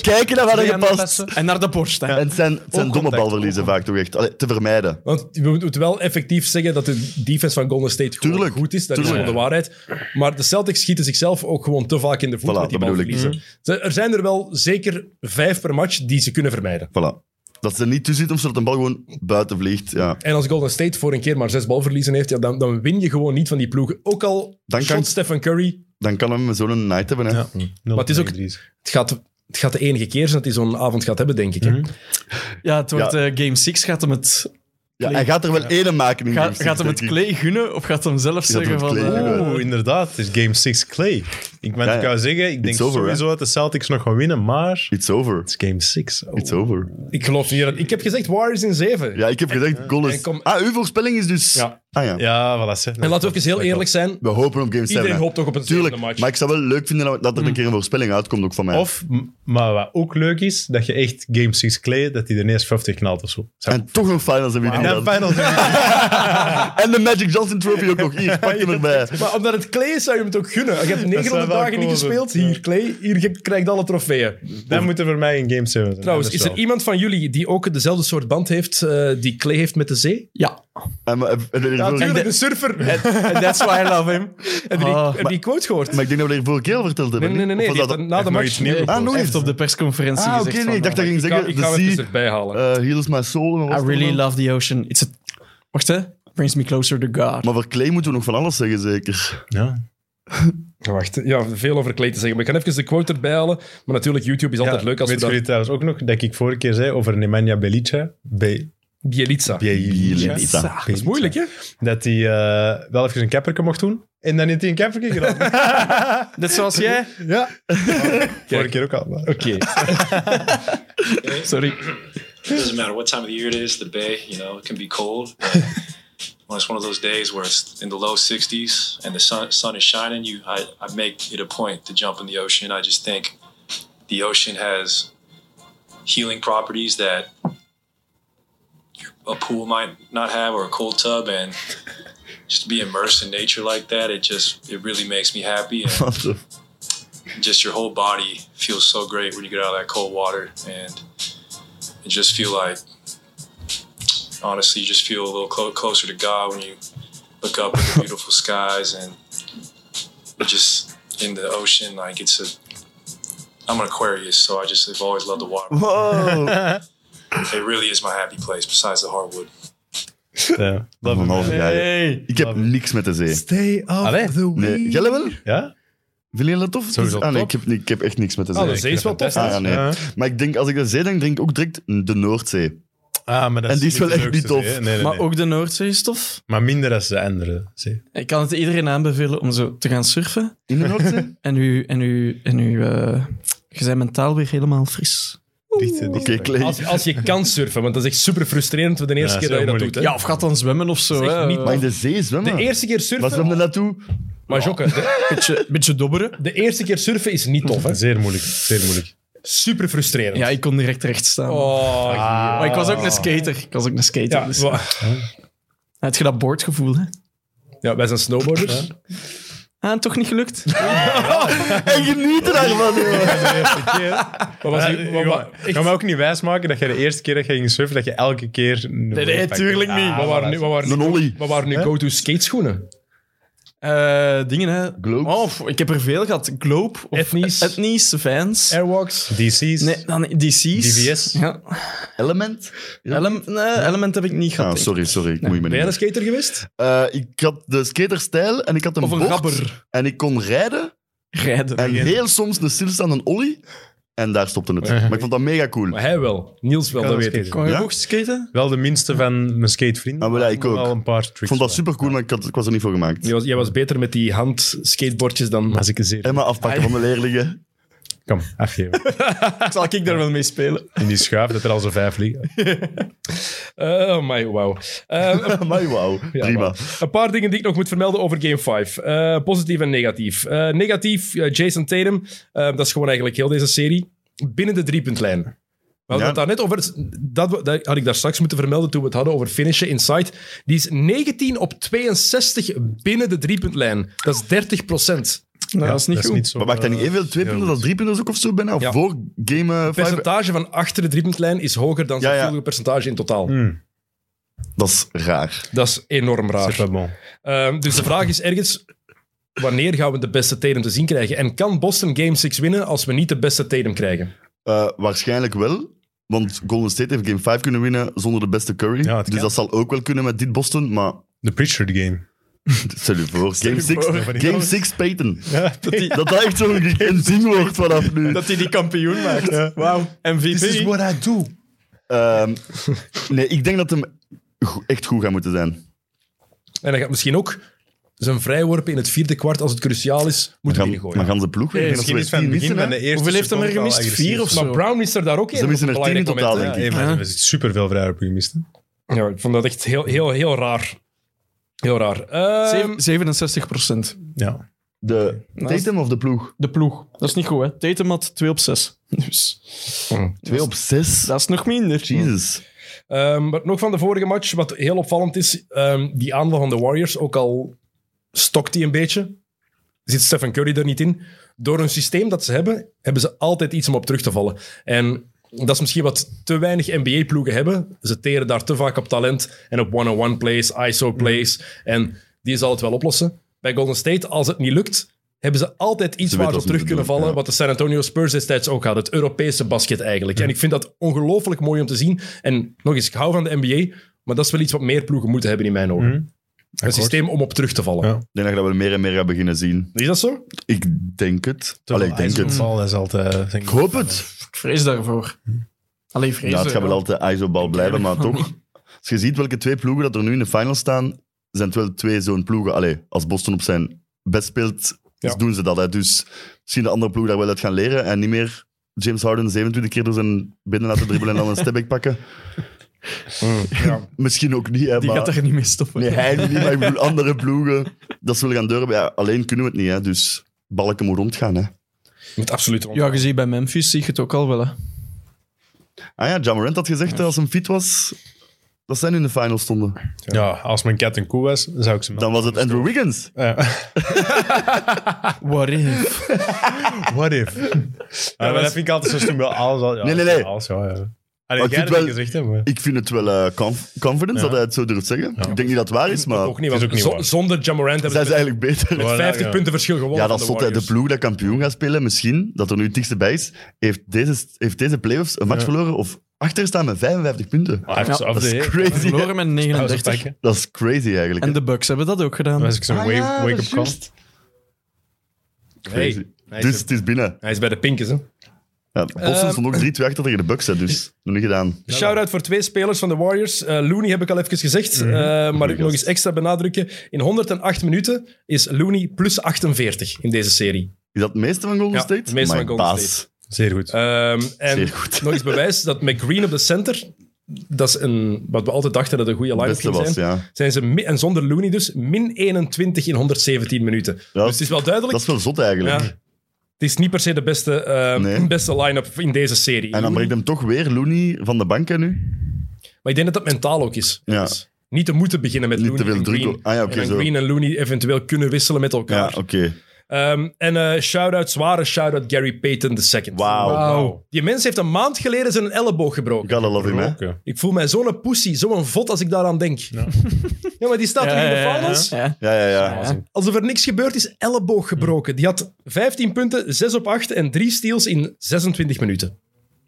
Speaker 4: Kijken naar waar je past.
Speaker 5: En naar de borst. Hè.
Speaker 4: En het zijn, het zijn domme
Speaker 2: contact,
Speaker 4: balverliezen vaak toch echt. Allee, te vermijden.
Speaker 1: Want we moeten wel effectief zeggen dat de defense van Golden State gewoon
Speaker 4: Tuurlijk,
Speaker 1: goed is. Dat is
Speaker 4: tuurlijk.
Speaker 1: gewoon de waarheid. Maar de Celtics schieten zichzelf ook gewoon te vaak in de voet
Speaker 4: Voilà,
Speaker 1: met die
Speaker 4: dat bedoel Mhm.
Speaker 1: balverliezen. Ze- Er zijn er wel zeker vijf per match die ze kunnen vermijden.
Speaker 4: Voilà. Dat ze er niet tussen zit of zodat een bal gewoon buiten vliegt. Ja.
Speaker 1: En als Golden State voor een keer maar zes balverliezen heeft, ja, dan, dan win je gewoon niet van die ploegen. Ook al
Speaker 4: Dan
Speaker 1: shot
Speaker 4: kan-
Speaker 1: Stephen Curry.
Speaker 4: Dan kan hem zo'n night hebben. Hè.
Speaker 2: Ja. Maar
Speaker 1: het is ook- Het gaat, het gaat de enige keer zijn dat hij zo'n avond gaat hebben, denk ik. hè.
Speaker 5: Ja, het wordt
Speaker 4: Ja.
Speaker 5: eh, game 6. Gaat hem het,
Speaker 4: Ja, hij gaat er wel ene maken in
Speaker 5: ga,
Speaker 4: game six,
Speaker 5: gaat hem het
Speaker 4: denk ik.
Speaker 5: Clay gunnen of gaat hem zelf
Speaker 4: Gaat hem
Speaker 5: zeggen
Speaker 4: het
Speaker 5: van...
Speaker 4: Clay
Speaker 5: eh,
Speaker 4: gunnen.
Speaker 2: Oeh, inderdaad. Het is game 6 Clay. Ik, ben,
Speaker 4: Ja,
Speaker 2: ik
Speaker 4: ja.
Speaker 2: wou zeggen, ik denk
Speaker 4: It's over,
Speaker 2: sowieso dat de Celtics nog gaan winnen, maar... Het
Speaker 4: It's over.
Speaker 2: is game 6. Oh.
Speaker 4: It's over.
Speaker 1: Ik geloof niet dat... Ik heb gezegd Warriors in zeven.
Speaker 4: Ja, ik heb gezegd, goal
Speaker 1: en
Speaker 4: is...
Speaker 1: kom-
Speaker 4: Ah, uw voorspelling is dus...
Speaker 1: Ja.
Speaker 4: Ah ja.
Speaker 2: Oh. Ja, voilà. Zeg.
Speaker 1: En laten we ook eens heel eerlijk zijn.
Speaker 4: We hopen op game 7.
Speaker 1: Iedereen hoopt toch op een
Speaker 4: Tuurlijk,
Speaker 1: zevende match. Mm.
Speaker 4: maar ik zou wel leuk vinden dat- dat er een keer een voorspelling uitkomt ook van mij.
Speaker 2: Of, m- maar wat ook leuk is, dat je echt Game 6 Clay, dat hij er ineens 50 knalt of zo. Zo.
Speaker 4: en toch een finals hebben
Speaker 2: En
Speaker 4: jullie gedaan.
Speaker 2: dan final.
Speaker 4: En de Magic Johnson Trophy ook nog. Hier, pak hem erbij.
Speaker 1: Maar omdat het Clay is, zou je hem het ook gunnen. Je hebt 900
Speaker 2: wel
Speaker 1: dagen niet
Speaker 2: cool
Speaker 1: gespeeld.
Speaker 2: zijn.
Speaker 1: Hier, Clay. Hier je krijgt alle trofeeën.
Speaker 2: Dan moeten voor mij in Game 7 zijn.
Speaker 1: Trouwens,
Speaker 2: Dat
Speaker 1: is er
Speaker 2: wel.
Speaker 1: iemand van jullie die ook dezelfde soort band heeft eh, die Clay heeft met de zee?
Speaker 5: Ja,
Speaker 4: En, maar- en er is vorige-
Speaker 1: Natuurlijk, de surfer. Heb
Speaker 5: And that's why I love him.
Speaker 1: je die-
Speaker 5: Ah.
Speaker 1: heb je die quote gehoord?
Speaker 4: maar ik denk dat we er vorige keer al verteld hebben.
Speaker 1: Nee, nee, nee. nee.
Speaker 4: Of
Speaker 1: die
Speaker 4: was
Speaker 1: heeft
Speaker 4: dat-
Speaker 1: dan na de
Speaker 2: nog
Speaker 1: match...
Speaker 2: iets nieuws
Speaker 1: Nee.
Speaker 4: Ah, nog
Speaker 5: Hij
Speaker 4: eens.
Speaker 5: heeft op de persconferentie
Speaker 4: Ah, oké,
Speaker 5: gezegd
Speaker 4: nee. Ik
Speaker 5: van, eh,
Speaker 4: dacht dat je ging
Speaker 1: Ik ga,
Speaker 4: zeggen,
Speaker 1: ik ga
Speaker 4: the
Speaker 1: hem even
Speaker 4: sea
Speaker 1: erbij halen.
Speaker 4: eh, heals my soul. en wat was
Speaker 5: I
Speaker 4: het
Speaker 5: really
Speaker 4: allemaal?
Speaker 5: love the ocean. It's a... Wacht, hè. Brings me closer to God.
Speaker 4: Maar voor Clay moeten we nog van alles zeggen, zeker.
Speaker 2: Ja.
Speaker 1: Wacht, ja, veel over Clay te zeggen. Maar ik ga even de quote erbij halen. Maar natuurlijk, YouTube is altijd
Speaker 2: Ja,
Speaker 1: leuk als we
Speaker 2: weet
Speaker 1: dat...
Speaker 2: jullie trouwens ook nog dat ik vorige keer zei over Nemanja Belica? Be
Speaker 1: Bielitsa.
Speaker 4: Bielitsa.
Speaker 3: Bielitsa.
Speaker 1: Dat is moeilijk, hè?
Speaker 2: Dat hij eh, wel even een kapperke mocht doen. En dan heeft hij een kapperke gedaan.
Speaker 5: Net zoals jij.
Speaker 2: ja. Vorige keer ook al. maar-
Speaker 1: Oké.
Speaker 5: Sorry.
Speaker 6: It doesn't matter what time of the year it is, the bay, you know, it can be cold. but When it's one of those days where it's in the low 60s and the sun, sun is shining, you, I, I make it a point to jump in the ocean. I just think the ocean has healing properties that a pool might not have or a cold tub and just to be immersed in nature like that it just it really makes me happy and
Speaker 4: What the-
Speaker 6: just your whole body feels so great when you get out of that cold water and you just feel like honestly you just feel a little clo- closer to god when you look up at the beautiful skies and you're just in the ocean like it's a i'm an aquarius so i just have always loved the water
Speaker 4: Uh-huh. Wow.
Speaker 6: it really is my happy place besides the hardwood
Speaker 2: Ja.
Speaker 4: Van een half jaar.
Speaker 5: Hey.
Speaker 4: Ik heb niks met de zee.
Speaker 1: Stay off
Speaker 2: Allee.
Speaker 1: the weed.
Speaker 4: Nee. Jij wel?
Speaker 2: Ja?
Speaker 4: Vinden jullie dat tof?
Speaker 2: Sowieso
Speaker 4: ah, nee, ik,
Speaker 2: top.
Speaker 4: heb, ni- ik heb echt niks met de zee.
Speaker 1: Ah, de zee is wel tof.
Speaker 2: Fantastisch.
Speaker 4: Ah, ja, nee.
Speaker 2: Ja.
Speaker 4: Maar ik denk, als ik de zee denk, denk ik ook direct de Noordzee.
Speaker 2: Ah, maar dat
Speaker 4: En die is wel
Speaker 2: de
Speaker 4: echt
Speaker 2: leukste
Speaker 4: niet tof.
Speaker 2: zee, hè. Nee, nee, nee.
Speaker 5: Maar
Speaker 2: maar,
Speaker 5: ook de Noordzee is tof.
Speaker 2: minder dan de andere zee.
Speaker 5: Ik kan het iedereen aanbevelen om zo te gaan surfen.
Speaker 4: In de Noordzee?
Speaker 5: En u, en u, en u, eh, je bent mentaal weer helemaal fris.
Speaker 2: Dicht, dicht.
Speaker 4: Oké, Clay.
Speaker 1: Als, als je kan surfen, want dat is echt super frustrerend voor de eerste
Speaker 2: Ja,
Speaker 1: keer dat
Speaker 2: dat is
Speaker 1: je dat
Speaker 2: heel
Speaker 1: doet. Hè?
Speaker 5: Ja, of gaat dan zwemmen of zo.
Speaker 1: Dat is echt
Speaker 5: hè.
Speaker 1: niet
Speaker 5: Eh,
Speaker 4: Maar in de zee zwemmen?
Speaker 1: De eerste keer
Speaker 4: Waar
Speaker 1: surfen...
Speaker 4: zwemmen we naartoe?
Speaker 1: Maar Jokke, de,
Speaker 5: beetje, beetje dobberen.
Speaker 1: de eerste keer surfen is niet tof, hè?
Speaker 2: Zeer moeilijk, zeer moeilijk.
Speaker 1: Super frustrerend.
Speaker 5: Ja, ik kon direct recht staan.
Speaker 1: Oh,
Speaker 5: Maar ik was ook een skater. Ik was ook een skater.
Speaker 1: ja,
Speaker 5: dus-
Speaker 1: wa-
Speaker 5: Had je dat boordgevoel, hè?
Speaker 1: ja, wij zijn snowboarders.
Speaker 5: Ah, toch niet gelukt?
Speaker 4: En genieten daarvan, joh.
Speaker 1: Wat was die- wat- wat-
Speaker 2: eh, Ik kan me ook niet wijsmaken dat je de eerste keer dat je ging surfen, dat je elke keer... Nee,
Speaker 5: nee, tuurlijk
Speaker 2: Ah,
Speaker 5: niet.
Speaker 1: Wat waren nu, wat waren
Speaker 4: Een
Speaker 1: nu,
Speaker 4: ollie.
Speaker 1: wat waren nu go-to skateschoenen?
Speaker 5: Eh, dingen, hè?
Speaker 4: Globes.
Speaker 5: Oh, f- ik heb er veel gehad. Globe. Of
Speaker 1: Ethnies.
Speaker 5: Ethnies, Vans.
Speaker 1: Airwalks.
Speaker 2: DC's?
Speaker 5: Nee, dan DC's.
Speaker 2: DVS.
Speaker 5: Ja.
Speaker 4: Element?
Speaker 5: Ele- nee, Element heb ik niet gehad.
Speaker 4: Ah,
Speaker 5: denk
Speaker 4: sorry,
Speaker 5: ik.
Speaker 4: sorry. Ik moet je me
Speaker 1: Ben jij een
Speaker 4: niet...
Speaker 1: skater geweest?
Speaker 4: Eh, ik had de skaterstijl en ik had een
Speaker 5: Of een
Speaker 4: bocht.
Speaker 5: gabber.
Speaker 4: En ik kon rijden.
Speaker 5: Rijden.
Speaker 4: En heel soms een stilstaande ollie. En daar stopte het. Maar ik vond dat mega cool.
Speaker 1: Maar hij wel. Niels wel,
Speaker 2: Ja,
Speaker 1: dat
Speaker 2: dat
Speaker 1: weet
Speaker 2: is
Speaker 1: ik.
Speaker 5: Kon je
Speaker 4: Ja?
Speaker 5: ook skaten?
Speaker 2: Wel de minste van mijn skatevrienden.
Speaker 4: Ah, maar ja, ik ook.
Speaker 2: Wel een paar tricks.
Speaker 4: Ik vond dat
Speaker 2: bij.
Speaker 4: super cool, maar ik, had, ik was er niet voor gemaakt.
Speaker 1: Jij was, jij was beter met die handskateboardjes dan...
Speaker 2: Maar als ik een zeer...
Speaker 4: Emma afpakken van de leerlingen.
Speaker 2: Kom, afgeven.
Speaker 5: Zal ik daar wel mee spelen?
Speaker 2: In die schuif dat er al zo vijf liggen.
Speaker 1: Eh, oh my, wauw. Eh,
Speaker 4: maar wauw, prima.
Speaker 1: Een paar dingen die ik nog moet vermelden over Game 5. Eh, positief en negatief. Eh, negatief, eh, Jason Tatum. eh, dat is gewoon eigenlijk heel deze serie. Binnen de driepuntlijn. We hadden
Speaker 4: Ja.
Speaker 1: het daar net over. Dat, we- dat had ik daar straks moeten vermelden toen we het hadden over finishen inside. Die is 19 op 62 binnen de driepuntlijn. Dat is 30 procent.
Speaker 5: Nou, dat is niet goed.
Speaker 4: Maar maakt dat niet
Speaker 2: eh,
Speaker 4: evenveel twee punten als drie punten ook of zo bijna? Of
Speaker 1: Ja.
Speaker 4: voor game eh, 5?
Speaker 1: percentage van achter de driepuntlijn is hoger dan
Speaker 4: Ja,
Speaker 1: zijn
Speaker 4: ja.
Speaker 1: vorige percentage in totaal.
Speaker 2: Hmm,
Speaker 4: dat is raar.
Speaker 1: Dat is enorm raar.
Speaker 2: C'est pas bon.
Speaker 1: Ehm, dus de vraag is ergens, wanneer gaan we de beste Tatum te zien krijgen? En kan Boston Game 6 winnen als we niet de beste Tatum krijgen?
Speaker 4: Eh, waarschijnlijk wel, want Golden State heeft game 5 kunnen winnen zonder de beste Curry.
Speaker 2: Ja, het
Speaker 4: dus
Speaker 2: kan.
Speaker 4: dat zal ook wel kunnen met dit Boston, maar
Speaker 2: The Pritchard game.
Speaker 4: stel je voor. Game 6,
Speaker 2: voor.
Speaker 4: game six Peyton.
Speaker 5: Dat die,
Speaker 4: Dat dat echt zo'n een ding wordt vanaf nu.
Speaker 5: dat die die kampioen maakt. Wauw. MVP.
Speaker 2: I do.
Speaker 4: Ehm, nee, ik denk dat hem go- echt goed gaat moeten zijn.
Speaker 1: En hij gaat misschien ook zijn vrijworpen in het vierde kwart, als het cruciaal is, moeten
Speaker 4: Gaan,
Speaker 1: binnengooien.
Speaker 4: maar gaan ze ploeg? Ik denk dat ze
Speaker 2: Misschien
Speaker 4: er
Speaker 2: is van
Speaker 4: tien
Speaker 2: het begin
Speaker 4: missen,
Speaker 2: van
Speaker 4: hè?
Speaker 2: de eerste
Speaker 5: Hoeveel heeft hem er
Speaker 2: seconde al
Speaker 5: gemist?
Speaker 2: agressief.
Speaker 5: Vier of zo?
Speaker 1: Maar Brown is er daar ook in.
Speaker 4: Ze missen er tien in totaal,
Speaker 2: Ja,
Speaker 4: denk ik.
Speaker 2: hey, maar
Speaker 5: Ja.
Speaker 2: er is superveel vrijworpen gemist. hè.
Speaker 1: Ja, ik vond dat echt heel, heel, heel raar. Heel raar. Ehm,
Speaker 5: Zeven- 67 procent.
Speaker 2: Ja.
Speaker 4: De Tatum of de ploeg?
Speaker 5: De ploeg. Dat is niet goed, hè? Tatum had 2 op 6. Dus
Speaker 4: 2 op 6.
Speaker 5: dat is nog minder.
Speaker 4: Jezus.
Speaker 1: ehm, maar nog van de vorige match, wat heel opvallend is, ehm, die aanval van de Warriors, ook al stokt die een beetje, zit Stephen Curry er niet in. Door hun systeem dat ze hebben, hebben ze altijd iets om op terug te vallen. En dat is misschien wat te weinig NBA-ploegen hebben. Ze teren daar te vaak op talent en op one-on-one plays, ISO-plays. En die zal het wel oplossen. Bij Golden State, als het niet lukt, hebben ze altijd iets
Speaker 4: Ze
Speaker 1: waar ze
Speaker 4: weten
Speaker 1: op
Speaker 4: wat
Speaker 1: terug
Speaker 4: ze
Speaker 1: kunnen
Speaker 4: moeten
Speaker 1: vallen.
Speaker 4: doen, ja.
Speaker 1: Wat de San Antonio Spurs destijds ook hadden. Het Europese basket eigenlijk. En ik vind dat ongelooflijk mooi om te zien. En nog eens, ik hou van de NBA, maar dat is wel iets wat meer ploegen moeten hebben in mijn ogen.
Speaker 4: Mhm.
Speaker 1: Een systeem om op terug te vallen.
Speaker 2: Ja.
Speaker 4: Ik denk dat je dat wel meer en meer gaat beginnen zien.
Speaker 1: Is dat zo?
Speaker 4: Ik denk het. Allee,
Speaker 2: Terwijl
Speaker 4: ik denk het.
Speaker 2: IJsselbal is altijd... eh,
Speaker 4: Ik hoop het.
Speaker 5: Ik vrees daarvoor. Alleen vrees
Speaker 4: Ja, het gaat wel
Speaker 5: daarvoor.
Speaker 4: altijd ISO-bal blijven, maar toch. Als je ziet welke twee ploegen dat er nu in de final staan, zijn het wel twee zo'n ploegen. Allee, als Boston op zijn best speelt,
Speaker 1: Ja.
Speaker 4: dus doen ze dat. Hè. Dus misschien de andere ploegen daar wel uit gaan leren en niet meer James Harden 27 keer door zijn binnen laten dribbelen en dan een stepback pakken. Misschien ook niet, hè,
Speaker 5: Die
Speaker 4: maar...
Speaker 5: gaat er niet mee stoppen.
Speaker 4: Nee, hij niet, maar ik bedoel andere ploegen. Dat zullen gaan durven. Ja, alleen kunnen we het niet, hè. dus balken moet rondgaan. Hè.
Speaker 1: Met absoluut
Speaker 5: Ja, je ziet bij Memphis zie je het ook al wel. Hè.
Speaker 4: Ah ja, Jamorant had gezegd hè, als hem fit was, dat zij nu in de final stonden.
Speaker 2: Ja, als mijn cat een koe was, zou ik ze
Speaker 4: Dan was het Andrew Wiggins.
Speaker 2: Ja.
Speaker 5: What if?
Speaker 2: What if? Ja, maar dat vind ik altijd zo stom. wel Alles, al, ja,
Speaker 4: Nee, nee, nee.
Speaker 2: Alles, ja, ja.
Speaker 4: Maar
Speaker 2: Allee,
Speaker 4: ik
Speaker 2: jij
Speaker 4: vind
Speaker 2: hebt het
Speaker 4: wel-
Speaker 2: gezegd, hè. maar-
Speaker 4: Ik vind het wel eh, conf- confidence dat hij het zo durft zeggen. Ik denk niet dat het waar is, maar
Speaker 1: ook niet,
Speaker 2: is
Speaker 1: want
Speaker 2: ook niet
Speaker 1: zo-
Speaker 2: waar.
Speaker 1: zonder Jamorant hebben
Speaker 4: zij is
Speaker 1: ze met-
Speaker 4: eigenlijk beter.
Speaker 1: met
Speaker 2: Voilà,
Speaker 1: 50
Speaker 2: ja.
Speaker 1: punten verschil gewonnen
Speaker 4: Ja, dat
Speaker 1: van
Speaker 4: zot. hè.
Speaker 1: de
Speaker 4: De
Speaker 1: Warriors.
Speaker 4: ploeg dat kampioen gaat spelen, misschien, dat er nu het dichtst bij is, heeft deze, heeft deze playoffs een match verloren of achterstaan met 55 punten.
Speaker 2: Hij heeft
Speaker 5: Ja,
Speaker 2: ze af
Speaker 4: Dat
Speaker 2: de
Speaker 4: is
Speaker 2: heer.
Speaker 4: crazy. hè.
Speaker 5: Verloren met 39.
Speaker 4: Dat is crazy eigenlijk.
Speaker 5: En de Bucks hebben dat ook
Speaker 2: Dan
Speaker 5: gedaan.
Speaker 2: was ik zo'n
Speaker 4: Ah,
Speaker 2: wake-
Speaker 4: ja, dat
Speaker 2: wake-up
Speaker 4: is
Speaker 2: call.
Speaker 4: juist.
Speaker 1: Hey,
Speaker 4: Crazy. Dus het is binnen.
Speaker 1: hij is bij de Pinkers, hè.
Speaker 4: Ja, Boston
Speaker 1: Ehm.
Speaker 4: stond ook 3-2 achter tegen de Bucks, hè, dus nog niet gedaan.
Speaker 1: Shout-out voor twee spelers van de Warriors. Eh, Looney heb ik al even gezegd, eh, maar ik nog eens extra benadrukken. In 108 minuten is Looney plus 48 in deze serie.
Speaker 4: Is dat het meeste van Golden
Speaker 1: Ja,
Speaker 4: State?
Speaker 1: het meeste van
Speaker 4: Mijn
Speaker 1: Golden
Speaker 4: baas.
Speaker 1: State.
Speaker 2: Zeer goed.
Speaker 1: Ehm, en
Speaker 4: Zeer goed.
Speaker 1: nog eens bewijs dat McGreen op de center, dat is een, wat we altijd dachten dat een goede line-up
Speaker 4: beste
Speaker 1: ging
Speaker 4: was,
Speaker 1: zijn,
Speaker 4: ja.
Speaker 1: zijn ze, mi- en zonder Looney dus, min 21 in 117 minuten.
Speaker 4: Ja,
Speaker 1: dus het is wel duidelijk,
Speaker 4: Dat is wel zot eigenlijk.
Speaker 1: ja, het is niet per se de beste, eh,
Speaker 4: Nee.
Speaker 1: beste line-up in deze serie.
Speaker 4: En dan
Speaker 1: Looney-
Speaker 4: brengt hem toch weer Looney van de bank hè, nu.
Speaker 1: Maar ik denk dat dat mentaal ook is.
Speaker 4: Ja.
Speaker 1: Dus niet te moeten beginnen met
Speaker 4: Niet te
Speaker 1: Looney
Speaker 4: veel
Speaker 1: en
Speaker 4: druk
Speaker 1: Green.
Speaker 4: op- ah ja, oké,
Speaker 1: en dan
Speaker 4: zo.
Speaker 1: Green en Looney eventueel kunnen wisselen met
Speaker 4: Ja,
Speaker 1: elkaar.
Speaker 4: oké.
Speaker 1: Ehm, en eh, shout-out, zware shout-out Gary Payton II.
Speaker 4: Wauw.
Speaker 5: Wauw.
Speaker 1: Die mens heeft een maand geleden zijn elleboog gebroken.
Speaker 4: Gotta love him, hè.
Speaker 2: Roken.
Speaker 1: Ik voel mij zo'n pussy, zo'n vot als ik daaraan denk. Ja, maar die staat
Speaker 5: Ja,
Speaker 1: terug in de
Speaker 5: ja, ja,
Speaker 1: finals.
Speaker 5: ja.
Speaker 4: Ja, ja, ja.
Speaker 5: Ja.
Speaker 1: Alsof er niks gebeurd is, elleboog gebroken. Die had 15 punten, 6 op 8 en 3 steals in 26 minuten.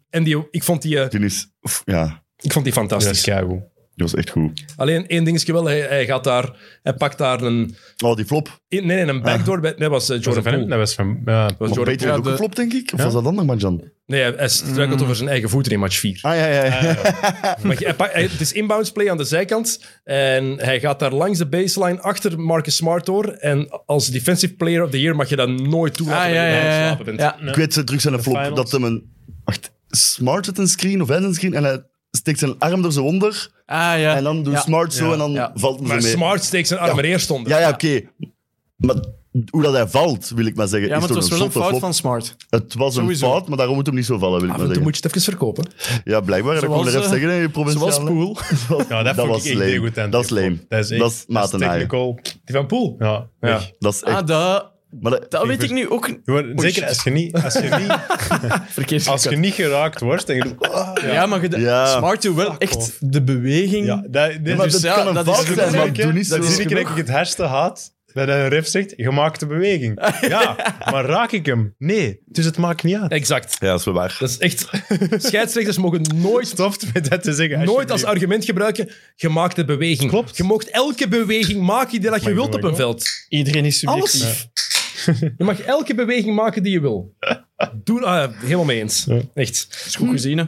Speaker 1: En die, ik, vond die, eh,
Speaker 4: Die is... oef, Ja,
Speaker 1: ik vond die
Speaker 2: Dat
Speaker 1: fantastisch.
Speaker 2: is keigoed.
Speaker 4: die was echt goed.
Speaker 1: Alleen één ding is wel, hij, hij gaat daar, hij pakt daar een,
Speaker 4: Oh, die flop.
Speaker 1: nee, nee,
Speaker 5: Ah.
Speaker 1: een backdoor, bij- nee, was eh,
Speaker 2: Was dat
Speaker 1: Jordan
Speaker 2: van hem?
Speaker 1: Poole.
Speaker 2: Dat was van... Ja.
Speaker 1: Dat was
Speaker 4: Maar
Speaker 1: Jordan
Speaker 4: Peter
Speaker 1: Poole.
Speaker 4: heeft ook
Speaker 5: de-
Speaker 4: geflopt, denk ik. Of
Speaker 2: Ja?
Speaker 4: was dat ander, Marjan?
Speaker 1: Nee, hij- hij struikelt over zijn eigen voeten in match 4.
Speaker 4: Ah, ja, ja, ja.
Speaker 5: Ah.
Speaker 1: Maar hij pak- hij- het is inbounds play aan de zijkant en hij gaat daar langs de baseline achter Marcus Smart door en als defensive player of the year mag je dat nooit toelaten
Speaker 5: Ah,
Speaker 1: dat
Speaker 5: ja,
Speaker 1: je aan het
Speaker 5: ja, ja.
Speaker 1: slapen bent.
Speaker 5: ja.
Speaker 4: Ik weet ze terug zijn een flop.
Speaker 2: finals.
Speaker 4: Dat hem een... Wacht, Smart het een screen of hij een screen en hij steekt zijn arm er zo onder
Speaker 5: Ah, ja.
Speaker 4: en dan doet
Speaker 5: Ja.
Speaker 4: Smart zo en dan
Speaker 5: Ja.
Speaker 4: valt hem zo
Speaker 1: Maar
Speaker 4: mee.
Speaker 1: Smart steekt zijn arm er eerst onder.
Speaker 4: Ja, ja, oké. Maar hoe dat hij valt, wil ik maar zeggen,
Speaker 5: Ja,
Speaker 4: is
Speaker 5: maar het
Speaker 4: toch
Speaker 5: was wel een
Speaker 4: zotte
Speaker 5: fout
Speaker 4: flop.
Speaker 5: van Smart.
Speaker 4: Het was een
Speaker 5: Sowieso. Ah,
Speaker 4: fout, maar daarom moet hem niet zo vallen, wil ik
Speaker 1: Af
Speaker 4: maar
Speaker 1: en toe
Speaker 4: zeggen.
Speaker 1: moet je het even verkopen.
Speaker 4: Ja, blijkbaar. dat kon
Speaker 5: Zoals,
Speaker 4: je even
Speaker 5: eh,
Speaker 4: zeggen, hè, je provinciale.
Speaker 5: zoals Poel.
Speaker 2: Ja, dat,
Speaker 4: Dat
Speaker 2: vond
Speaker 4: was
Speaker 2: ik echt
Speaker 4: lame.
Speaker 2: heel goed. aan het
Speaker 4: Dat is
Speaker 2: doen.
Speaker 4: lame.
Speaker 2: Dat is echt...
Speaker 4: Dat is matenaaien.
Speaker 2: technical.
Speaker 1: Die van Poel.
Speaker 2: Ja,
Speaker 1: Ja.
Speaker 2: echt.
Speaker 4: Dat is echt...
Speaker 5: Ah, dat,
Speaker 4: maar dat-
Speaker 5: dat weet ik nu ook niet.
Speaker 2: Gewoon, zeker als je, niet, als, je niet,
Speaker 5: verkeerd.
Speaker 2: als je
Speaker 5: gekut.
Speaker 2: niet geraakt wordt en je doet... ah,
Speaker 5: ja. maar je-
Speaker 4: Ja.
Speaker 5: Smart doet wel
Speaker 2: Fuck
Speaker 5: echt
Speaker 2: off.
Speaker 5: de
Speaker 2: dus
Speaker 5: beweging.
Speaker 2: Ja, dat, dit
Speaker 4: maar
Speaker 2: is-
Speaker 4: dat
Speaker 5: ja,
Speaker 4: kan een
Speaker 5: dat is
Speaker 4: fout
Speaker 5: goed,
Speaker 4: zijn,
Speaker 5: hè.
Speaker 4: maar doe niet zo.
Speaker 2: Dat is iedere keer dat ik het hardste haat. Dat een ref zegt, je maakt een beweging. Ja, maar raak ik hem? Nee. Dus het maakt niet uit.
Speaker 1: Exact.
Speaker 4: Ja, dat is wel waar.
Speaker 1: Dat is echt... Scheidsrechters mogen nooit
Speaker 2: Stopt met dat te zeggen.
Speaker 1: nooit als
Speaker 2: alsjeblieft.
Speaker 1: argument gebruiken. Je maakt de beweging.
Speaker 2: Klopt.
Speaker 1: Je mocht elke beweging maken die dat je
Speaker 2: Mag
Speaker 1: wilt op
Speaker 2: gewoon,
Speaker 1: een veld.
Speaker 5: Iedereen is
Speaker 1: Alles.
Speaker 5: subjectief.
Speaker 1: Je mag elke beweging maken die je wil. Doe, ah, helemaal mee eens. Echt.
Speaker 5: Is goed gezien, hè.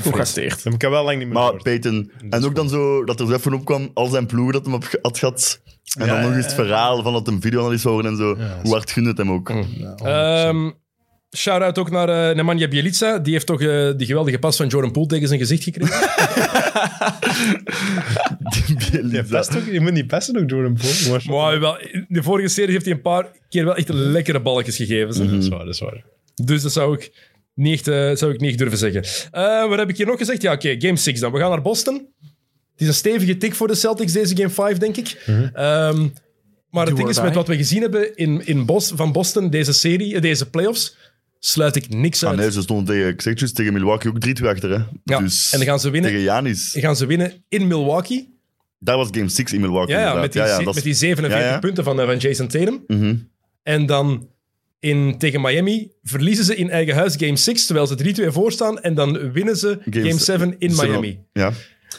Speaker 5: Goed geacteerd.
Speaker 2: Dat heb ik al wel lang niet meer
Speaker 4: Maar
Speaker 2: gehoord.
Speaker 4: Peyton... En ook dan zo dat er zo even opkwam, al zijn ploegen dat hem op ge- had gehad. En
Speaker 2: Ja,
Speaker 4: dan nog
Speaker 2: ja,
Speaker 4: eens het verhaal van dat hem videoanalyst zou worden en zo.
Speaker 2: Ja, dat is-
Speaker 4: Hoe hard gunde het hem ook.
Speaker 2: Oh,
Speaker 1: Ehm Shout-out ook naar eh, Nemanja Bjelica. Die heeft toch eh, die geweldige pas van Jordan Poole tegen zijn gezicht gekregen.
Speaker 2: Je, past ook, je moet niet pesten ook door een boom. Maar
Speaker 1: maar wel, in de vorige serie heeft hij een paar keer wel echt lekkere balkjes gegeven. zeg.
Speaker 5: Mhm.
Speaker 2: Dat is waar, dat is waar.
Speaker 1: Dus dat zou ik niet, echt, eh, zou ik niet echt durven zeggen. Eh, wat heb ik hier nog gezegd? Ja, oké, game 6 dan. We gaan naar Boston. Het is een stevige tik voor de Celtics, deze game 5, denk ik. Ehm, maar het ding
Speaker 5: Mhm. or
Speaker 1: is, met
Speaker 5: die.
Speaker 1: wat we gezien hebben in, in Bos, van Boston, deze serie, eh, deze playoffs, sluit ik niks
Speaker 4: Ah
Speaker 1: uit.
Speaker 4: nee, ze stonden tegen, ik zeg het juist, tegen Milwaukee ook 3-2 achter. Hè.
Speaker 1: ja.
Speaker 4: Dus
Speaker 1: en dan gaan ze winnen.
Speaker 4: tegen Janis.
Speaker 1: Dan gaan ze winnen in Milwaukee.
Speaker 4: Daar was game 6 in Milwaukee.
Speaker 1: Ja, ja,
Speaker 4: inderdaad.
Speaker 1: met, die, ze-
Speaker 4: dat
Speaker 1: met
Speaker 4: is-
Speaker 1: die 47
Speaker 4: Ja, ja.
Speaker 1: punten van, eh, van Jason Tatum.
Speaker 4: Mhm.
Speaker 1: En dan in, tegen Miami verliezen ze in eigen huis game 6, terwijl ze 3-2 voorstaan. En dan winnen ze
Speaker 4: Game
Speaker 1: game 7 in
Speaker 4: Ze-
Speaker 1: Miami.
Speaker 4: Ja.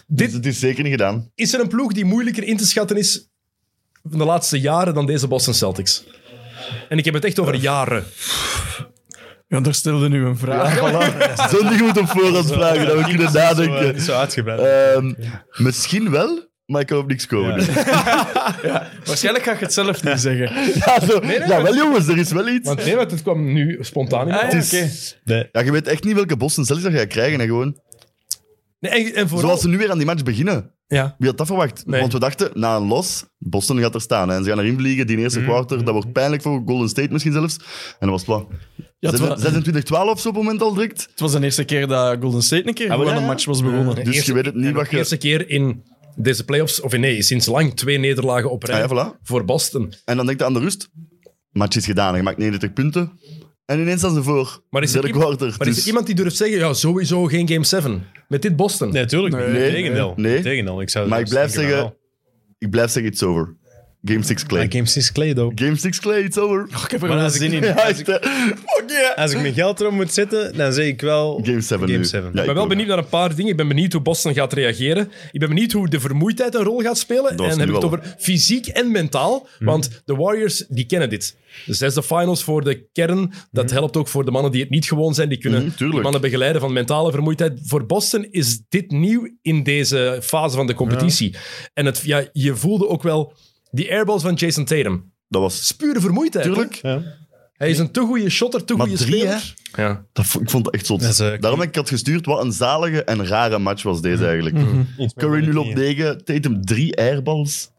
Speaker 1: Dit
Speaker 4: Dus het is zeker niet gedaan.
Speaker 1: Is er een ploeg die moeilijker in te schatten is van de
Speaker 4: Eh.
Speaker 1: laatste jaren dan deze Boston Celtics? En ik heb het echt over jaren.
Speaker 5: Ja, daar stelde nu een vraag.
Speaker 4: Zondig moet op voorhand vragen, dat we kunnen nadenken.
Speaker 2: Zo uitgebreid.
Speaker 4: Ehm, misschien wel, maar ik kan op niks komen. nu. Ja.
Speaker 5: Waarschijnlijk ga ik het zelf niet zeggen.
Speaker 4: zo, ja, wel jongens, er is wel iets.
Speaker 1: Want nee, want het kwam nu spontaan in.
Speaker 5: Ah, ja, oké.
Speaker 2: Nee.
Speaker 4: Ja, je weet echt niet welke bossen zelfs dat je gaat krijgen. En gewoon,
Speaker 1: Nee, en, en vooral...
Speaker 4: zoals ze nu weer aan die match beginnen.
Speaker 1: Ja.
Speaker 4: Wie had dat verwacht?
Speaker 1: Nee.
Speaker 4: Want we dachten, na een los, Boston gaat er staan. Hè. En ze gaan erin vliegen, die
Speaker 1: Mhm.
Speaker 4: eerste quarter. Dat wordt pijnlijk voor Golden State misschien zelfs. En dat was plan.
Speaker 5: Ja, het, wa-
Speaker 4: 26-12 op zo'n moment al direct.
Speaker 5: het was de eerste keer dat Golden State een keer
Speaker 4: maar
Speaker 5: gewoon
Speaker 4: ja,
Speaker 5: een
Speaker 4: Ah, ja.
Speaker 5: match was begonnen.
Speaker 4: Dus je weet het niet
Speaker 1: en
Speaker 4: wat
Speaker 1: ook
Speaker 4: je-
Speaker 1: De eerste keer in deze playoffs, of nee, sinds lang twee nederlagen op rij
Speaker 4: Ah ja, voilà.
Speaker 1: voor Boston.
Speaker 4: En dan denk je aan de rust. Match is gedaan, je maakt 39 punten. En ineens staan ze voor.
Speaker 1: Maar is, er,
Speaker 4: Derde
Speaker 1: iemand-
Speaker 4: quarter.
Speaker 1: maar is er
Speaker 4: Dus-
Speaker 1: iemand die durft zeggen, ja, sowieso geen Game 7 met dit Boston?
Speaker 2: Nee, tuurlijk. niet.
Speaker 4: Nee.
Speaker 2: Integendeel.
Speaker 4: Nee.
Speaker 2: Integendeel. Ik zou
Speaker 4: Maar ik blijf
Speaker 2: denken van
Speaker 4: zeggen- Ik blijf zeggen, it's over. Game 6
Speaker 2: wel.
Speaker 4: Clay.
Speaker 2: Maar Game 6 Clay, though.
Speaker 4: Game 6 Clay, it's over.
Speaker 1: Oh,
Speaker 5: Ik heb er wel zin in.
Speaker 4: Ja, echt, hè. Fuck yeah.
Speaker 2: Als ik mijn geld erop moet zetten, dan zeg ik wel...
Speaker 4: Game 7
Speaker 2: Game
Speaker 4: nu.
Speaker 2: seven.
Speaker 4: Ja,
Speaker 2: Ik
Speaker 1: Ik ben wel benieuwd naar een paar dingen. Ik ben benieuwd hoe Boston gaat reageren. Ik ben benieuwd hoe de vermoeidheid een rol gaat spelen.
Speaker 4: was
Speaker 1: En heb
Speaker 4: nu Hm.
Speaker 1: ik het
Speaker 4: al.
Speaker 1: over fysiek en mentaal. Want de Warriors, die kennen dit. De zesde finals voor de kern. Dat helpt ook voor de mannen die het niet gewoon zijn. Die kunnen
Speaker 4: Mhm, Hm. tuurlijk.
Speaker 1: die mannen begeleiden van mentale vermoeidheid. Voor Boston is dit nieuw in deze fase van de competitie. En het, ja, je voelde ook wel die airballs van Jason Tatum. Het
Speaker 4: Dat was...
Speaker 1: is pure vermoeidheid.
Speaker 4: Tuurlijk.
Speaker 1: hè? Hij is een te goede shotter, te
Speaker 4: Maar
Speaker 1: goede
Speaker 4: drie, hè?
Speaker 1: speler. Ja.
Speaker 4: Dat vo- ik vond het echt zot.
Speaker 2: Dat is, eh,
Speaker 4: Daarom heb ik het gestuurd. Wat een zalige en rare match was deze eigenlijk. Curry 0 op 9, Tatum 3 airballs.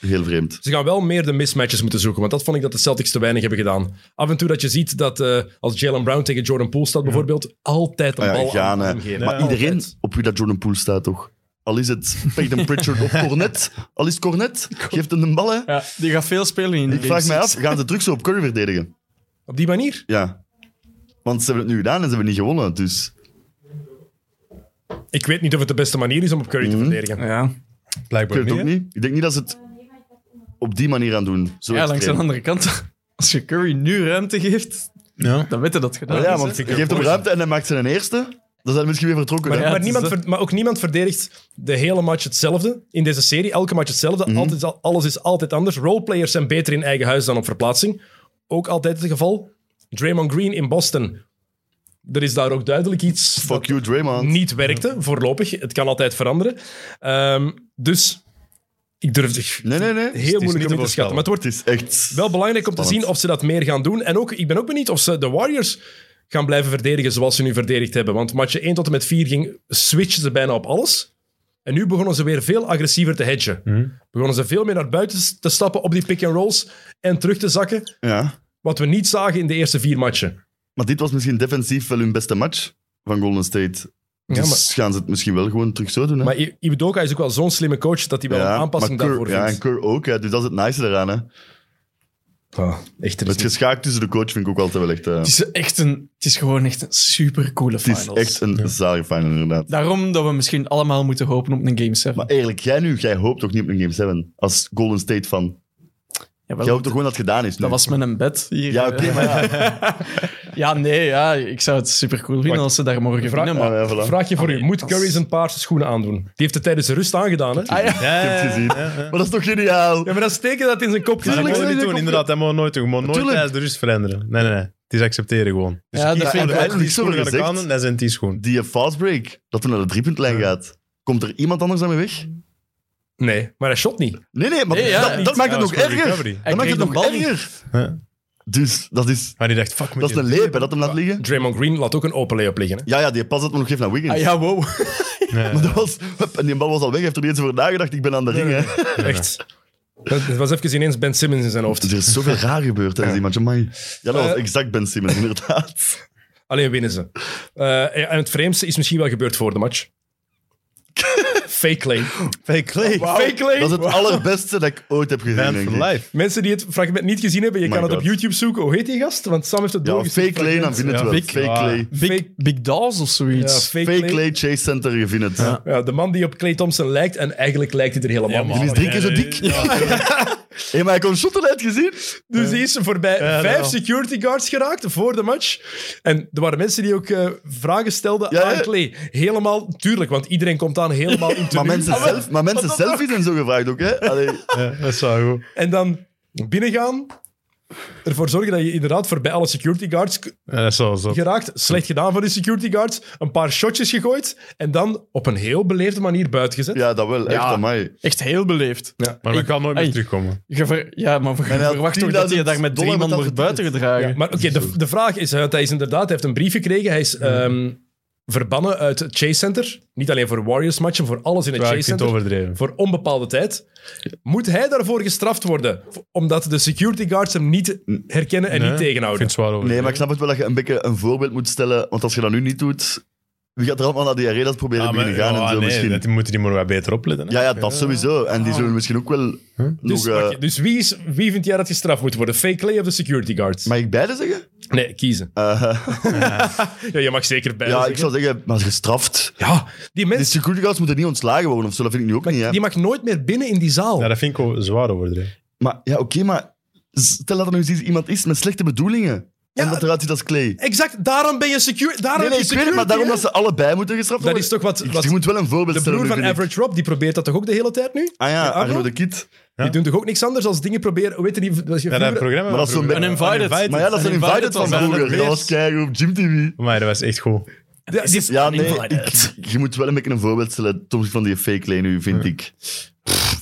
Speaker 4: Heel vreemd.
Speaker 1: Ze gaan wel meer de mismatches moeten zoeken, want dat vond ik dat de Celtics te weinig hebben gedaan. Af en toe dat je ziet dat eh, als Jalen Brown tegen Jordan Poole staat bijvoorbeeld, altijd een
Speaker 4: Ah ja,
Speaker 1: bal aan
Speaker 4: Ghana.
Speaker 1: hem geven.
Speaker 4: maar
Speaker 1: Altijd.
Speaker 4: iedereen op wie dat Jordan Poole staat, toch? Al is het Peyton Pritchard of Cornet. Al is het Cornet, geeft hem een bal, hè.
Speaker 5: Ja, die gaat veel spelen in de
Speaker 4: Ik vraag mij af, gaan ze terug zo op Curry verdedigen?
Speaker 1: Op die manier.
Speaker 4: Ja. Want ze hebben het nu gedaan en ze hebben niet gewonnen, dus...
Speaker 1: Ik weet niet of het de beste manier is om op Curry te verdedigen.
Speaker 5: Ja,
Speaker 4: Mhm. Ik
Speaker 2: Blijkbaar
Speaker 4: weet het
Speaker 2: niet.
Speaker 4: ook niet. Ik denk niet dat ze het op die manier aan doen. Zo
Speaker 5: ja langs de
Speaker 4: extreem.
Speaker 5: andere kant. Als je Curry nu ruimte geeft,
Speaker 2: Ja.
Speaker 5: dan weet je dat het gedaan
Speaker 4: Maar ja,
Speaker 5: is,
Speaker 4: want
Speaker 5: hè.
Speaker 4: je geeft hem ruimte en hij maakt zijn eerste. Dan zijn misschien weer vertrokken.
Speaker 1: Maar,
Speaker 4: hè?
Speaker 5: ja,
Speaker 1: maar,
Speaker 5: het is
Speaker 1: niemand
Speaker 5: dat.
Speaker 4: eh,
Speaker 1: ver- maar ook niemand verdedigt de hele match hetzelfde in deze serie. Elke match hetzelfde.
Speaker 4: Mhm.
Speaker 1: Altijd al- alles is altijd anders. Roleplayers zijn beter in eigen huis dan op verplaatsing. Ook altijd het geval. Draymond Green in Boston. Er is daar ook duidelijk iets
Speaker 4: Fuck you, Draymond.
Speaker 1: niet werkte, voorlopig. Het kan altijd veranderen. Ehm, dus ik durf het
Speaker 4: Nee, nee, nee.
Speaker 1: heel moeilijk om in te
Speaker 2: voorspellen.
Speaker 1: schatten. Maar het wordt
Speaker 4: Het is echt...
Speaker 1: wel belangrijk om te
Speaker 4: Spannend.
Speaker 1: zien of ze dat meer gaan doen. En ook, ik ben ook benieuwd of ze de Warriors gaan blijven verdedigen zoals ze nu verdedigd hebben. Want matchen 1 tot en met 4 ging, switchen ze bijna op alles. En nu begonnen ze weer veel agressiever te hedgen.
Speaker 4: Mhm.
Speaker 1: Begonnen ze veel meer naar buiten te stappen op die pick-and-rolls en terug te zakken.
Speaker 4: Ja.
Speaker 1: Wat we niet zagen in de eerste vier matchen.
Speaker 4: Maar dit was misschien defensief wel hun beste match van Golden State. Dus
Speaker 1: Ja, maar-
Speaker 4: gaan ze het misschien wel gewoon terug zo doen. Hè?
Speaker 1: Maar I- Ibudoka is ook wel zo'n slimme coach dat hij wel een aanpassing
Speaker 4: maar Kerr-
Speaker 1: daarvoor
Speaker 4: Ja,
Speaker 1: vindt.
Speaker 4: en Kerr ook. Hè. Dus dat is het nice eraan. Hè.
Speaker 1: echt,
Speaker 4: Het geschaak tussen de coach vind ik ook altijd wel echt... eh,
Speaker 5: Het is, echt een, het is gewoon echt een supercoole
Speaker 4: het
Speaker 5: finals.
Speaker 4: is echt een zalige final, inderdaad.
Speaker 5: Daarom dat we misschien allemaal moeten hopen op een Game 7.
Speaker 4: Maar eerlijk, jij nu, jij hoopt toch niet op een Game 7 als Golden State fan?
Speaker 5: Jawel,
Speaker 4: Jij hoopt toch gewoon dat het gedaan is nu?
Speaker 5: dat was met een bed hier.
Speaker 4: Ja, oké, maar ja.
Speaker 5: Ja, nee, ja, ik zou het supercool vinden als ze daar morgen
Speaker 1: Vraag-
Speaker 5: winnen. Maar...
Speaker 4: Ja, ja, voilà.
Speaker 1: Vraag je voor u, moet
Speaker 5: dat
Speaker 1: Curry
Speaker 5: is-
Speaker 1: zijn paarse schoenen aandoen? Die heeft het tijdens de rust aangedaan, hè?
Speaker 5: Ah, ja.
Speaker 2: Ja,
Speaker 4: Ik heb het gezien. Maar dat is toch geniaal?
Speaker 1: Ja, maar dat steken dat in zijn kop
Speaker 2: Maar dat
Speaker 4: Tuurlijk
Speaker 2: moeten we
Speaker 4: zijn
Speaker 2: niet
Speaker 4: ze
Speaker 2: doen,
Speaker 4: compleet-
Speaker 2: inderdaad. Dat mogen we nooit doen. We mogen nooit
Speaker 4: Tuurlijk.
Speaker 2: tijdens de rust veranderen. Nee, nee, nee. Het is accepteren gewoon. Dus
Speaker 5: Ja,
Speaker 2: ik kies
Speaker 5: dat-
Speaker 2: voor de
Speaker 4: dat-
Speaker 2: elf die
Speaker 4: dat-
Speaker 2: schoenen
Speaker 4: dat-
Speaker 2: gaan
Speaker 4: gezegd.
Speaker 2: aan, dat zijn die schoenen.
Speaker 4: Die fast break, dat toen naar de driepuntlijn gaat. Komt er iemand anders daarmee weg?
Speaker 1: Nee, maar hij shot niet.
Speaker 4: Nee, nee, maar
Speaker 5: Nee, ja,
Speaker 4: dat,
Speaker 5: niet.
Speaker 4: dat maakt het
Speaker 2: Ja,
Speaker 4: nog
Speaker 2: dat is voor
Speaker 4: erger.
Speaker 2: recovery.
Speaker 4: Dat maakt
Speaker 5: kreeg
Speaker 4: het
Speaker 5: de
Speaker 4: nog
Speaker 5: bal niet.
Speaker 4: erger.
Speaker 2: Ja.
Speaker 4: Dus dat is,
Speaker 2: Maar die dacht, fuck, moet
Speaker 4: dat is een
Speaker 2: je-
Speaker 4: leep, hè, dat hem laat liggen.
Speaker 1: Draymond Green laat ook een open layup liggen. Hè?
Speaker 4: Ja, ja, die pas dat hem nog geeft naar Wiggins.
Speaker 5: Ah, ja, wow.
Speaker 2: Nee,
Speaker 4: Maar dat was, hup, en die bal was al weg, hij heeft er niet eens over nagedacht. Ik ben aan de ring, hè.
Speaker 1: Echt. Het was even ineens Ben Simmons in zijn hoofd.
Speaker 4: Dus Er is zoveel raar gebeurd tijdens die match, amai. Ja, dat was
Speaker 1: Eh.
Speaker 4: exact Ben Simmons, inderdaad.
Speaker 1: Alleen winnen ze. Eh, en het vreemdste is misschien wel gebeurd voor de match. Fake clay.
Speaker 2: Fake Clay.
Speaker 1: Fake clay.
Speaker 4: Dat is het allerbeste dat ik ooit heb gezien,
Speaker 2: Man
Speaker 4: denk
Speaker 2: for
Speaker 4: ik.
Speaker 2: life.
Speaker 1: Mensen die het fragment niet gezien hebben, je
Speaker 4: My
Speaker 1: kan het
Speaker 4: God.
Speaker 1: op YouTube zoeken. Hoe heet die gast? Want Sam heeft het
Speaker 4: Ja,
Speaker 1: doorgestuurd.
Speaker 4: fake lane, dan vind je het
Speaker 2: Ja,
Speaker 4: wel.
Speaker 2: big-
Speaker 4: Fake
Speaker 2: ah.
Speaker 4: lay.
Speaker 5: Big, big Dolls of
Speaker 1: Ja,
Speaker 5: zoiets.
Speaker 1: fake,
Speaker 4: Fake
Speaker 1: clay.
Speaker 4: lay, Chase Center, je vindt het.
Speaker 1: Ja, de man die op Clay Thompson lijkt en eigenlijk lijkt hij er helemaal niet.
Speaker 4: Die is drie keer zo dik. Hé, maar hij kon shotten uit gezien.
Speaker 1: Dus die is er voorbij
Speaker 2: ja,
Speaker 1: vijf
Speaker 2: ja.
Speaker 1: security guards geraakt voor de match. En er waren mensen die ook eh, vragen stelden
Speaker 4: Ja,
Speaker 1: aan
Speaker 4: ja.
Speaker 1: Clay. Helemaal, tuurlijk, want iedereen komt aan helemaal in
Speaker 4: Maar
Speaker 1: tenue.
Speaker 4: mensen zelf, maar mensen zelf zijn zo gevraagd ook, hè. Allee,
Speaker 2: Ja, dat is wel goed.
Speaker 1: En dan binnengaan, ervoor zorgen dat je inderdaad voorbij alle security guards k-
Speaker 2: Ja, dat is wel zo.
Speaker 1: geraakt. Slecht gedaan van die security guards. Een paar shotjes gegooid. En dan op een heel beleefde manier buitengezet.
Speaker 4: Ja, dat wel. Echt,
Speaker 5: Ja.
Speaker 4: amai.
Speaker 5: Echt heel beleefd.
Speaker 2: Maar ik kan nooit meer
Speaker 5: Ai.
Speaker 2: terugkomen.
Speaker 5: Je ver- ja, maar je
Speaker 4: hij had
Speaker 5: verwacht toch dat hij
Speaker 4: 10.000
Speaker 5: daar met drie
Speaker 4: dollar
Speaker 5: man
Speaker 4: betaald
Speaker 5: wordt buitengedragen.
Speaker 1: Ja, maar oké, de, de vraag is, eh, hij is inderdaad, hij heeft een brief gekregen. Hij is ehm, verbannen uit het Chase Center. Niet alleen voor Warriors-matchen, voor alles in het
Speaker 2: Ja,
Speaker 1: Chase
Speaker 2: ik vind het
Speaker 1: Center.
Speaker 2: overdreven.
Speaker 1: Voor onbepaalde tijd. Moet hij daarvoor gestraft worden? V- Omdat de security guards hem niet herkennen en
Speaker 2: Nee,
Speaker 1: niet
Speaker 2: Ik
Speaker 1: tegenhouden.
Speaker 2: vind het zwaar
Speaker 4: Nee,
Speaker 2: overdreven.
Speaker 4: maar ik snap het wel dat je een beetje een voorbeeld moet stellen. Want als je dat nu niet doet, wie gaat er allemaal naar die arena's proberen
Speaker 2: Ja, Ah, maar-
Speaker 4: binnen gaan en
Speaker 2: ja,
Speaker 4: zo
Speaker 2: nee,
Speaker 4: misschien?
Speaker 2: dat- Die moeten die maar wat beter opletten. hè.
Speaker 4: Ja, ja, dat sowieso. En die zullen misschien ook wel nog...
Speaker 1: Dus,
Speaker 4: eh,
Speaker 1: oké, dus wie, is, wie vindt jij dat gestraft moet worden? Fake Clay of de security guards?
Speaker 4: Mag ik beide zeggen?
Speaker 1: nee, kiezen.
Speaker 4: Eh,
Speaker 1: Ja, je mag zeker bij.
Speaker 4: ja, ik zou zeggen, maar gestraft.
Speaker 1: ja, die
Speaker 4: De
Speaker 1: mens
Speaker 4: security guards moeten niet ontslagen worden of zo, dat vind ik nu ook niet. Hè.
Speaker 1: die mag nooit meer binnen in die zaal.
Speaker 2: Ja, dat vind ik o- zwaar overdreven.
Speaker 4: Maar ja, oké, maar stel dat er nu eens iemand is met slechte bedoelingen. en dat eruit ziet als Clay.
Speaker 1: Exact, daarom ben je secure. Daarom
Speaker 4: Nee, nee,
Speaker 1: is
Speaker 4: ik weet het,
Speaker 1: security,
Speaker 4: maar daarom
Speaker 1: hè?
Speaker 4: dat ze allebei moeten gestraft
Speaker 1: Dat
Speaker 4: worden.
Speaker 1: is toch wat,
Speaker 4: Ik-
Speaker 1: wat
Speaker 4: Je moet wel een voorbeeld
Speaker 1: de
Speaker 4: stellen.
Speaker 1: broer van
Speaker 4: nu, vind ik.
Speaker 1: Average Rob, die probeert dat toch ook de hele tijd nu?
Speaker 4: Ah ja,
Speaker 1: Arno?
Speaker 4: Arno de Kid.
Speaker 1: Die doen toch ook niks anders dan dingen proberen... Weet je niet... Dat je
Speaker 2: Ja, dat
Speaker 1: vroeger-
Speaker 2: programma
Speaker 4: Maar dat is zo'n
Speaker 2: vroeger-
Speaker 5: beetje- Uninvited.
Speaker 2: Uninvited.
Speaker 4: Maar ja, dat is een
Speaker 5: Invited
Speaker 4: invited van
Speaker 5: was dat
Speaker 4: vroeger.
Speaker 2: net
Speaker 4: Dat
Speaker 2: weer.
Speaker 4: was keigoed op Gym TV.
Speaker 2: Maar dat was echt goed.
Speaker 1: Ja, die-
Speaker 4: Ja, nee,
Speaker 5: Uninvited.
Speaker 4: ik- je moet wel een beetje een voorbeeld stellen ten opzichte van die fake Clay nu, vind ik.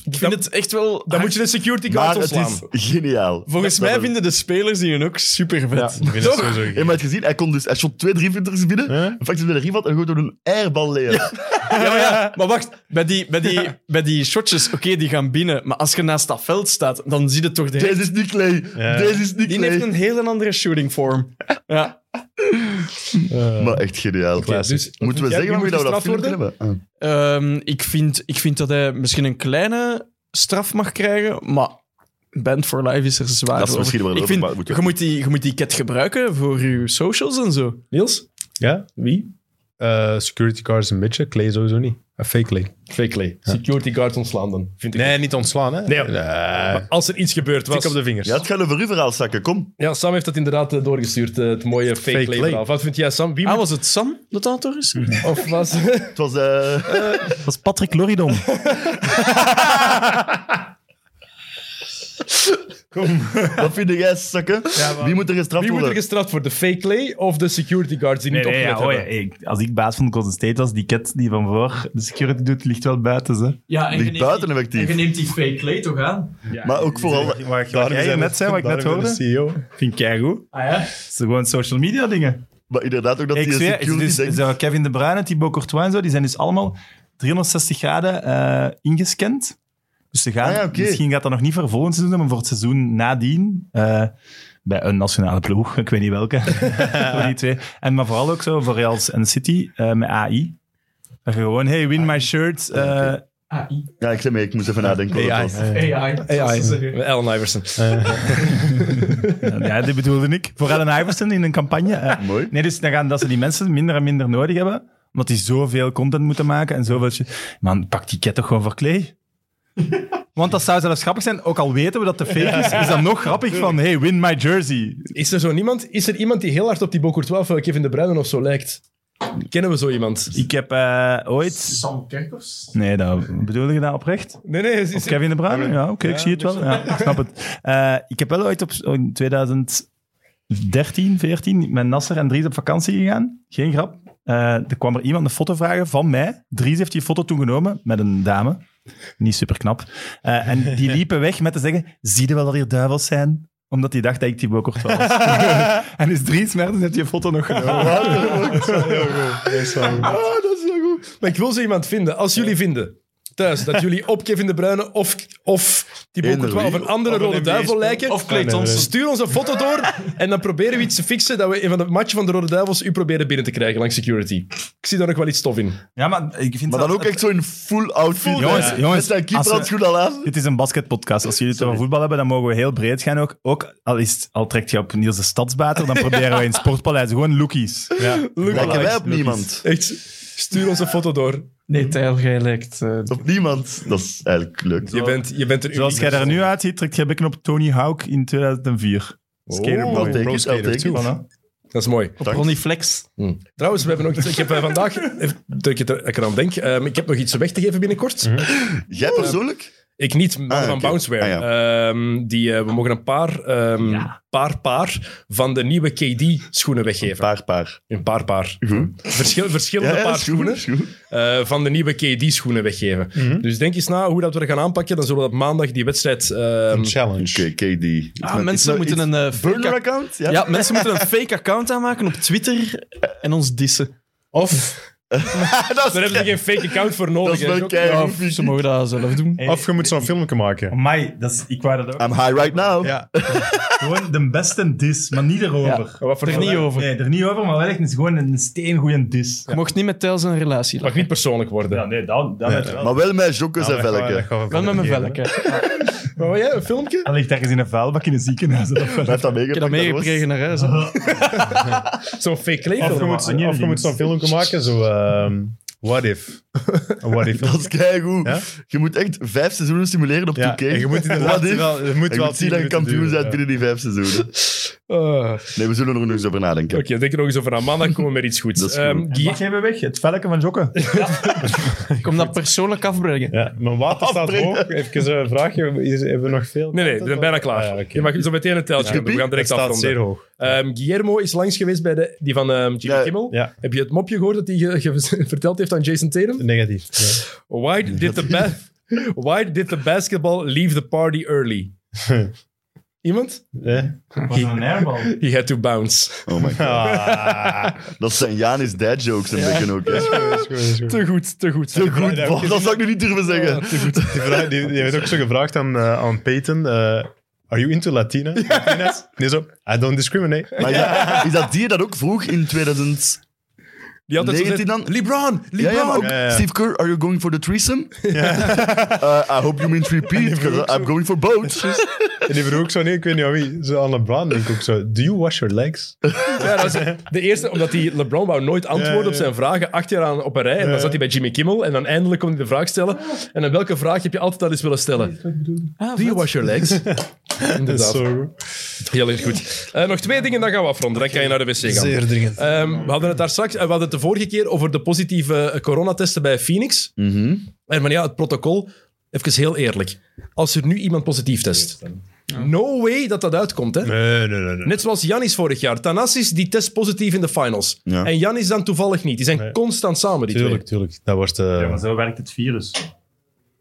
Speaker 5: Ik vind het echt wel...
Speaker 1: dan moet je de security guard
Speaker 4: Maar het
Speaker 1: ontslaan.
Speaker 4: is geniaal.
Speaker 5: Volgens
Speaker 4: Dat-
Speaker 5: mij
Speaker 4: dat-
Speaker 5: vinden de spelers die hun ook super vet.
Speaker 2: Ik vind het sowieso
Speaker 4: Hey, maar je hebt gezien, hij kon dus, hij shot twee driepunters binnen,
Speaker 2: Huh?
Speaker 4: en pakt ze bij de rivat en gooit door een airbal leer.
Speaker 5: Ja, maar, ja, maar wacht, bij die, bij die, bij die shotjes, oké, die gaan binnen. Maar als je naast dat veld staat, dan zie je toch de.
Speaker 4: Deze is niet Clay,
Speaker 2: Ja.
Speaker 4: deze is niet
Speaker 5: Die heeft
Speaker 4: Clay.
Speaker 5: een heel andere shooting form. Ja.
Speaker 2: Eh,
Speaker 4: Maar echt geniaal.
Speaker 2: classic.
Speaker 1: Dus,
Speaker 4: Moeten we
Speaker 1: Ja, wie
Speaker 4: zeggen
Speaker 1: moet
Speaker 4: waarom we dat
Speaker 1: gestraft
Speaker 4: filmpje hebben? Ah.
Speaker 5: Ehm, ik, vind, ik vind dat hij misschien een kleine straf mag krijgen, maar Band for Life is er zwaar
Speaker 4: Dat is
Speaker 5: over.
Speaker 4: misschien wel
Speaker 5: ik
Speaker 4: over,
Speaker 5: vind,
Speaker 4: maar moet je-
Speaker 5: je, moet die, je moet die cat gebruiken voor je socials en zo.
Speaker 1: Niels?
Speaker 2: Ja?
Speaker 1: Wie?
Speaker 2: Eh, security cars een beetje, Clay sowieso niet. Een fake Clay.
Speaker 1: Fake Clay. Security guard ontslaan dan, vind ik.
Speaker 2: Nee, niet ontslaan, hè?
Speaker 1: Nee.
Speaker 2: nee.
Speaker 1: Maar Als er iets gebeurd
Speaker 2: Tik op
Speaker 1: was...
Speaker 2: de vingers.
Speaker 4: Ja, het gaat over uw verhaal zakken, kom.
Speaker 1: Ja, Sam heeft dat inderdaad eh, doorgestuurd, eh, het mooie fake,
Speaker 2: Fake
Speaker 1: Clay
Speaker 2: Clay.
Speaker 1: verhaal. Wat vind jij, Sam? Wie
Speaker 5: Ah,
Speaker 1: moet...
Speaker 5: was het Sam dat dat autor is?
Speaker 1: Ah. Of was...
Speaker 4: Het was... eh,
Speaker 3: Dat is Patrick Loridon.
Speaker 4: wat vind jij, zakken? Wie moet er gestraft
Speaker 1: Wie moet er
Speaker 4: worden?
Speaker 1: gestraft worden? De fake Clay of de security guards die
Speaker 3: Nee,
Speaker 1: niet
Speaker 3: nee, ja,
Speaker 1: opgelet
Speaker 3: oh ja,
Speaker 1: hebben?
Speaker 3: ik- als ik baas van Golden State was, die cat die van voor de security doet, ligt wel buiten. Ze.
Speaker 5: Ja,
Speaker 4: je Ligt neemt buiten die- effectief. en je
Speaker 5: neemt die fake clay toch aan?
Speaker 4: maar ook vooral...
Speaker 2: Waar ik-
Speaker 3: jij
Speaker 2: jij
Speaker 3: net zei, wat ik net
Speaker 2: daarom
Speaker 3: hoorde.
Speaker 2: ben de CEO.
Speaker 3: Vind ik keigoed.
Speaker 5: Ah ja?
Speaker 3: Het is gewoon social media dingen.
Speaker 4: Maar inderdaad ook dat
Speaker 3: ik
Speaker 4: die
Speaker 3: zweer, het is
Speaker 4: security
Speaker 3: dus,
Speaker 4: denkt...
Speaker 3: zo Kevin De Bruyne, Thibaut Courtois en zo, die zijn dus allemaal 360 graden eh, ingescand. Dus ze gaan,
Speaker 4: Ah ja, oké.
Speaker 3: misschien gaat dat nog niet voor volgend seizoen, maar voor het seizoen nadien eh, bij een nationale ploeg, ik weet niet welke. Voor die twee. En maar vooral ook zo voor Reals en City eh, met AI. Dat je gewoon, hey, win my shirt.
Speaker 4: Ah,
Speaker 3: eh,
Speaker 4: Ja, ik zei mee, ik moest even nadenken. wat dat
Speaker 2: AI.
Speaker 4: was.
Speaker 1: AI. Allen Iverson.
Speaker 3: ja, die bedoelde ik. Voor Allen Iverson in een campagne. eh.
Speaker 4: Mooi.
Speaker 3: Nee, dus dan gaan dat ze die mensen minder en minder nodig hebben, omdat die zoveel content moeten maken en zoveel shit. Man, pak die ket toch gewoon voor Clay. Want dat zou zelfs grappig zijn, ook al weten we dat de fake is, is dat nog grappig van, hey, win my jersey.
Speaker 1: Is er zo niemand? Is er iemand die heel hard op die Bocourtois of eh, Kevin De Bruyne of zo lijkt? Kennen we zo iemand?
Speaker 3: Ik heb eh, ooit...
Speaker 5: Sam Kerkhoffs?
Speaker 3: Nee, dat, bedoel je dat oprecht?
Speaker 1: Nee, nee. Is,
Speaker 3: Of Kevin De Bruyne? Ja, oké, ik zie het wel. Ja, ik snap het. Eh, ik heb wel ooit op in 2013, 14 met Nasser en Dries op vakantie gegaan. Geen grap. Eh, er kwam er iemand een foto vragen van mij. Dries heeft die foto toen genomen met een dame. Niet super knap. en die liepen weg met te zeggen: Zie je wel dat hier duivels zijn? Omdat hij dacht dat ik die Bokort was. en dus Dries Mertens heeft die foto nog genomen.
Speaker 1: Ah, dat is wel goed. Maar ik wil zo iemand vinden. Als jullie vinden, thuis, dat jullie op Kevin De Bruyne of, of die
Speaker 4: Eender
Speaker 1: Bocourtois of
Speaker 4: wie.
Speaker 1: een andere
Speaker 2: Of een
Speaker 1: Rode
Speaker 2: NBA
Speaker 1: Duivel
Speaker 2: speler.
Speaker 1: lijken...
Speaker 5: Of Clay
Speaker 2: nee, nee.
Speaker 5: Thompson.
Speaker 1: Stuur ons een foto door en dan proberen we iets te fixen dat we in van het match van de Rode Duivels u proberen binnen te krijgen langs security. Ik zie daar nog wel iets tof in.
Speaker 3: Ja, maar ik vind
Speaker 4: Maar dan ook echt zo'n full outfit.
Speaker 3: Jongens,
Speaker 4: hè.
Speaker 3: jongens,
Speaker 4: Met zijn
Speaker 3: als we-
Speaker 4: keeperhandschoen al aan.
Speaker 3: Dit is een basketpodcast. Als jullie het over voetbal hebben, dan mogen we heel breed gaan ook. Ook al, is, het- al trekt je op Niels de Stadsbater, dan proberen we in Sportpaleis gewoon lookies.
Speaker 2: Ja.
Speaker 4: Lijken wij
Speaker 3: Alex,
Speaker 4: op niemand.
Speaker 1: Echt, stuur ons een foto door.
Speaker 5: Nee, Tijl, jij lijkt... eh,
Speaker 4: Op niemand. Dat is eigenlijk leuk.
Speaker 1: Je bent, je bent een
Speaker 3: Zoals
Speaker 1: unieke
Speaker 3: jij er nu
Speaker 1: persoon.
Speaker 3: uitziet, trekt jij bekken op Tony Hawk in 2004.
Speaker 4: I'll
Speaker 3: Oh, Skaterboy.
Speaker 4: take
Speaker 2: Pro
Speaker 4: it, I'll
Speaker 2: skater
Speaker 4: take it.
Speaker 2: too.
Speaker 3: Voilà.
Speaker 1: Dat is mooi.
Speaker 5: op
Speaker 4: Dank.
Speaker 5: Ronnie Flex.
Speaker 1: Hm. Trouwens, we hebben nog iets. Ik heb eh, vandaag. Even, dat ik het er- dat ik eraan denk. ehm, ik heb nog iets weg te geven binnenkort.
Speaker 4: Jij persoonlijk?
Speaker 1: Ik niet, maar
Speaker 4: Ah,
Speaker 1: van
Speaker 4: oké.
Speaker 1: Bounceware.
Speaker 4: Ah,
Speaker 1: Ehm, die, eh, we mogen een paar, ehm, paar paar van de nieuwe KD-schoenen weggeven.
Speaker 4: Paar, paar.
Speaker 1: Een paar paar.
Speaker 4: Goed.
Speaker 1: Verschil,
Speaker 4: Ja,
Speaker 1: verschillende
Speaker 4: ja,
Speaker 1: paar
Speaker 4: is goed,
Speaker 1: schoenen
Speaker 4: is goed.
Speaker 1: eh, van de nieuwe KD-schoenen weggeven.
Speaker 4: Mhm.
Speaker 1: Dus denk eens na hoe dat we dat gaan aanpakken. Dan zullen we dat maandag die wedstrijd... ehm,
Speaker 2: Een
Speaker 4: Oké,
Speaker 2: challenge.
Speaker 4: KD.
Speaker 5: Ah, mensen moeten een eh, fake ac-
Speaker 4: Burner-account? Ja.
Speaker 5: ja, mensen moeten een fake account aanmaken op Twitter en ons dissen.
Speaker 2: Of,
Speaker 4: dat
Speaker 1: daar
Speaker 4: is,
Speaker 1: hebben ze geen fake account voor nodig.
Speaker 4: dat
Speaker 1: hè.
Speaker 4: is wel
Speaker 1: Ook-
Speaker 5: Ja,
Speaker 4: keihard.
Speaker 5: of ze mogen dat zelf doen.
Speaker 2: of je moet zo'n filmpje maken.
Speaker 3: Amai, dat is, ik wou dat ook.
Speaker 4: I'm high right now.
Speaker 2: Ja.
Speaker 3: Gewoon de beste dis, maar niet erover.
Speaker 1: Wat voor
Speaker 5: Er niet over.
Speaker 3: Nee, er niet over, maar wel echt een- gewoon een steengoeie dis.
Speaker 5: Je mocht niet met Tels een relatie
Speaker 1: mag
Speaker 5: laten.
Speaker 1: niet persoonlijk worden.
Speaker 3: Ja, nee, dat, dat werd wel.
Speaker 4: Maar wel met jokkes en
Speaker 2: dat gaan we- dat
Speaker 4: velken.
Speaker 2: gaan we
Speaker 5: Wel met mijn
Speaker 2: vergeten.
Speaker 5: vellen. Ik
Speaker 1: Maar wat, jij, een filmpje?
Speaker 3: Dat ligt ergens in een vuilbak in een ziekenhuis. Dat wel.
Speaker 4: Hij heeft dat
Speaker 5: heb
Speaker 4: meegepakt. dat
Speaker 5: dat
Speaker 4: was-
Speaker 5: meegekregen naar huis. hè.
Speaker 1: Zo'n fake
Speaker 2: Of je
Speaker 1: kleefilm.
Speaker 2: moet,
Speaker 3: aan je
Speaker 2: of je
Speaker 3: links.
Speaker 2: moet zo'n filmpje maken, zo... ehm, what if? Een what if
Speaker 4: Dat is keigoed.
Speaker 2: Ja?
Speaker 4: Je moet echt vijf seizoenen simuleren op 2K.
Speaker 2: Ja, en je moet inderdaad
Speaker 4: What if?
Speaker 2: wel... Je moet
Speaker 4: En je
Speaker 2: wel
Speaker 4: moet zien dat je kampioen bent binnen die vijf seizoenen.
Speaker 2: Oh,
Speaker 1: Ah.
Speaker 4: Nee, we zullen er nog eens over nadenken.
Speaker 1: Oké, denk er nog eens over na. Maandag komen we met iets goeds.
Speaker 4: Dat is goed.
Speaker 1: Ehm, Guy-
Speaker 3: Mag jij weer weg? Het velken van Jokken.
Speaker 5: Ik kom dat persoonlijk afbrengen.
Speaker 2: Ja, mijn water staat hoog. Even een vraagje. Is- Hebben we nog veel?
Speaker 1: Nee, nee, we zijn bijna klaar.
Speaker 2: Ah, ja, oké.
Speaker 1: Je mag zo meteen een teltje doen. We gaan
Speaker 2: Het
Speaker 1: direct
Speaker 2: staat zeer
Speaker 1: afronden.
Speaker 2: hoog.
Speaker 1: Ehm, Guillermo is langs geweest bij de, die van ehm Jimmy
Speaker 4: Ja.
Speaker 1: Kimmel.
Speaker 2: Ja.
Speaker 1: Heb je het mopje gehoord dat hij ge- ge- verteld heeft aan Jason Tatum?
Speaker 2: Negatief.
Speaker 1: Why did the, ba- Why did the basketball leave the party early? Iemand?
Speaker 2: Ja.
Speaker 3: Was een airbal.
Speaker 1: He had to bounce.
Speaker 4: Oh my god.
Speaker 2: Ah,
Speaker 4: Dat zijn Janis dad jokes een beetje ook. hè.
Speaker 2: dat Ah, is goed, dat is goed.
Speaker 1: Te goed, te goed.
Speaker 4: Te goed,
Speaker 2: dat-
Speaker 4: boah, dat zou ik nu niet durven zeggen.
Speaker 2: Die, vraag, die, die werd ook zo gevraagd aan, eh, aan Peyton. eh, are you into Latina? Latinas? Nee, zo. I don't discriminate.
Speaker 4: Maar is dat, is dat die dat ook vroeg in 2000?
Speaker 1: Die had altijd zo
Speaker 4: 19
Speaker 1: gezegd,
Speaker 4: dan?
Speaker 1: LeBron, LeBron.
Speaker 4: Ja, ja, maar ook
Speaker 2: Ja, ja.
Speaker 4: Steve Kerr, are you going for the threesome? Uh, I hope you mean three peats, 'cause I'm going for both.
Speaker 2: En die vroeg ook zo, nee, ik weet niet aan wie. Zo aan LeBron denk ik ook zo. Do you wash your legs?
Speaker 1: Ja, dat is de eerste, omdat die LeBron wou nooit antwoorden op zijn vragen. Acht jaar aan op een rij. En dan zat hij bij Jimmy Kimmel. En dan eindelijk kon hij de vraag stellen. En dan welke vraag heb je altijd al eens willen stellen? Ah, Do you wash your legs? Inderdaad.
Speaker 2: Zo
Speaker 1: Heel erg goed. Eh, nog twee dingen, dan gaan we afronden. Dan kan je naar de wc gaan.
Speaker 2: dringend.
Speaker 1: Ehm, we hadden het daar straks, eh, we hadden het de vorige keer over de positieve eh, coronatesten bij Phoenix.
Speaker 4: Mhm.
Speaker 1: En maar ja, het protocol, even heel eerlijk. Als er nu iemand positief test, no way dat dat uitkomt, hè?
Speaker 2: Nee, nee, nee. nee.
Speaker 1: Net zoals Janis vorig jaar. Tanassis die test positief in de finals.
Speaker 4: Ja.
Speaker 1: En Janis dan toevallig niet. Die zijn constant samen, die
Speaker 2: Tuurlijk, tuurlijk. Dat wordt... eh,
Speaker 3: Ja, maar zo werkt het virus.